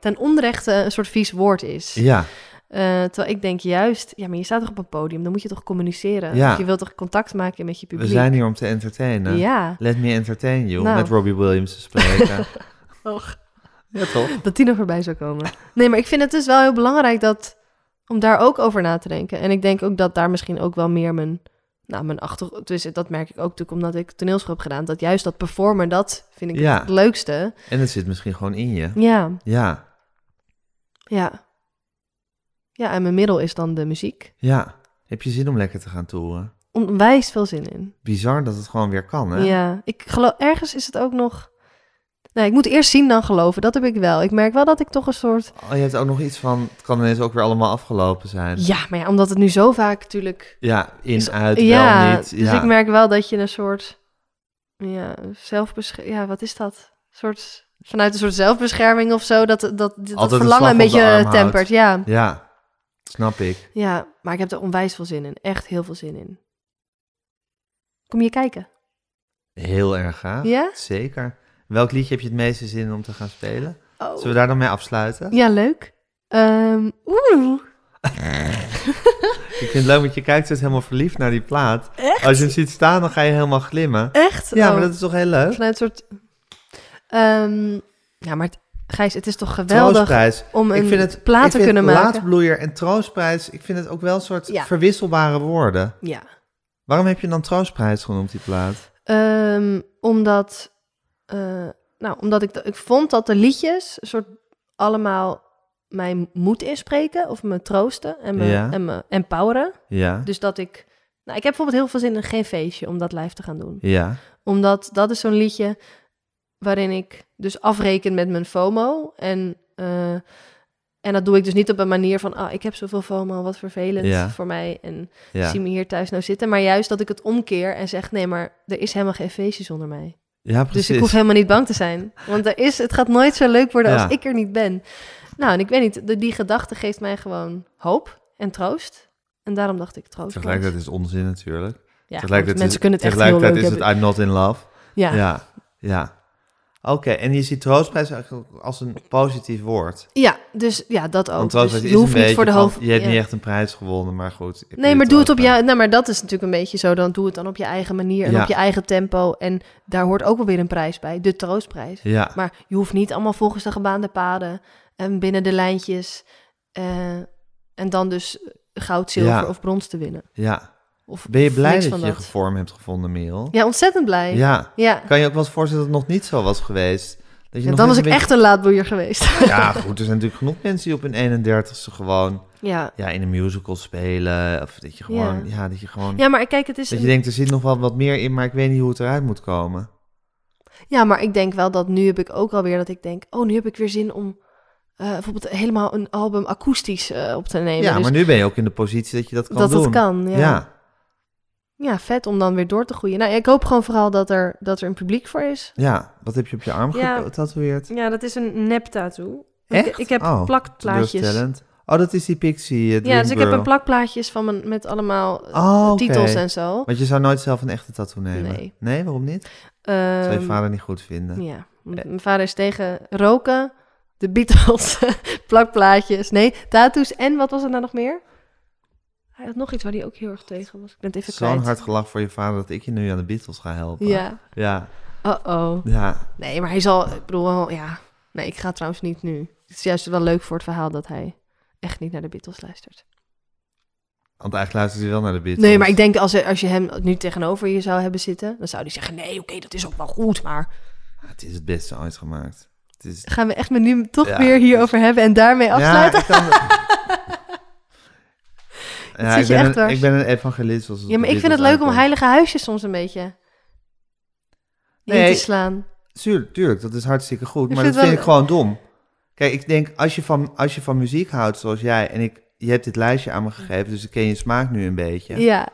[SPEAKER 4] ten onrechte een soort vies woord is.
[SPEAKER 3] ja,
[SPEAKER 4] Eh, terwijl ik denk juist, ja, maar je staat toch op een podium, dan moet je toch communiceren?
[SPEAKER 3] Ja.
[SPEAKER 4] Of je wilt toch contact maken met je
[SPEAKER 3] we
[SPEAKER 4] publiek?
[SPEAKER 3] zijn hier om te entertainen.
[SPEAKER 4] Ja,
[SPEAKER 3] Let me entertain you,
[SPEAKER 4] Nou.
[SPEAKER 3] om met Robbie Williams te
[SPEAKER 4] [LAUGHS]
[SPEAKER 3] spreken.
[SPEAKER 4] Och.
[SPEAKER 3] Ja, toch?
[SPEAKER 4] dat die nog voorbij zou komen. Nee, maar ik vind het dus wel heel belangrijk dat, om daar ook over na te denken. En ik denk ook dat daar misschien ook wel meer mijn, nou, mijn achtergrond, dus dat merk ik ook natuurlijk omdat ik toneelschool heb gedaan, dat juist dat performen, dat vind ik
[SPEAKER 3] Ja.
[SPEAKER 4] het leukste.
[SPEAKER 3] En het zit misschien gewoon in je.
[SPEAKER 4] Ja.
[SPEAKER 3] Ja,
[SPEAKER 4] Ja. Ja, en mijn middel is dan de muziek.
[SPEAKER 3] ja. Heb je zin om lekker te gaan toeren?
[SPEAKER 4] Onwijs veel zin in.
[SPEAKER 3] Bizar dat het gewoon weer kan, hè?
[SPEAKER 4] Ja, ik geloof, ergens is het ook nog... Nee, ik moet eerst zien dan geloven. Dat heb ik wel. Ik merk wel dat ik toch een soort...
[SPEAKER 3] Oh, je hebt ook nog iets van, het kan ineens ook weer allemaal afgelopen zijn.
[SPEAKER 4] Ja, maar ja, omdat het nu zo vaak natuurlijk...
[SPEAKER 3] Ja, in,
[SPEAKER 4] Is-
[SPEAKER 3] uit,
[SPEAKER 4] ja,
[SPEAKER 3] wel niet.
[SPEAKER 4] dus ik merk wel dat je een soort... Ja, zelfbesch Ja, wat is dat? Een soort... Vanuit een soort zelfbescherming of zo. Dat, dat, dat,
[SPEAKER 3] Altijd een
[SPEAKER 4] verlangen een
[SPEAKER 3] slag op de arm
[SPEAKER 4] beetje eh,
[SPEAKER 3] houdt.
[SPEAKER 4] tempert. Ja.
[SPEAKER 3] Ja, snap ik.
[SPEAKER 4] ja, maar ik heb er onwijs veel zin in. Echt heel veel zin in. Kom je kijken?
[SPEAKER 3] Heel erg gaaf.
[SPEAKER 4] Ja?
[SPEAKER 3] Zeker. Welk liedje heb je het meeste zin in om te gaan spelen?
[SPEAKER 4] Oh.
[SPEAKER 3] Zullen we daar dan mee afsluiten?
[SPEAKER 4] Ja, leuk. Ehm, Oeh.
[SPEAKER 3] Ik vind het leuk, want je kijkt dus helemaal verliefd naar die plaat. Als je hem ziet staan, dan ga je helemaal glimmen.
[SPEAKER 4] Echt?
[SPEAKER 3] Ja,
[SPEAKER 4] Oh.
[SPEAKER 3] maar dat is toch heel leuk?
[SPEAKER 4] Vanuit een soort... Ehm, ja, maar het- Gijs, het is toch geweldig
[SPEAKER 3] Troostprijs.
[SPEAKER 4] om
[SPEAKER 3] Ik
[SPEAKER 4] een
[SPEAKER 3] vind het,
[SPEAKER 4] plaat
[SPEAKER 3] ik
[SPEAKER 4] te
[SPEAKER 3] vind
[SPEAKER 4] kunnen maken.
[SPEAKER 3] Laatbloeier en troostprijs, ik vind het ook wel een soort
[SPEAKER 4] Ja.
[SPEAKER 3] verwisselbare woorden.
[SPEAKER 4] Ja.
[SPEAKER 3] Waarom heb je dan troostprijs genoemd, die plaat?
[SPEAKER 4] Ehm, omdat, eh, nou, omdat ik, ik vond dat de liedjes een soort allemaal mijn moed inspreken of me troosten en me,
[SPEAKER 3] Ja.
[SPEAKER 4] en me empoweren.
[SPEAKER 3] Ja,
[SPEAKER 4] Dus dat ik, nou, ik heb bijvoorbeeld heel veel zin in geen feestje om dat live te gaan doen.
[SPEAKER 3] ja,
[SPEAKER 4] Omdat dat is zo'n liedje waarin ik dus afreken met mijn FOMO. En, eh, en dat doe ik dus niet op een manier van, ah, ik heb zoveel FOMO, wat vervelend
[SPEAKER 3] Ja.
[SPEAKER 4] voor mij. En
[SPEAKER 3] ja.
[SPEAKER 4] zie me hier thuis nou zitten. Maar juist dat ik het omkeer en zeg, nee, maar er is helemaal geen feestje zonder mij.
[SPEAKER 3] Ja,
[SPEAKER 4] Dus
[SPEAKER 3] precies.
[SPEAKER 4] ik hoef helemaal niet bang te zijn. Want er is, het gaat nooit zo leuk worden
[SPEAKER 3] Ja.
[SPEAKER 4] als ik er niet ben. Nou, en ik weet niet, de, die gedachte geeft mij gewoon hoop en troost. En daarom dacht ik troost.
[SPEAKER 3] Tegelijkertijd is het onzin natuurlijk.
[SPEAKER 4] ja,
[SPEAKER 3] tegelijkertijd
[SPEAKER 4] want mensen
[SPEAKER 3] is,
[SPEAKER 4] kunnen het echt heel
[SPEAKER 3] tegelijkertijd
[SPEAKER 4] leuk
[SPEAKER 3] is
[SPEAKER 4] hebben.
[SPEAKER 3] het I'm not in love.
[SPEAKER 4] Ja, ja.
[SPEAKER 3] Ja, ja. Oké, en je ziet troostprijs eigenlijk als een positief woord.
[SPEAKER 4] dus ja, dat ook.
[SPEAKER 3] Want troostprijs is
[SPEAKER 4] Dus je hoeft
[SPEAKER 3] een
[SPEAKER 4] niet voor de
[SPEAKER 3] beetje
[SPEAKER 4] hoofd...
[SPEAKER 3] van, je hebt
[SPEAKER 4] ja.
[SPEAKER 3] niet echt een prijs gewonnen, maar goed. heb
[SPEAKER 4] Nee,
[SPEAKER 3] je
[SPEAKER 4] maar doe het op
[SPEAKER 3] troostprijs.
[SPEAKER 4] jou. Nou, maar dat is natuurlijk een beetje zo. Dan doe het dan op je eigen manier en
[SPEAKER 3] Ja.
[SPEAKER 4] op je eigen tempo. En daar hoort ook wel weer een prijs bij. De troostprijs.
[SPEAKER 3] Ja,
[SPEAKER 4] Maar je hoeft niet allemaal volgens de gebaande paden en binnen de lijntjes. eh, en dan dus goud, zilver
[SPEAKER 3] Ja.
[SPEAKER 4] of brons te winnen.
[SPEAKER 3] ja.
[SPEAKER 4] Of
[SPEAKER 3] Ben je blij
[SPEAKER 4] niks
[SPEAKER 3] dat
[SPEAKER 4] van
[SPEAKER 3] je je vorm hebt gevonden, Merel?
[SPEAKER 4] Ja, ontzettend blij. Ja.
[SPEAKER 3] Ja. Kan je ook wel eens voorstellen dat het nog niet zo was geweest? Dat je
[SPEAKER 4] Ja,
[SPEAKER 3] nog
[SPEAKER 4] dan was
[SPEAKER 3] net
[SPEAKER 4] ik
[SPEAKER 3] een
[SPEAKER 4] echt een laadboeier geweest. [LAUGHS]
[SPEAKER 3] beetje- Ja, goed, er zijn natuurlijk genoeg mensen die op hun 31ste gewoon
[SPEAKER 4] ja.
[SPEAKER 3] ja, in een musical spelen. Of dat je gewoon, ja, dat je gewoon...
[SPEAKER 4] ja, maar kijk, het is...
[SPEAKER 3] dat
[SPEAKER 4] een-
[SPEAKER 3] je denkt, er zit nog wel wat meer in, maar ik weet niet hoe het eruit moet komen.
[SPEAKER 4] Ja, maar ik denk wel dat nu heb ik ook alweer dat ik denk... Oh, nu heb ik weer zin om eh, bijvoorbeeld helemaal een album akoestisch eh, op te nemen.
[SPEAKER 3] ja,
[SPEAKER 4] Dus
[SPEAKER 3] maar nu ben je ook in de positie dat je dat kan
[SPEAKER 4] dat
[SPEAKER 3] doen.
[SPEAKER 4] dat kan,
[SPEAKER 3] Ja.
[SPEAKER 4] ja. Ja, vet om dan weer door te groeien. Nou, ik hoop gewoon vooral dat er, dat er een publiek voor is.
[SPEAKER 3] Ja, wat heb je op je arm
[SPEAKER 4] Ja.
[SPEAKER 3] getatoeëerd?
[SPEAKER 4] Ja, dat is een nep-tattoo. Ik,
[SPEAKER 3] Echt?
[SPEAKER 4] ik heb
[SPEAKER 3] Oh,
[SPEAKER 4] plakplaatjes.
[SPEAKER 3] Teleurstellend. Oh, dat is die Pixie eh,
[SPEAKER 4] Ja, dus ik heb
[SPEAKER 3] Dreamgirl.
[SPEAKER 4] een plakplaatjes van mijn, met allemaal eh,
[SPEAKER 3] Oh, oké.
[SPEAKER 4] titels en zo.
[SPEAKER 3] Want je zou nooit zelf een echte tattoo nemen?
[SPEAKER 4] Nee.
[SPEAKER 3] waarom niet? Zou je
[SPEAKER 4] Ehm,
[SPEAKER 3] vader niet goed vinden?
[SPEAKER 4] Ja, m- mijn vader is tegen roken, de Beatles, [LAUGHS] plakplaatjes, nee, tattoos en wat was er nou nog meer? Hij had nog iets waar hij ook heel erg tegen was. Ik ben het even
[SPEAKER 3] Zo'n
[SPEAKER 4] kwijt.
[SPEAKER 3] hard gelach voor je vader dat ik je nu aan de Beatles ga helpen.
[SPEAKER 4] Ja,
[SPEAKER 3] Ja,
[SPEAKER 4] oh-oh.
[SPEAKER 3] ja.
[SPEAKER 4] Nee, maar hij zal, ik bedoel, wel, ja. Nee, ik ga trouwens niet nu. Het is juist wel leuk voor het verhaal dat hij echt niet naar de Beatles luistert.
[SPEAKER 3] Want eigenlijk luistert hij wel naar de Beatles.
[SPEAKER 4] Nee, maar ik denk als, als je hem nu tegenover je zou hebben zitten, dan zou hij zeggen: Nee, oké, dat is ook wel goed, maar
[SPEAKER 3] Ah, Het is het beste ooit gemaakt. Het is...
[SPEAKER 4] gaan we echt met nu toch
[SPEAKER 3] Ja.
[SPEAKER 4] weer hierover hebben en daarmee afsluiten?
[SPEAKER 3] Ja, ik, kan...
[SPEAKER 4] [LAUGHS]
[SPEAKER 3] ja,
[SPEAKER 4] zit
[SPEAKER 3] ik,
[SPEAKER 4] je
[SPEAKER 3] ben
[SPEAKER 4] echt
[SPEAKER 3] een,
[SPEAKER 4] dwars.
[SPEAKER 3] ik ben een evangelist. Zoals het
[SPEAKER 4] Ja,
[SPEAKER 3] op
[SPEAKER 4] maar
[SPEAKER 3] de
[SPEAKER 4] ik vind het
[SPEAKER 3] Beatles
[SPEAKER 4] leuk om
[SPEAKER 3] aankomt.
[SPEAKER 4] heilige huisjes soms een beetje
[SPEAKER 3] Nee.
[SPEAKER 4] in te slaan.
[SPEAKER 3] Tuurlijk, tuurlijk, dat is hartstikke goed.
[SPEAKER 4] Ik
[SPEAKER 3] Maar
[SPEAKER 4] vind
[SPEAKER 3] dat vind
[SPEAKER 4] wel-
[SPEAKER 3] ik gewoon dom. Kijk, ik denk, als je van, als je van muziek houdt zoals jij... en ik, je hebt dit lijstje aan me gegeven, dus ik ken je smaak nu een beetje...
[SPEAKER 4] Ja.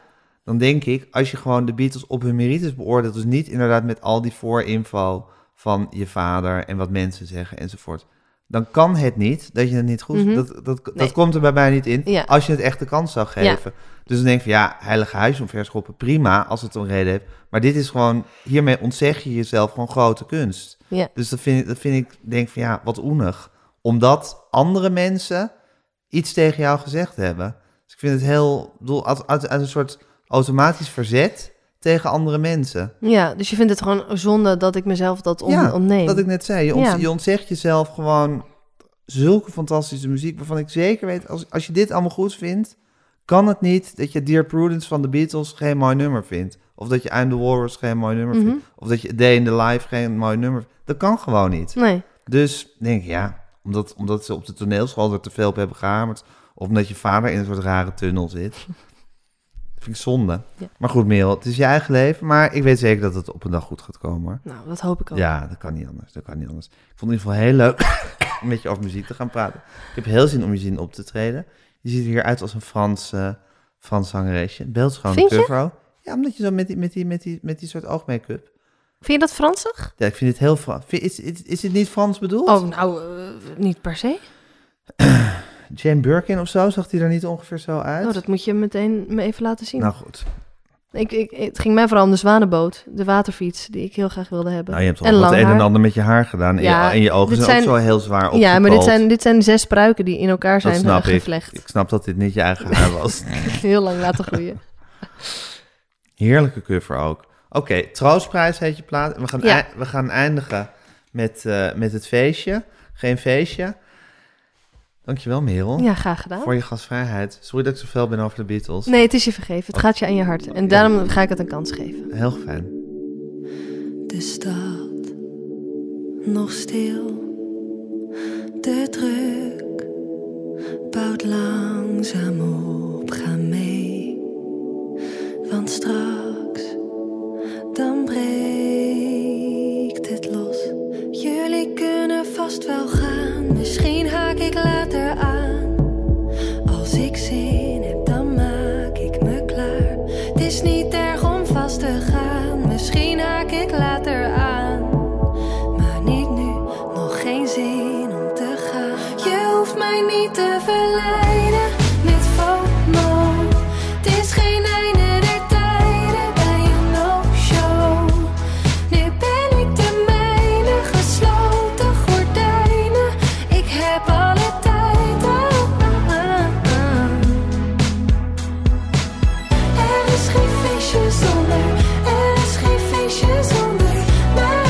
[SPEAKER 3] dan denk ik, als je gewoon de Beatles op hun merites beoordeelt... dus niet inderdaad met al die voorinfo van je vader... en wat mensen zeggen enzovoort... dan kan het niet dat je het niet goed...
[SPEAKER 4] Mhm.
[SPEAKER 3] dat, dat, dat
[SPEAKER 4] Nee.
[SPEAKER 3] komt er bij mij niet in
[SPEAKER 4] Ja.
[SPEAKER 3] als je het echt de kans zou geven. Dus dan denk ik van, ja, heilige huis omverschoppen, prima... als het een reden heeft. Maar dit is gewoon... hiermee ontzeg je jezelf gewoon grote kunst...
[SPEAKER 4] ja.
[SPEAKER 3] Dus dat vind, ik- dat vind ik, denk van ja, wat oenig. Omdat andere mensen iets tegen jou gezegd hebben. Dus ik vind het heel, ik bedoel, uit, uit, uit een soort automatisch verzet tegen andere mensen.
[SPEAKER 4] Ja, dus je vindt het gewoon zonde dat ik mezelf dat on
[SPEAKER 3] ja,
[SPEAKER 4] ontneem.
[SPEAKER 3] dat ik net zei. Je, ont-
[SPEAKER 4] Ja.
[SPEAKER 3] je ontzegt jezelf gewoon zulke fantastische muziek, waarvan ik zeker weet, als, als je dit allemaal goed vindt, kan het niet dat je Dear Prudence van de Beatles geen mooi nummer vindt. Of dat je I'm the Walrus geen mooi nummer
[SPEAKER 4] Mhm.
[SPEAKER 3] vindt. Of dat je A Day in the Life geen mooi nummer vindt. Dat kan gewoon niet.
[SPEAKER 4] Nee,
[SPEAKER 3] Dus denk ik, ja, omdat, omdat ze op de toneelschool er te veel op hebben gehamerd. Of omdat je vader in een soort rare tunnel zit. Vind ik zonde.
[SPEAKER 4] Ja.
[SPEAKER 3] Maar goed, Merel, het is je eigen leven. Maar ik weet zeker dat het op een dag goed gaat komen. hoor.
[SPEAKER 4] nou, dat hoop ik ook.
[SPEAKER 3] Ja, dat kan niet anders. Dat kan niet anders. Ik vond het in ieder geval heel leuk [COUGHS] om met je over muziek te gaan praten. Ik heb heel zin om je zin op te treden. Je ziet er hier uit als een Frans, eh Frans zangeresje. Beeldschone
[SPEAKER 4] Vind je?
[SPEAKER 3] cover. Ja, omdat je zo met die, met die, met die, met die soort oogmake-up.
[SPEAKER 4] Vind je dat Fransig?
[SPEAKER 3] Ja, ik vind het heel Frans. Is, is, is het niet Frans bedoeld?
[SPEAKER 4] Oh, nou, eh, niet per se.
[SPEAKER 3] Jane Birkin of zo, zag die er niet ongeveer zo uit?
[SPEAKER 4] Oh, dat moet je meteen me even laten zien.
[SPEAKER 3] Nou goed.
[SPEAKER 4] Ik, ik, het ging mij vooral om de zwanenboot, de waterfiets, die ik heel graag wilde hebben.
[SPEAKER 3] Nou, je hebt al wat
[SPEAKER 4] lang
[SPEAKER 3] het een en
[SPEAKER 4] haar.
[SPEAKER 3] ander met je haar gedaan. En,
[SPEAKER 4] Ja,
[SPEAKER 3] je, en je ogen
[SPEAKER 4] dit
[SPEAKER 3] zijn, ook
[SPEAKER 4] zijn-
[SPEAKER 3] zo heel zwaar opgepald.
[SPEAKER 4] Ja, maar dit zijn, dit zijn zes pruiken die in elkaar
[SPEAKER 3] Dat
[SPEAKER 4] zijn
[SPEAKER 3] snap
[SPEAKER 4] eh,
[SPEAKER 3] ik.
[SPEAKER 4] gevlecht. [LAUGHS]
[SPEAKER 3] Ik snap dat dit niet je eigen haar was.
[SPEAKER 4] Heel lang laten
[SPEAKER 3] [LAUGHS]
[SPEAKER 4] groeien.
[SPEAKER 3] Heerlijke cover ook. Oké, troostprijs heet je plaat. We gaan,
[SPEAKER 4] Ja.
[SPEAKER 3] ei- we gaan eindigen met, eh, met het feestje. Geen feestje. Dankjewel, Merel.
[SPEAKER 4] Ja, graag gedaan.
[SPEAKER 3] Voor je gastvrijheid. Sorry dat ik zoveel ben over de Beatles.
[SPEAKER 4] Nee, het is je vergeven. Het gaat je aan je hart. En daarom ga ik het een kans geven.
[SPEAKER 3] Heel fijn.
[SPEAKER 10] De stad nog stil, de druk bouwt langzaam op. Ga mee, want straks dan breekt het los. Jullie kunnen vast wel gaan, misschien haak ik later aan. Als ik zin heb, dan maak ik me klaar. Het is niet erg om vast te gaan, misschien haak ik later aan. Maar niet nu, nog geen zin om te gaan. Je hoeft mij niet te verleiden met FOMO. Het is geen einde der tijden bij een no-show. Nu ben ik de mijne, gesloten gordijnen. Ik heb alle tijd. ah, ah, ah. Er is geen feestje zonder, er is geen feestje zonder mij.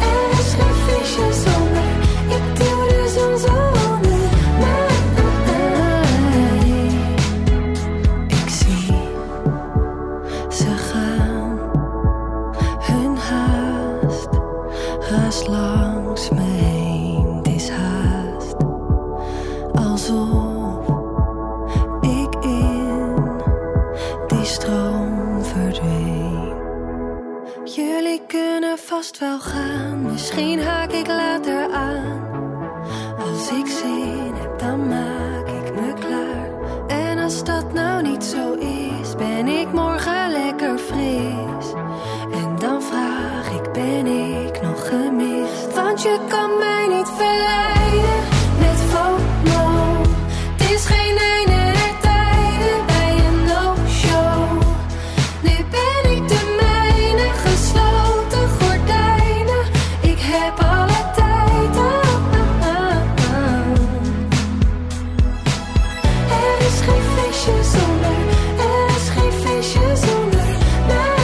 [SPEAKER 10] Er is geen feestje zonder, ik doe de zon zonder mij. Ik zie ze gaan, hun haast, haast langs me heen. Het is haast alsof ik in die stroom verdween. Jullie kunnen vast wel gaan, misschien haak ik later aan. Als ik zin heb, dan maak ik me klaar. En als dat nou niet zo is, ben ik morgen lekker fris. En dan vraag ik, ben ik nog gemist? Want je kan mij niet verleiden met FOMO. Het is geen einde der tijden bij een no-show. Nu ben ik de mijne, gesloten gordijnen. Ik heb alle tijd. ah, ah, ah. Er is geen feestje zonder, er is geen feestje zonder mij.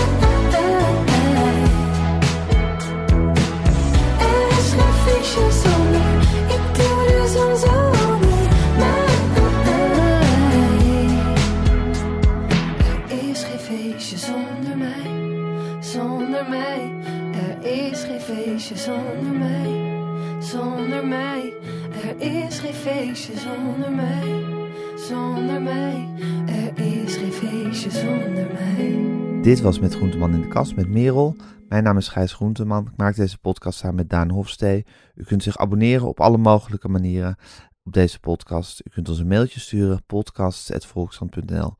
[SPEAKER 10] Er is geen feestje zonder, ik doe de zon zonder mij. Er is geen feestje zonder mij, zonder mij. Er is geen feestje zonder mij, zonder mij. Er is geen feestje zonder mij, zonder mij. Er is geen feestje zonder mij.
[SPEAKER 3] Dit was Met Groenteman in de Kast met Merel. Mijn naam is Gijs Groenteman. Ik maak deze podcast samen met Daan Hofstee. U kunt zich abonneren op alle mogelijke manieren op deze podcast. U kunt ons een mailtje sturen, podcast.volkskrant.nl.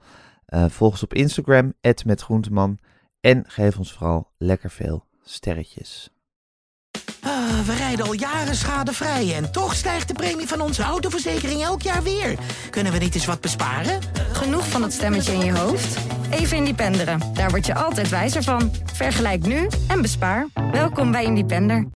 [SPEAKER 3] Eh volg ons op Instagram, @metgroenteman. En geef ons vooral lekker veel sterretjes.
[SPEAKER 1] Ah, we rijden al jaren schadevrij en toch stijgt de premie van onze autoverzekering elk jaar weer. Kunnen we niet eens wat besparen?
[SPEAKER 2] Genoeg van dat stemmetje in je hoofd? Even Independeren. Daar word je altijd wijzer van. Vergelijk nu en bespaar. Welkom bij Independer.